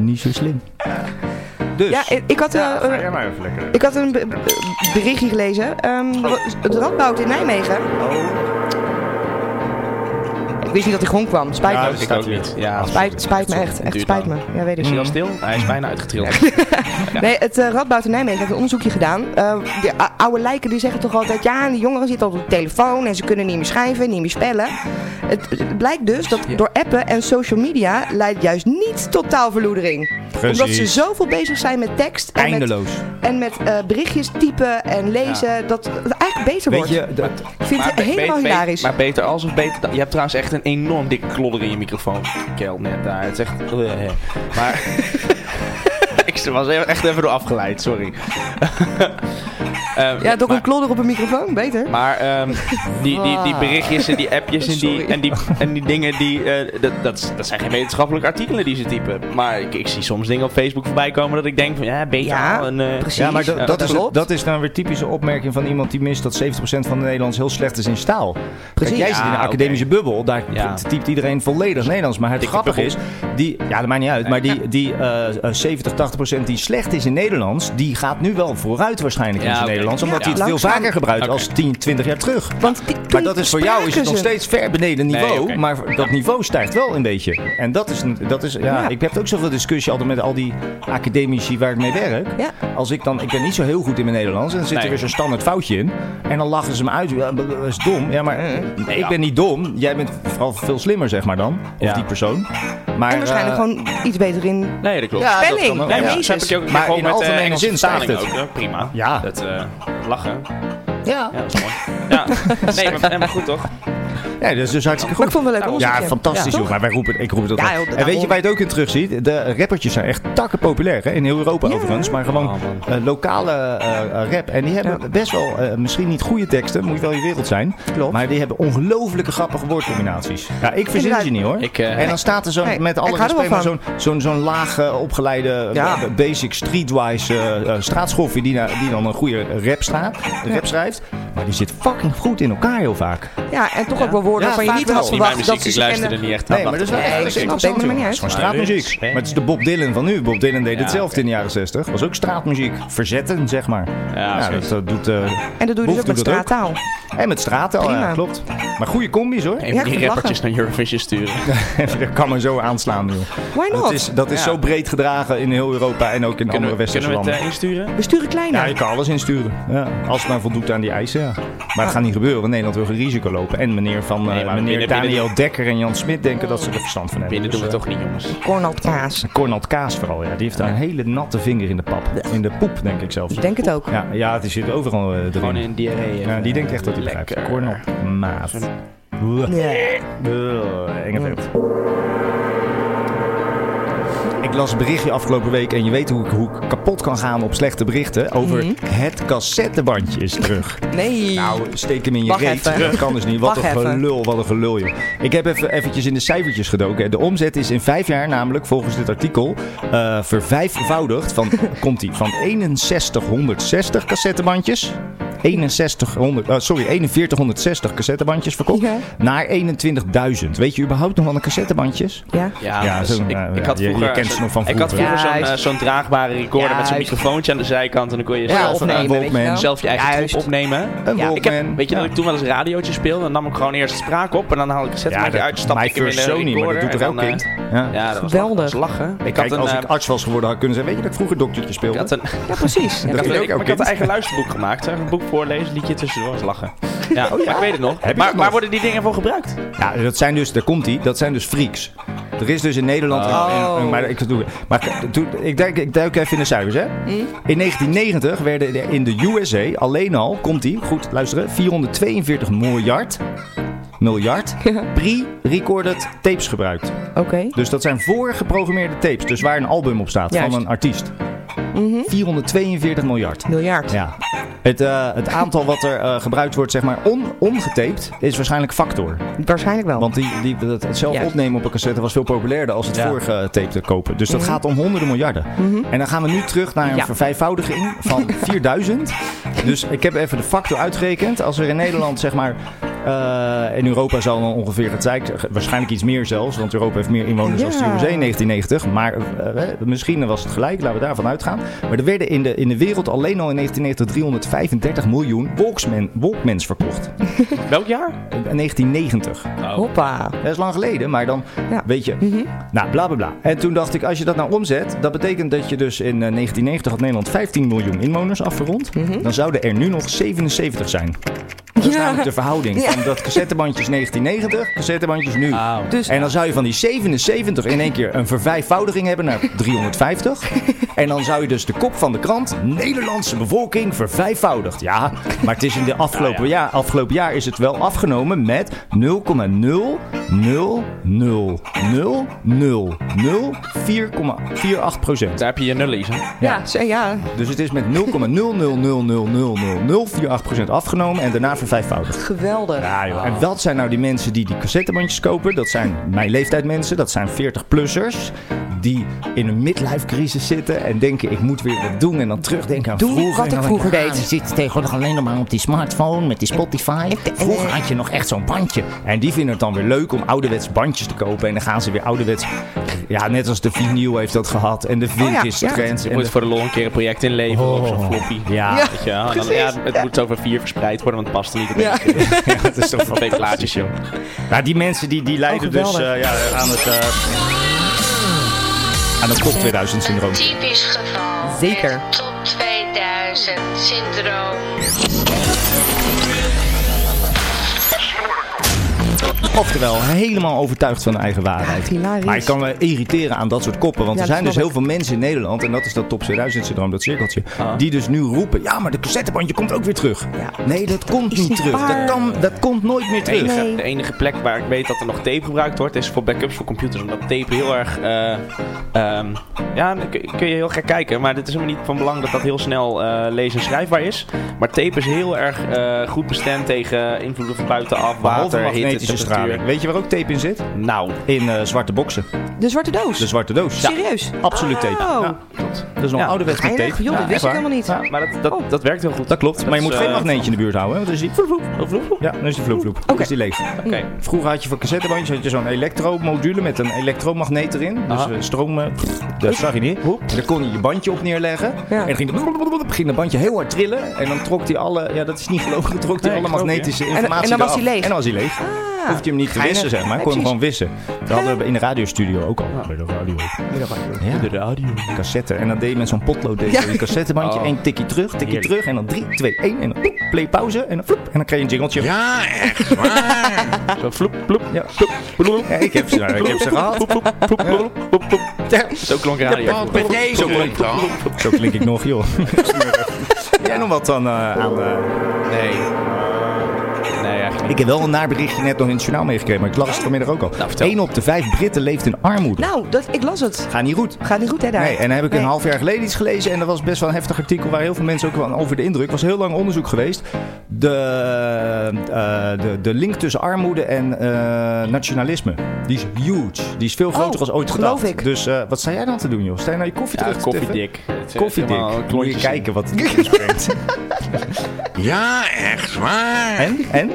Speaker 1: Niet zo slim. Dus.
Speaker 4: Ja, ik- ik had, eh,
Speaker 1: Ja, ga
Speaker 4: eh,
Speaker 1: jij maar even lekker. Oh.
Speaker 4: Ik had een be- be- berichtje gelezen. Ehm, het Radboud in Nijmegen. Ik wist niet dat hij grond kwam. Spijt
Speaker 3: Ja,
Speaker 4: me.
Speaker 1: dus
Speaker 3: dat ik ook niet. Ja, Mm.
Speaker 4: Spijt, spijt me echt. Echt spijt me. Ja, weet
Speaker 1: Mm.
Speaker 4: ik.
Speaker 3: Is hij al stil? Hij is bijna uitgetrild. Ja.
Speaker 4: Nee, het eh, Radboud in Nijmegen heeft een onderzoekje gedaan. Eh, de ou- oude lijken die zeggen toch altijd... ja, die jongeren zitten al op de telefoon... en ze kunnen niet meer schrijven, niet meer spellen. Het, het blijkt dus dat door appen en social media... leidt juist niet tot taalverloedering.
Speaker 1: Precies.
Speaker 4: Omdat ze zoveel bezig zijn met tekst... en met-
Speaker 1: Eindeloos.
Speaker 4: en met eh, berichtjes typen en lezen, dat het eigenlijk beter
Speaker 1: Weet
Speaker 4: wordt.
Speaker 1: je, dat-
Speaker 4: ik vind het helemaal hilarisch.
Speaker 3: maar beter als of beter dan- Je hebt trouwens echt een enorm dikke klodder in je microfoon. Kel, net daar. Het is echt... Eh, Maar... ik was echt even door afgeleid, sorry. Eh,
Speaker 4: ja, toch een klodder op een microfoon, beter.
Speaker 3: Maar ehm, die, die, die berichtjes en die appjes en die, en die, en die dingen, die, eh, dat, dat, is- dat zijn geen wetenschappelijke artikelen die ze typen. Maar ik, ik zie soms dingen op Facebook voorbij komen dat ik denk van ja, beter
Speaker 4: Ja,
Speaker 3: al een... eh,
Speaker 1: Ja, maar dat,
Speaker 3: eh,
Speaker 1: dat, is, dat is dan weer typische opmerking van iemand die mist dat 70% van de Nederlands heel slecht is in staal. Kijk, jij
Speaker 3: Ja,
Speaker 1: zit in een academische bubbel, daar
Speaker 3: Ja.
Speaker 1: typt iedereen volledig Nederlands. Maar het
Speaker 3: Dikke
Speaker 1: grappige
Speaker 3: bubbel.
Speaker 1: is, die, ja, dat maakt niet uit, maar die, die eh, eh, 70, 80% die slecht is in Nederlands, die gaat nu wel vooruit waarschijnlijk
Speaker 3: Ja,
Speaker 1: in zijn
Speaker 3: oké.
Speaker 1: Nederlands. Omdat
Speaker 3: Ja.
Speaker 1: hij het veel
Speaker 4: Langzaam.
Speaker 1: vaker gebruikt
Speaker 3: Oké.
Speaker 1: als 10, 20 jaar terug.
Speaker 4: Want die-
Speaker 1: Maar
Speaker 4: toen
Speaker 1: dat is voor jou is het
Speaker 4: spraken
Speaker 1: nog
Speaker 4: ze.
Speaker 1: steeds ver beneden niveau.
Speaker 3: oké.
Speaker 1: Maar dat niveau stijgt wel een beetje. En dat is, een- dat is ja,
Speaker 4: Ja.
Speaker 1: ik heb ook zoveel discussie altijd met al die academici waar ik mee werk.
Speaker 4: Ja.
Speaker 1: Als ik dan, ik ben niet zo heel goed in mijn Nederlands. En dan zit er
Speaker 3: Nee.
Speaker 1: weer zo'n standaard foutje in. En dan lachen ze me uit. Ja, dat is dom. Ja, maar
Speaker 3: Nee,
Speaker 1: ik
Speaker 3: Eh, ja.
Speaker 1: ben niet dom. Jij bent vooral veel slimmer, zeg maar dan. Of
Speaker 3: Ja.
Speaker 1: die persoon. Maar,
Speaker 4: En waarschijnlijk
Speaker 1: eh,
Speaker 4: gewoon iets beter in...
Speaker 3: Nee, dat klopt.
Speaker 4: Ja,
Speaker 1: dat
Speaker 4: spelling.
Speaker 1: kan ook.
Speaker 4: Ja,
Speaker 1: Nee, maar
Speaker 3: dat
Speaker 4: jezus.
Speaker 3: heb ik ook
Speaker 1: Maar
Speaker 3: gewoon
Speaker 1: in
Speaker 3: met
Speaker 1: algemene
Speaker 3: eh, Engelse
Speaker 1: zin stijgt
Speaker 3: vertaling
Speaker 1: het.
Speaker 3: Ook, hè. prima.
Speaker 1: Ja.
Speaker 3: Dat eh, lachen.
Speaker 1: Ja.
Speaker 3: Ja, dat is mooi. Ja, nee, maar helemaal goed toch?
Speaker 1: Ja, dat is dus hartstikke goed.
Speaker 4: Maar ik vond het wel leuk onderzoekje.
Speaker 1: Ja, fantastisch
Speaker 4: Ja,
Speaker 1: joh. Maar wij roepen, ik roep het ook. wel.
Speaker 4: Ja, joh,
Speaker 1: en weet je
Speaker 4: daarom.
Speaker 1: waar je het ook in terug ziet? De rappertjes zijn echt takken populair. Hè? In heel Europa overigens. Maar gewoon eh, lokale eh, eh, rap. En die hebben best wel, eh, misschien niet goede teksten. Moet je wel je wereld zijn. Maar die hebben ongelooflijke grappige woordcombinaties. Ja, ik verzin
Speaker 4: Inderdaad.
Speaker 1: ze niet hoor.
Speaker 3: Ik, eh,
Speaker 1: en dan staat er zo'n,
Speaker 4: Nee,
Speaker 1: met alle
Speaker 4: ik hou er wel
Speaker 1: respect, maar zo'n
Speaker 4: van.
Speaker 1: zo'n zo'n laag eh, opgeleide
Speaker 4: Ja.
Speaker 1: eh, basic streetwise eh, eh, straatschoffie die, na- die dan een goede rap, staat, rap schrijft. Maar die zit fucking goed in elkaar heel vaak.
Speaker 4: Ja, en toch ook wel woorden
Speaker 1: Ja,
Speaker 4: waarvan je
Speaker 1: vaak
Speaker 4: niet
Speaker 1: wel.
Speaker 4: had
Speaker 1: Niet mijn
Speaker 4: verwacht
Speaker 1: muziek,
Speaker 4: dat ze
Speaker 1: ik
Speaker 4: ze
Speaker 1: luister
Speaker 4: kennen.
Speaker 1: er niet echt aan.
Speaker 4: Nee,
Speaker 3: Nou,
Speaker 4: maar dat is wel
Speaker 1: Nee,
Speaker 4: echt
Speaker 1: ik vind het
Speaker 4: interessant,
Speaker 1: wel
Speaker 4: joh.
Speaker 1: Het is gewoon straatmuziek. Maar het is de Bob Dylan van nu. Bob Dylan deed
Speaker 11: Ja,
Speaker 1: hetzelfde in de jaren 60. was ook straatmuziek. Verzetten, zeg maar. Ja,
Speaker 11: precies.
Speaker 1: dat, dat doet... eh,
Speaker 4: En dat
Speaker 1: Boef
Speaker 4: doe je dus ook met
Speaker 1: doet dat
Speaker 4: straattaal.
Speaker 1: En met straattaal, ja,
Speaker 4: Prima.
Speaker 1: klopt. Maar goede combis, hoor.
Speaker 4: Even Ja, die ik vind rappertjes
Speaker 3: naar Eurovision sturen.
Speaker 1: dat kan me zo aanslaan, joh.
Speaker 4: Why not?
Speaker 1: Dat is, dat is
Speaker 4: Ja.
Speaker 1: zo breed gedragen in heel Europa en ook in andere westerse
Speaker 3: Kunnen we
Speaker 1: landen.
Speaker 3: het eh, insturen?
Speaker 4: We sturen kleiner.
Speaker 1: Ja, je kan alles insturen. Ja. Als het maar voldoet aan die eisen, ja. Maar het gaat niet gebeuren, want Nederland wil geen risico lopen. En meneer, van, eh,
Speaker 3: maar
Speaker 1: meneer
Speaker 3: binnen-
Speaker 1: Daniel
Speaker 3: binnen-
Speaker 1: Dekker en Jan Smit denken dat ze er verstand van hebben. Dus, eh,
Speaker 3: Binnen doen we toch niet, jongens.
Speaker 4: Cornald Kaas.
Speaker 1: Cornald Kaas vooral, ja. Die heeft daar een hele natte vinger in de pap. In de poep, denk ik zelfs.
Speaker 4: Ik denk het ook.
Speaker 1: Ja, ja het zit overal eh, erin.
Speaker 3: Gewoon in diarree. eh,
Speaker 1: Ja, die denkt echt dat hij begrijpt. Cornald Maas. Nee. Enge vent. Ik las een berichtje afgelopen week en je weet hoe ik, hoe ik kapot kan gaan op slechte berichten. Over
Speaker 4: Mhm.
Speaker 1: het cassettebandje is terug.
Speaker 4: Nee.
Speaker 1: Nou, steek hem in je
Speaker 4: Wacht
Speaker 1: reet.
Speaker 4: even.
Speaker 1: Dat kan dus niet. Wat
Speaker 4: Wacht
Speaker 1: een
Speaker 4: even.
Speaker 1: gelul, wat een gelul joh. Ik heb even eventjes in de cijfertjes gedoken. De omzet is in vijf jaar namelijk, volgens dit artikel, eh, vervijfvoudigd. Van, komt die van 6160 cassettebandjes... 6100, eh, sorry, 4160 cassettebandjes verkocht. Naar 21.000. Weet je überhaupt nog wat een cassettebandje is?
Speaker 4: Ja.
Speaker 3: Ja, dus
Speaker 1: zo'n,
Speaker 3: ik,
Speaker 1: eh,
Speaker 3: ik had
Speaker 1: je-
Speaker 3: vroeger,
Speaker 1: je, kent ze nog van vroeger.
Speaker 3: Ik had vroeger zo'n, eh,
Speaker 1: Juist.
Speaker 3: zo'n draagbare recorder met zo'n
Speaker 1: Juist.
Speaker 3: microfoontje aan de zijkant. En dan kon je
Speaker 1: Ja,
Speaker 3: zelf,
Speaker 1: of een
Speaker 3: eh,
Speaker 1: Walkman.
Speaker 3: weet je wel, zelf je eigen troep opnemen.
Speaker 1: Een
Speaker 3: ik heb,
Speaker 1: Walkman,
Speaker 3: weet je dat
Speaker 1: ja.
Speaker 3: ik toen wel eens radiootje speelde? Dan nam ik gewoon eerst spraak op. En dan haalde ik het
Speaker 1: Ja,
Speaker 3: zetmaatje
Speaker 1: dat-
Speaker 3: uit. Stapte
Speaker 1: My
Speaker 3: ik hem in de
Speaker 1: First Sony, maar dat
Speaker 3: recorder.
Speaker 1: doet
Speaker 3: en
Speaker 1: er elk
Speaker 3: dan, eh,
Speaker 1: kind. Ja.
Speaker 3: Ja, dat was lachen. Dat was lachen.
Speaker 1: Ik
Speaker 3: had
Speaker 1: Kijk,
Speaker 3: een,
Speaker 1: als
Speaker 3: eh,
Speaker 1: ik arts was geworden, had ik kunnen zeggen, weet je dat ik vroeger doktertje speelde?
Speaker 3: had een-
Speaker 4: Ja, precies.
Speaker 3: ik
Speaker 1: Dat
Speaker 3: had,
Speaker 1: doet
Speaker 3: een-
Speaker 1: ook elk
Speaker 3: ik, maar ik had een
Speaker 1: kind.
Speaker 3: eigen luisterboek gemaakt. hè. Een boek voorlezen, liedje tussendoor. Dat was lachen. Ja, maar ik weet het nog.
Speaker 1: Oh, Heb je
Speaker 3: Maar,
Speaker 1: dat
Speaker 3: maar
Speaker 1: nog?
Speaker 3: worden die dingen voor gebruikt?
Speaker 1: Ja, dat zijn dus, daar komt die, dat zijn dus freaks. Er is dus in Nederland.
Speaker 3: Oh.
Speaker 1: en- en- maar ik, doe, maar ik- doe- ik, duik, ik duik even in de cijfers, hè? In 1990 werden er in de USA alleen al, komt die, goed luisteren, 442 miljard, miljard pre-recorded tapes gebruikt.
Speaker 4: Oké.
Speaker 1: Dus dat zijn voorgeprogrammeerde tapes, dus waar een album op staat
Speaker 4: Juist.
Speaker 1: van een artiest. 442 miljard.
Speaker 4: Miljard.
Speaker 1: Ja. Het, eh, het aantal wat er eh, gebruikt wordt, zeg maar, on, ongetaped, is waarschijnlijk factor.
Speaker 4: Waarschijnlijk wel.
Speaker 1: Want die, die, dat, het zelf
Speaker 4: Juist.
Speaker 1: opnemen op een cassette was veel populairder als het
Speaker 11: Ja.
Speaker 1: vorige tape te kopen. Dus dat
Speaker 11: Mhm.
Speaker 1: gaat om honderden miljarden. En dan gaan we nu terug naar een
Speaker 11: Ja.
Speaker 1: vervijfvoudiging van 4000. Dus ik heb even de factor uitgerekend. Als er in Nederland, zeg maar... eh, in Europa zal dan ongeveer het zijn. Waarschijnlijk iets meer zelfs. Want Europa heeft meer inwoners dan de
Speaker 11: Ja.
Speaker 1: USA in 1990. Maar eh, eh, misschien was het gelijk. Laten we daarvan uitgaan. Maar er werden in de, in de wereld alleen al in 1990 335 miljoen Walkman, Walkmans verkocht.
Speaker 3: Welk jaar?
Speaker 1: 1990.
Speaker 4: Hoppa.
Speaker 1: Dat is lang geleden, maar dan weet je. Nou, bla bla bla. En toen dacht ik, als je dat nou omzet, dat betekent dat je dus in eh, 1990 had Nederland 15 miljoen inwoners afgerond. Dan zouden er nu nog 77 zijn. Dat is namelijk de verhouding.
Speaker 11: Ja.
Speaker 1: Van dat cassettebandjes 1990, cassettebandjes nu. en dan zou je van die 77 in één keer een vervijfvoudiging hebben naar 350. en dan zou je dus de kop van de krant, Nederlandse bevolking vervijfvoudigd. Ja, maar het is in de afgelopen, Jaar, afgelopen jaar is het wel afgenomen met 0,0000048 procent.
Speaker 3: Daar heb je je nullies, hè?
Speaker 4: Ja, ze- ja.
Speaker 1: Dus het is met 0,000000048% afgenomen en daarna vervijfvoudigd.
Speaker 4: Geweldig.
Speaker 1: Ja, joh. En dat zijn nou die mensen die die cassettebandjes kopen. Dat zijn mijn leeftijd mensen. Dat zijn 40-plussers. Die in een midlife crisis zitten en denken ik moet weer wat doen. En dan terugdenken aan
Speaker 11: Doe
Speaker 1: vroeger.
Speaker 11: wat
Speaker 1: En dan
Speaker 11: ik
Speaker 1: denk
Speaker 11: vroeger
Speaker 1: ah,
Speaker 11: deed.
Speaker 1: Je zit tegenwoordig alleen nog maar op die smartphone met die Spotify. Vroeger had je nog echt zo'n bandje. En die vinden het dan weer leuk om ouderwets bandjes te kopen. En dan gaan ze weer ouderwets... Ja, net als de vinyl heeft dat gehad. En de vintage trends.
Speaker 3: Je
Speaker 1: en
Speaker 3: moet
Speaker 1: de- Oh,
Speaker 3: voor de lol een keer een project inleveren op zo'n floppy.
Speaker 1: Ja.
Speaker 3: Weet je wel. En dan, ja,
Speaker 1: precies.
Speaker 3: het moet over vier verspreid worden, want het past er niet op
Speaker 1: Ja.
Speaker 3: één keer.
Speaker 1: Ja, het is toch
Speaker 3: Twee plaatjes, joh.
Speaker 1: Nou, die mensen die, die lijden
Speaker 3: Oh,
Speaker 1: dus
Speaker 3: geweldig.
Speaker 1: eh, ja, aan het... eh, aan het kop 2000 syndroom.
Speaker 6: Typisch geval.
Speaker 1: Zeker.
Speaker 6: Het Top 2000 syndroom.
Speaker 1: Oftewel, helemaal overtuigd van de eigen waarheid.
Speaker 4: hilarisch.
Speaker 1: maar ik kan me irriteren aan dat soort koppen. Want
Speaker 4: Ja,
Speaker 1: er
Speaker 4: dat
Speaker 1: zijn dus
Speaker 4: snap
Speaker 1: heel veel mensen in Nederland, en dat is dat top 2000 syndroom, dat cirkeltje, die dus nu roepen: ja, maar de cassettebandje komt ook weer terug. Nee, dat komt niet terug.
Speaker 3: waar.
Speaker 1: Dat, kan, dat komt nooit meer
Speaker 3: De
Speaker 1: terug.
Speaker 3: enige, de enige plek waar ik weet dat er nog tape gebruikt wordt, is voor backups voor computers. Omdat tape heel erg. eh, ehm, ja, dan kun kun je heel gek kijken. Maar het is helemaal niet van belang dat dat heel snel eh lezen en schrijfbaar is. Maar tape is heel erg eh, goed bestemd tegen invloeden van buitenaf,
Speaker 1: Behalve
Speaker 3: water, hitte,
Speaker 1: magnetische magnetische straling. Weet je waar ook tape in zit? Nou. In eh, zwarte boksen.
Speaker 4: De zwarte doos?
Speaker 1: De zwarte doos. Ja.
Speaker 4: Serieus?
Speaker 1: Absoluut tape.
Speaker 4: Oh.
Speaker 1: Ja, klopt. Dat is nog ouderwets met
Speaker 4: Geinig,
Speaker 1: tape.
Speaker 4: joh,
Speaker 1: Ja,
Speaker 4: dat
Speaker 1: echt
Speaker 4: wist ik
Speaker 1: waar.
Speaker 4: helemaal niet.
Speaker 3: maar dat, dat, dat werkt heel goed.
Speaker 1: Dat klopt, maar je moet
Speaker 3: is,
Speaker 1: geen
Speaker 3: eh,
Speaker 1: magneetje in de buurt houden, hè? want dan is die vloep, vloep, vloep, vloep. Ja, dan is die vloep, vloep. Dan is die leeg.
Speaker 3: Oké.
Speaker 1: Vroeger had je voor cassettebandjes had je zo'n elektromodule met een elektromagneet erin. Dus
Speaker 3: Aha.
Speaker 1: eh, stroom, eh, pff, dat zag je niet. En dan kon je je bandje op neerleggen. En dan ging, het ging dat bandje heel hard trillen. En dan trok hij alle, ja dat is niet geloof ik, trok hij
Speaker 3: Nee,
Speaker 1: alle
Speaker 3: ik geloof
Speaker 1: magnetische
Speaker 3: je. En-
Speaker 1: informatie
Speaker 4: en dan was
Speaker 1: eraf.
Speaker 4: hij leeg.
Speaker 1: En dan was hij leeg. Ah. Hoefde je hem niet te
Speaker 4: Geinig.
Speaker 1: wissen, zeg maar.
Speaker 4: Nee,
Speaker 1: Kon hem
Speaker 4: precies.
Speaker 1: gewoon wissen. Dat hadden we in de radiostudio ook al. Bij de radio. Ja. De radio. Cassette. En dan deed je met zo'n potlood deed je
Speaker 11: Ja.
Speaker 1: je cassettebandje.
Speaker 11: Oh.
Speaker 1: één tikje terug, tikje
Speaker 11: Heerlijk.
Speaker 1: terug. En dan 3, 2, 1. En dan ploep, play pauze. En dan floep. En dan kreeg je een jingeltje.
Speaker 9: Ja, echt waar.
Speaker 1: Zo floep, ploep. Ja, floep, ploep. Ja, ik heb ze, nou, ik heb ze gehad. Ploep, ploep, ploep, ploep, ploep, ploep. Ja.
Speaker 3: Zo klonk
Speaker 1: Ja,
Speaker 3: radio.
Speaker 1: ploep, ploep,
Speaker 9: Deze
Speaker 1: ploep,
Speaker 9: klinkt
Speaker 1: ploep,
Speaker 9: al.
Speaker 1: ploep, ploep. Zo klink ik nog, joh. Jij nog wat dan eh, aan... eh,
Speaker 3: Nee. Nee, eigenlijk niet.
Speaker 1: Ik heb wel een naar berichtje net nog in het journaal meegekregen, maar ik las het vanmiddag ook al. 1 op de 5 Britten leeft in armoede.
Speaker 4: Nou, dat, ik las het.
Speaker 1: Gaat niet goed.
Speaker 4: Gaat niet goed, hè, daar?
Speaker 1: Nee, en dan heb ik
Speaker 4: Nee.
Speaker 1: een half jaar geleden iets gelezen. En dat was best wel een heftig artikel waar heel veel mensen ook wel over de indruk. was heel lang onderzoek geweest. De, eh, de, de link tussen armoede en eh, nationalisme. Die is huge. Die is veel groter
Speaker 4: Oh,
Speaker 1: als ooit
Speaker 4: geloof
Speaker 1: gedacht.
Speaker 4: ik.
Speaker 1: Dus eh, wat sta jij dan te doen, joh? Sta je nou je koffie
Speaker 3: Ja,
Speaker 1: terug te tiffen?
Speaker 3: koffiedik. Het is
Speaker 1: Koffiedik.
Speaker 3: helemaal
Speaker 1: Moet je
Speaker 3: klontjes in.
Speaker 1: kijken wat het ons brengt.
Speaker 9: Ja, echt waar.
Speaker 1: En? En?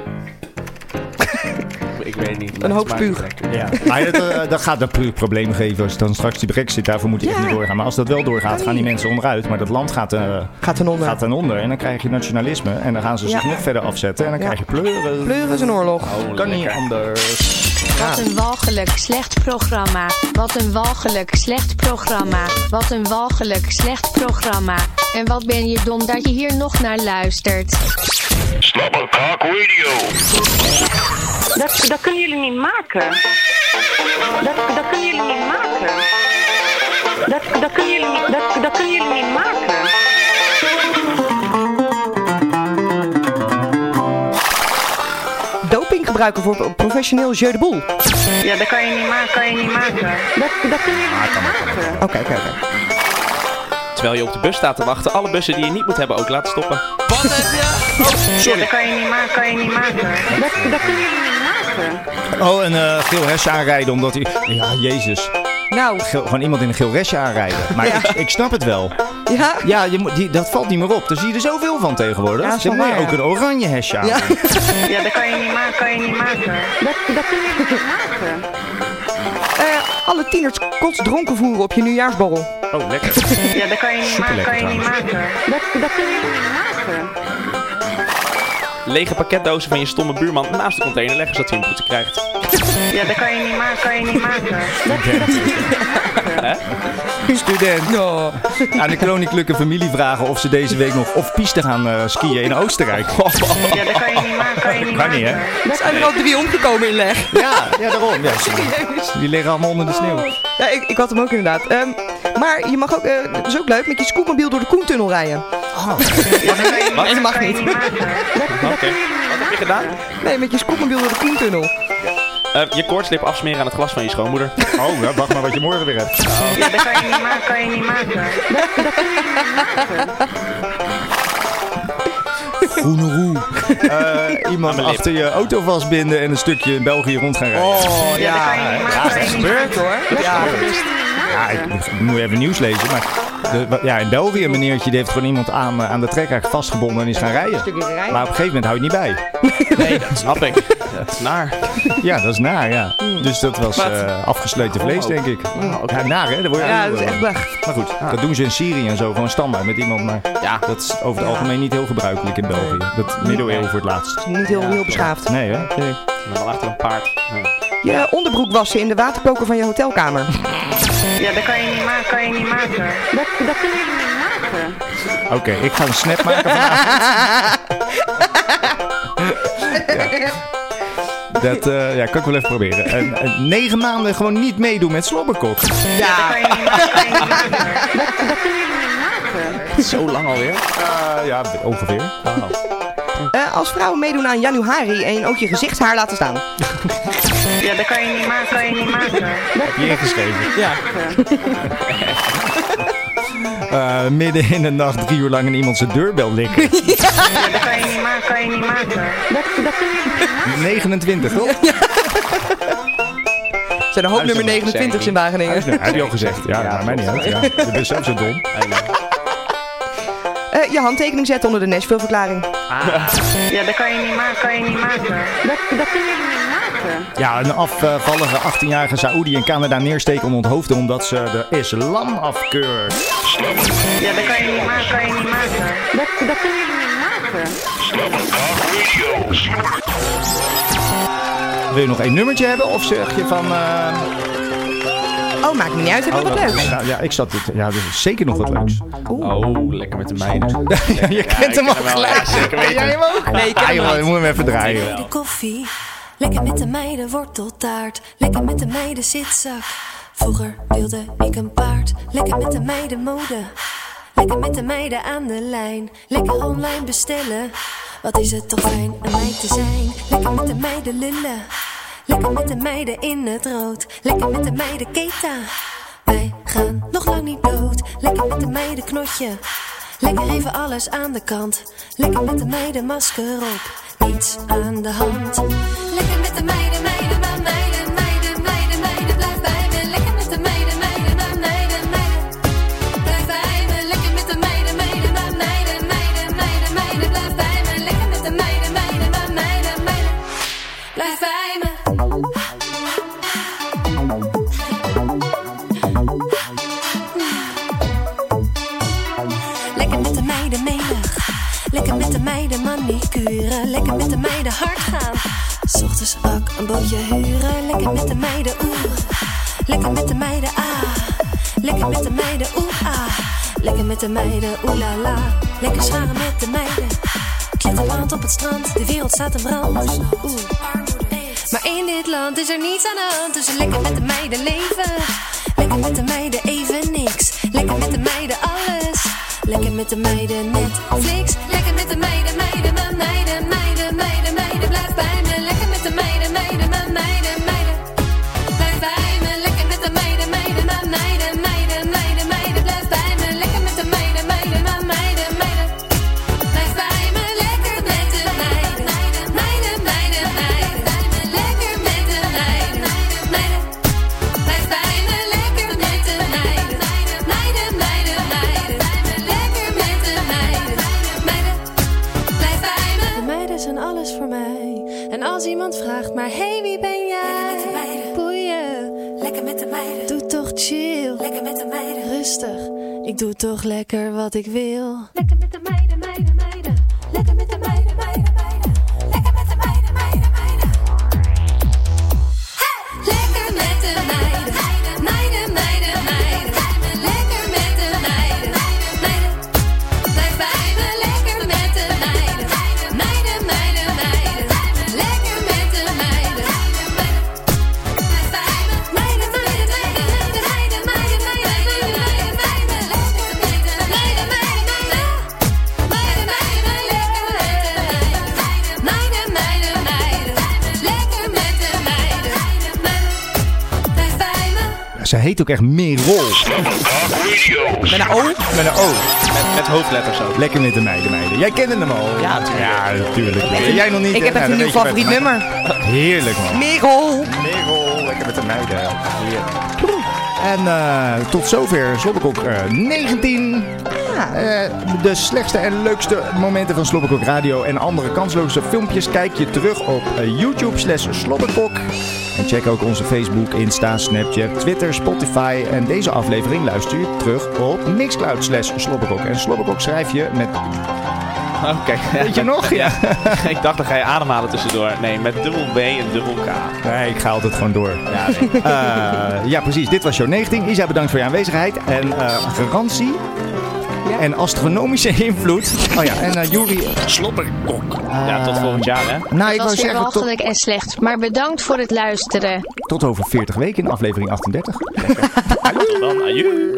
Speaker 3: Ik weet niet.
Speaker 4: Een hoop
Speaker 3: Maar-
Speaker 4: spuug.
Speaker 1: Ja. Maar dat, eh, dat gaat dat probleem geven als dan straks die brexit, daarvoor moet die echt
Speaker 4: Ja.
Speaker 1: niet doorgaan. Maar als dat wel doorgaat, gaan die mensen onderuit. Maar dat land gaat, eh,
Speaker 4: Gaat ten onder.
Speaker 1: gaat dan onder. En dan krijg je nationalisme. En dan gaan ze zich
Speaker 4: Ja.
Speaker 1: nog verder afzetten. En dan krijg je pleuren.
Speaker 4: Pleuren is een oorlog.
Speaker 1: kan niet anders.
Speaker 10: Wat een walgelijk slecht programma. Wat een walgelijk slecht programma. Wat een walgelijk slecht programma. En wat ben je dom dat je hier nog naar luistert.
Speaker 7: Slobberkok Radio.
Speaker 14: Dat, dat kunnen jullie niet maken. Dat, dat kunnen jullie niet maken. Dat, dat, kunnen jullie niet, dat, dat kunnen jullie niet maken.
Speaker 4: Doping gebruiken voor professioneel jeu de boel.
Speaker 14: Ja, dat kan je niet, ma kan je niet maken. Dat, dat kunnen jullie
Speaker 1: Ah,
Speaker 14: niet maken.
Speaker 4: Oké, oké, oké.
Speaker 3: Terwijl je op de bus staat te wachten, alle bussen die je niet moet hebben ook laten stoppen.
Speaker 14: Ja, dat kan je niet, ma kan je niet maken. Dat, dat kunnen jullie niet maken.
Speaker 1: Oh, een eh geel hesje aanrijden omdat hij... Ja, jezus.
Speaker 4: Nou.
Speaker 1: Geel- gewoon iemand in een geel hesje aanrijden. Maar ik, ik snap het wel.
Speaker 4: Ja?
Speaker 1: Ja, je moet, die, dat valt niet meer op. Daar zie je er zoveel van tegenwoordig.
Speaker 4: Ja, dat is
Speaker 1: Dan
Speaker 4: wel
Speaker 1: moet je
Speaker 4: waar,
Speaker 1: ook een oranje hesje aan.
Speaker 14: Ja, dat kan je niet, ma kan je niet maken. Dat, dat kunnen jullie niet maken.
Speaker 4: Eh, alle tieners kots dronken voeren op je nieuwjaarsborrel.
Speaker 3: Oh, lekker.
Speaker 14: Ja, dat kan je niet, ma kan je
Speaker 1: Superlekker
Speaker 14: niet maken. Dat, dat kunnen jullie niet maken.
Speaker 3: Lege pakketdozen van je stomme buurman naast de container leggen zodat hij een boete krijgt.
Speaker 14: Ja, dat kan je niet, ma kan je niet maken. Dat, dat kunnen jullie niet maken.
Speaker 1: Student. Aan de koninklijke familie vragen of ze deze week nog of piste gaan eh, skiën in Oostenrijk.
Speaker 14: Ja, dat kan je niet, ma kan je niet
Speaker 1: Kan niet, hè?
Speaker 14: maken.
Speaker 4: Dat zijn er al drie omgekomen in leg.
Speaker 1: Ja, ja daarom. Ja, die liggen allemaal onder de sneeuw.
Speaker 4: Ja, ik, ik had hem ook inderdaad. Ehm, maar je mag ook, eh, dat is ook leuk, met je scootmobiel door de Koentunnel rijden.
Speaker 14: Oh.
Speaker 3: Wat?
Speaker 4: Nee, dat mag niet.
Speaker 3: Oké. Wat heb je gedaan?
Speaker 4: Nee, met je scootmobiel door de Koentunnel.
Speaker 3: Eh, je koortslip afsmeren aan het glas van je schoonmoeder.
Speaker 1: Oh, ja, wacht maar wat je morgen weer hebt.
Speaker 14: Ja, dat kan je niet, ma kan je niet maken. Dat, dat kunnen jullie niet maken.
Speaker 1: Groene roe. Eh, iemand
Speaker 3: mijn lip.
Speaker 1: achter je auto vastbinden en een stukje in België rond gaan rijden.
Speaker 4: Oh,
Speaker 14: Ja,
Speaker 4: ja.
Speaker 1: Ja, dat is gebeurd hoor.
Speaker 4: Ja.
Speaker 1: Ja, ik, ik moet even nieuws lezen. Maar de- wa- ja, in België, een meneertje, die heeft gewoon iemand aan, eh, aan de trekker vastgebonden en is gaan rijden.
Speaker 4: stukje rijden.
Speaker 1: Maar op een gegeven moment houdt het niet bij.
Speaker 3: Nee, dat snap ik. Dat is naar.
Speaker 1: Ja, dat is naar, ja. Dus dat was
Speaker 3: Wat?
Speaker 1: eh, afgesleten vlees, denk ik. Ja, naar, hè? Daar word je
Speaker 4: Ja,
Speaker 1: ook
Speaker 4: dat is
Speaker 1: wel.
Speaker 4: echt weg.
Speaker 1: Maar goed, dat doen ze in Syrië en zo, gewoon standaard met iemand. Maar
Speaker 3: Ja.
Speaker 1: dat is over het algemeen niet heel gebruikelijk in België. Dat middeleeuwen voor het laatst.
Speaker 4: Niet heel, heel beschaafd.
Speaker 1: Nee, hè?
Speaker 3: En dan achter een paard. eh, Ja.
Speaker 4: Je onderbroek wassen in de waterkoker van je hotelkamer.
Speaker 14: Ja, dat kan je niet, ma kan je niet maken. Dat, dat kunnen jullie niet maken.
Speaker 1: Oké, ik ga een snap maken vanavond. ja. Dat eh, ja, kan ik wel even proberen. En, en negen maanden gewoon niet meedoen met Slobberkok.
Speaker 14: Dat kan je niet, ma kan je niet maken. Dat, dat kunnen jullie niet maken.
Speaker 3: Zo lang alweer.
Speaker 1: Eh, ja, ongeveer.
Speaker 4: Eh, als vrouwen meedoen aan januari en ook je gezichtshaar laten staan.
Speaker 14: Ja, dat kan je niet, ma kan je niet maken.
Speaker 1: Heb je ingeschreven?
Speaker 3: Ja.
Speaker 1: Oké, eh, midden in de nacht drie uur lang in iemand zijn deurbel likken.
Speaker 14: Ja, dat kan je niet maken, kan je niet maken. Dat, dat kun je niet
Speaker 1: 29, toch?
Speaker 4: Zijn er hoop nummer 29 in Wageningen.
Speaker 1: Ja, heb je al gezegd. Ja, dat maakt mij niet uit. Ja. Je bent zelf zo dom.
Speaker 4: Eh, je handtekening zetten onder de Nashville-verklaring.
Speaker 14: maken. Ja, dat kan je niet maken, kan je niet maken. Dat, dat kun je niet maken.
Speaker 1: Ja, een afvallige 18-jarige Saoedi in Canada neersteken om onthoofden omdat ze de islam afkeurt.
Speaker 14: Ja, dat kan je niet maken, kan je niet maken. Dat, dat kun je niet maken.
Speaker 1: Wil je nog één nummertje hebben of zeg je van... eh,
Speaker 4: Oh, maakt niet uit. Heb je
Speaker 1: oh,
Speaker 4: wat
Speaker 1: dat-
Speaker 4: leuks?
Speaker 1: nou, ja, ik zat dit. Ja, dit is zeker nog wat leuks.
Speaker 3: Oh, lekker met de meiden.
Speaker 1: je
Speaker 3: Ja, ik
Speaker 1: kent hem al
Speaker 3: ken wel, ja,
Speaker 1: gelijk.
Speaker 3: zeker weten.
Speaker 4: Jij hem ook? Nee, ik ken
Speaker 1: Ah,
Speaker 4: hem
Speaker 1: joh,
Speaker 4: niet.
Speaker 1: ik moet hem even draaien.
Speaker 8: De koffie, lekker met de meiden worteltaart. Lekker met de meiden zitzak. Vroeger wilde ik een paard. Lekker met de meiden mode. Lekker met de meiden aan de lijn. Lekker online bestellen. Wat is het toch fijn een meid te zijn. Lekker met de meiden lullen. Lekker met de meiden in het rood. Lekker met de meiden keta. Wij gaan nog lang niet dood. Lekker met de meiden knotje. Lekker even alles aan de kant. Lekker met de meiden masker op. Niets aan de hand. Lekker met de meiden, meiden, maar meiden, meiden, meiden, meiden, blijf bij me. Lekker met de meiden, meiden, maar meiden, meiden, blijf bij me. Lekker met de meiden, meiden, maar meiden, meiden, meiden, meiden, blijf bij me. Lekker met de meiden, meiden, maar meiden, meiden, blijf bij me. Lekker met de meiden menig. Lekker met de meiden manicure. Lekker met de meiden hard gaan. 's Ochtends ak een bootje huren. Lekker met de meiden oeh. Lekker met de meiden ah. Lekker met de meiden oeh ah. Lekker met de meiden oeh la la. Lekker scharen met de meiden. Kletterland op het strand. De wereld staat in brand. Oeh. Maar in dit land is er niets aan de hand. Dus lekker met de meiden leven. Lekker met de meiden even niks. Lekker met de meiden alles. Lekker met de meiden Netflix. Lekker met de meiden, meiden, maar meiden, meiden, meiden, meiden. Blijf bij me. Lekker met de meiden, meiden, maar meiden, meiden. Blijf bij me. Lekker met de meiden, meiden, maar meiden, meiden, meiden, meiden. Blijf bij me. Lekker met de meiden, meiden, maar meiden, meiden. Blijf bij me. Lekker met de meiden, meiden, meiden, meiden, meiden. Lekker met de meiden, meiden, meiden. Blijf bij me. Lekker met de meiden, meiden, meiden, meiden. Lekker met de meiden, meiden, blijf bij me. De meiden zijn alles voor mij. En als iemand vraagt, maar hey, wie ben jij? Boeien. Lekker met de meiden. Doe toch chill. Lekker met de meiden. Rustig. Ik doe toch lekker wat ik wil. Lekker met de meiden, meiden, meiden. Lekker met de meiden, meiden, meiden. Lekker met de meiden, meiden, meiden. Hey! Lekker met de meiden. Meiden, meiden, meiden. Lekker met de meiden. Meiden. Blijf bij me. Lekker met de meiden. Meiden, meiden, meiden. Lekker met de meiden. Blijf bij me. Meiden, meiden, meiden. Meiden, meiden, meiden. Meiden, meiden, meiden. Lekker met de meiden. Meiden, meiden. Meiden, meiden, lekker met de meiden. Meiden, meiden, meiden. Lekker met de meiden. Blijf bij me.
Speaker 1: Ja, Ze heet ook echt Merol.
Speaker 4: Met een O?
Speaker 1: Met een O.
Speaker 3: Met, met hoofdletters ook.
Speaker 1: Lekker met de meiden, meiden. Jij kende hem al. Ja, natuurlijk. Ja, natuurlijk. Jij nog niet?
Speaker 4: Ik
Speaker 1: hè?
Speaker 4: heb echt
Speaker 1: Nou,
Speaker 4: een
Speaker 1: dan
Speaker 4: nieuw
Speaker 1: weet je
Speaker 4: favoriet
Speaker 1: wat.
Speaker 4: nummer.
Speaker 1: Heerlijk, man.
Speaker 4: Merel.
Speaker 1: Merel, lekker met de meiden. En eh, tot zover Slobberkok eh, 19. Eh, de slechtste en leukste momenten van Slobberkok Radio en andere kansloze filmpjes kijk je terug op eh, YouTube slash Slobberkok. En check ook onze Facebook, Insta, Snapchat, Twitter, Spotify. En deze aflevering luister je terug op Mixcloud slash Slobberkok. En Slobberkok schrijf je met...
Speaker 3: Oké.
Speaker 1: Weet je nog? Ja.
Speaker 3: ik dacht, dan ga je ademhalen tussendoor. Nee, met dubbel B en dubbel K.
Speaker 1: Nee, ik ga altijd gewoon door.
Speaker 3: Ja, nee.
Speaker 1: Eh, ja, precies. Dit was show 19. Isa, bedankt voor je aanwezigheid. En eh, garantie. En astronomische invloed. Oh ja, en eh, Juri. Slopperkok.
Speaker 3: ja, tot volgend jaar, hè?
Speaker 1: Nou, ik
Speaker 6: Dat
Speaker 1: wou
Speaker 6: was weer
Speaker 1: zeggen tot,
Speaker 6: walgelijk en slecht, maar bedankt voor het luisteren.
Speaker 1: tot over 40 weken in aflevering 38.
Speaker 3: Tot dan, adieu.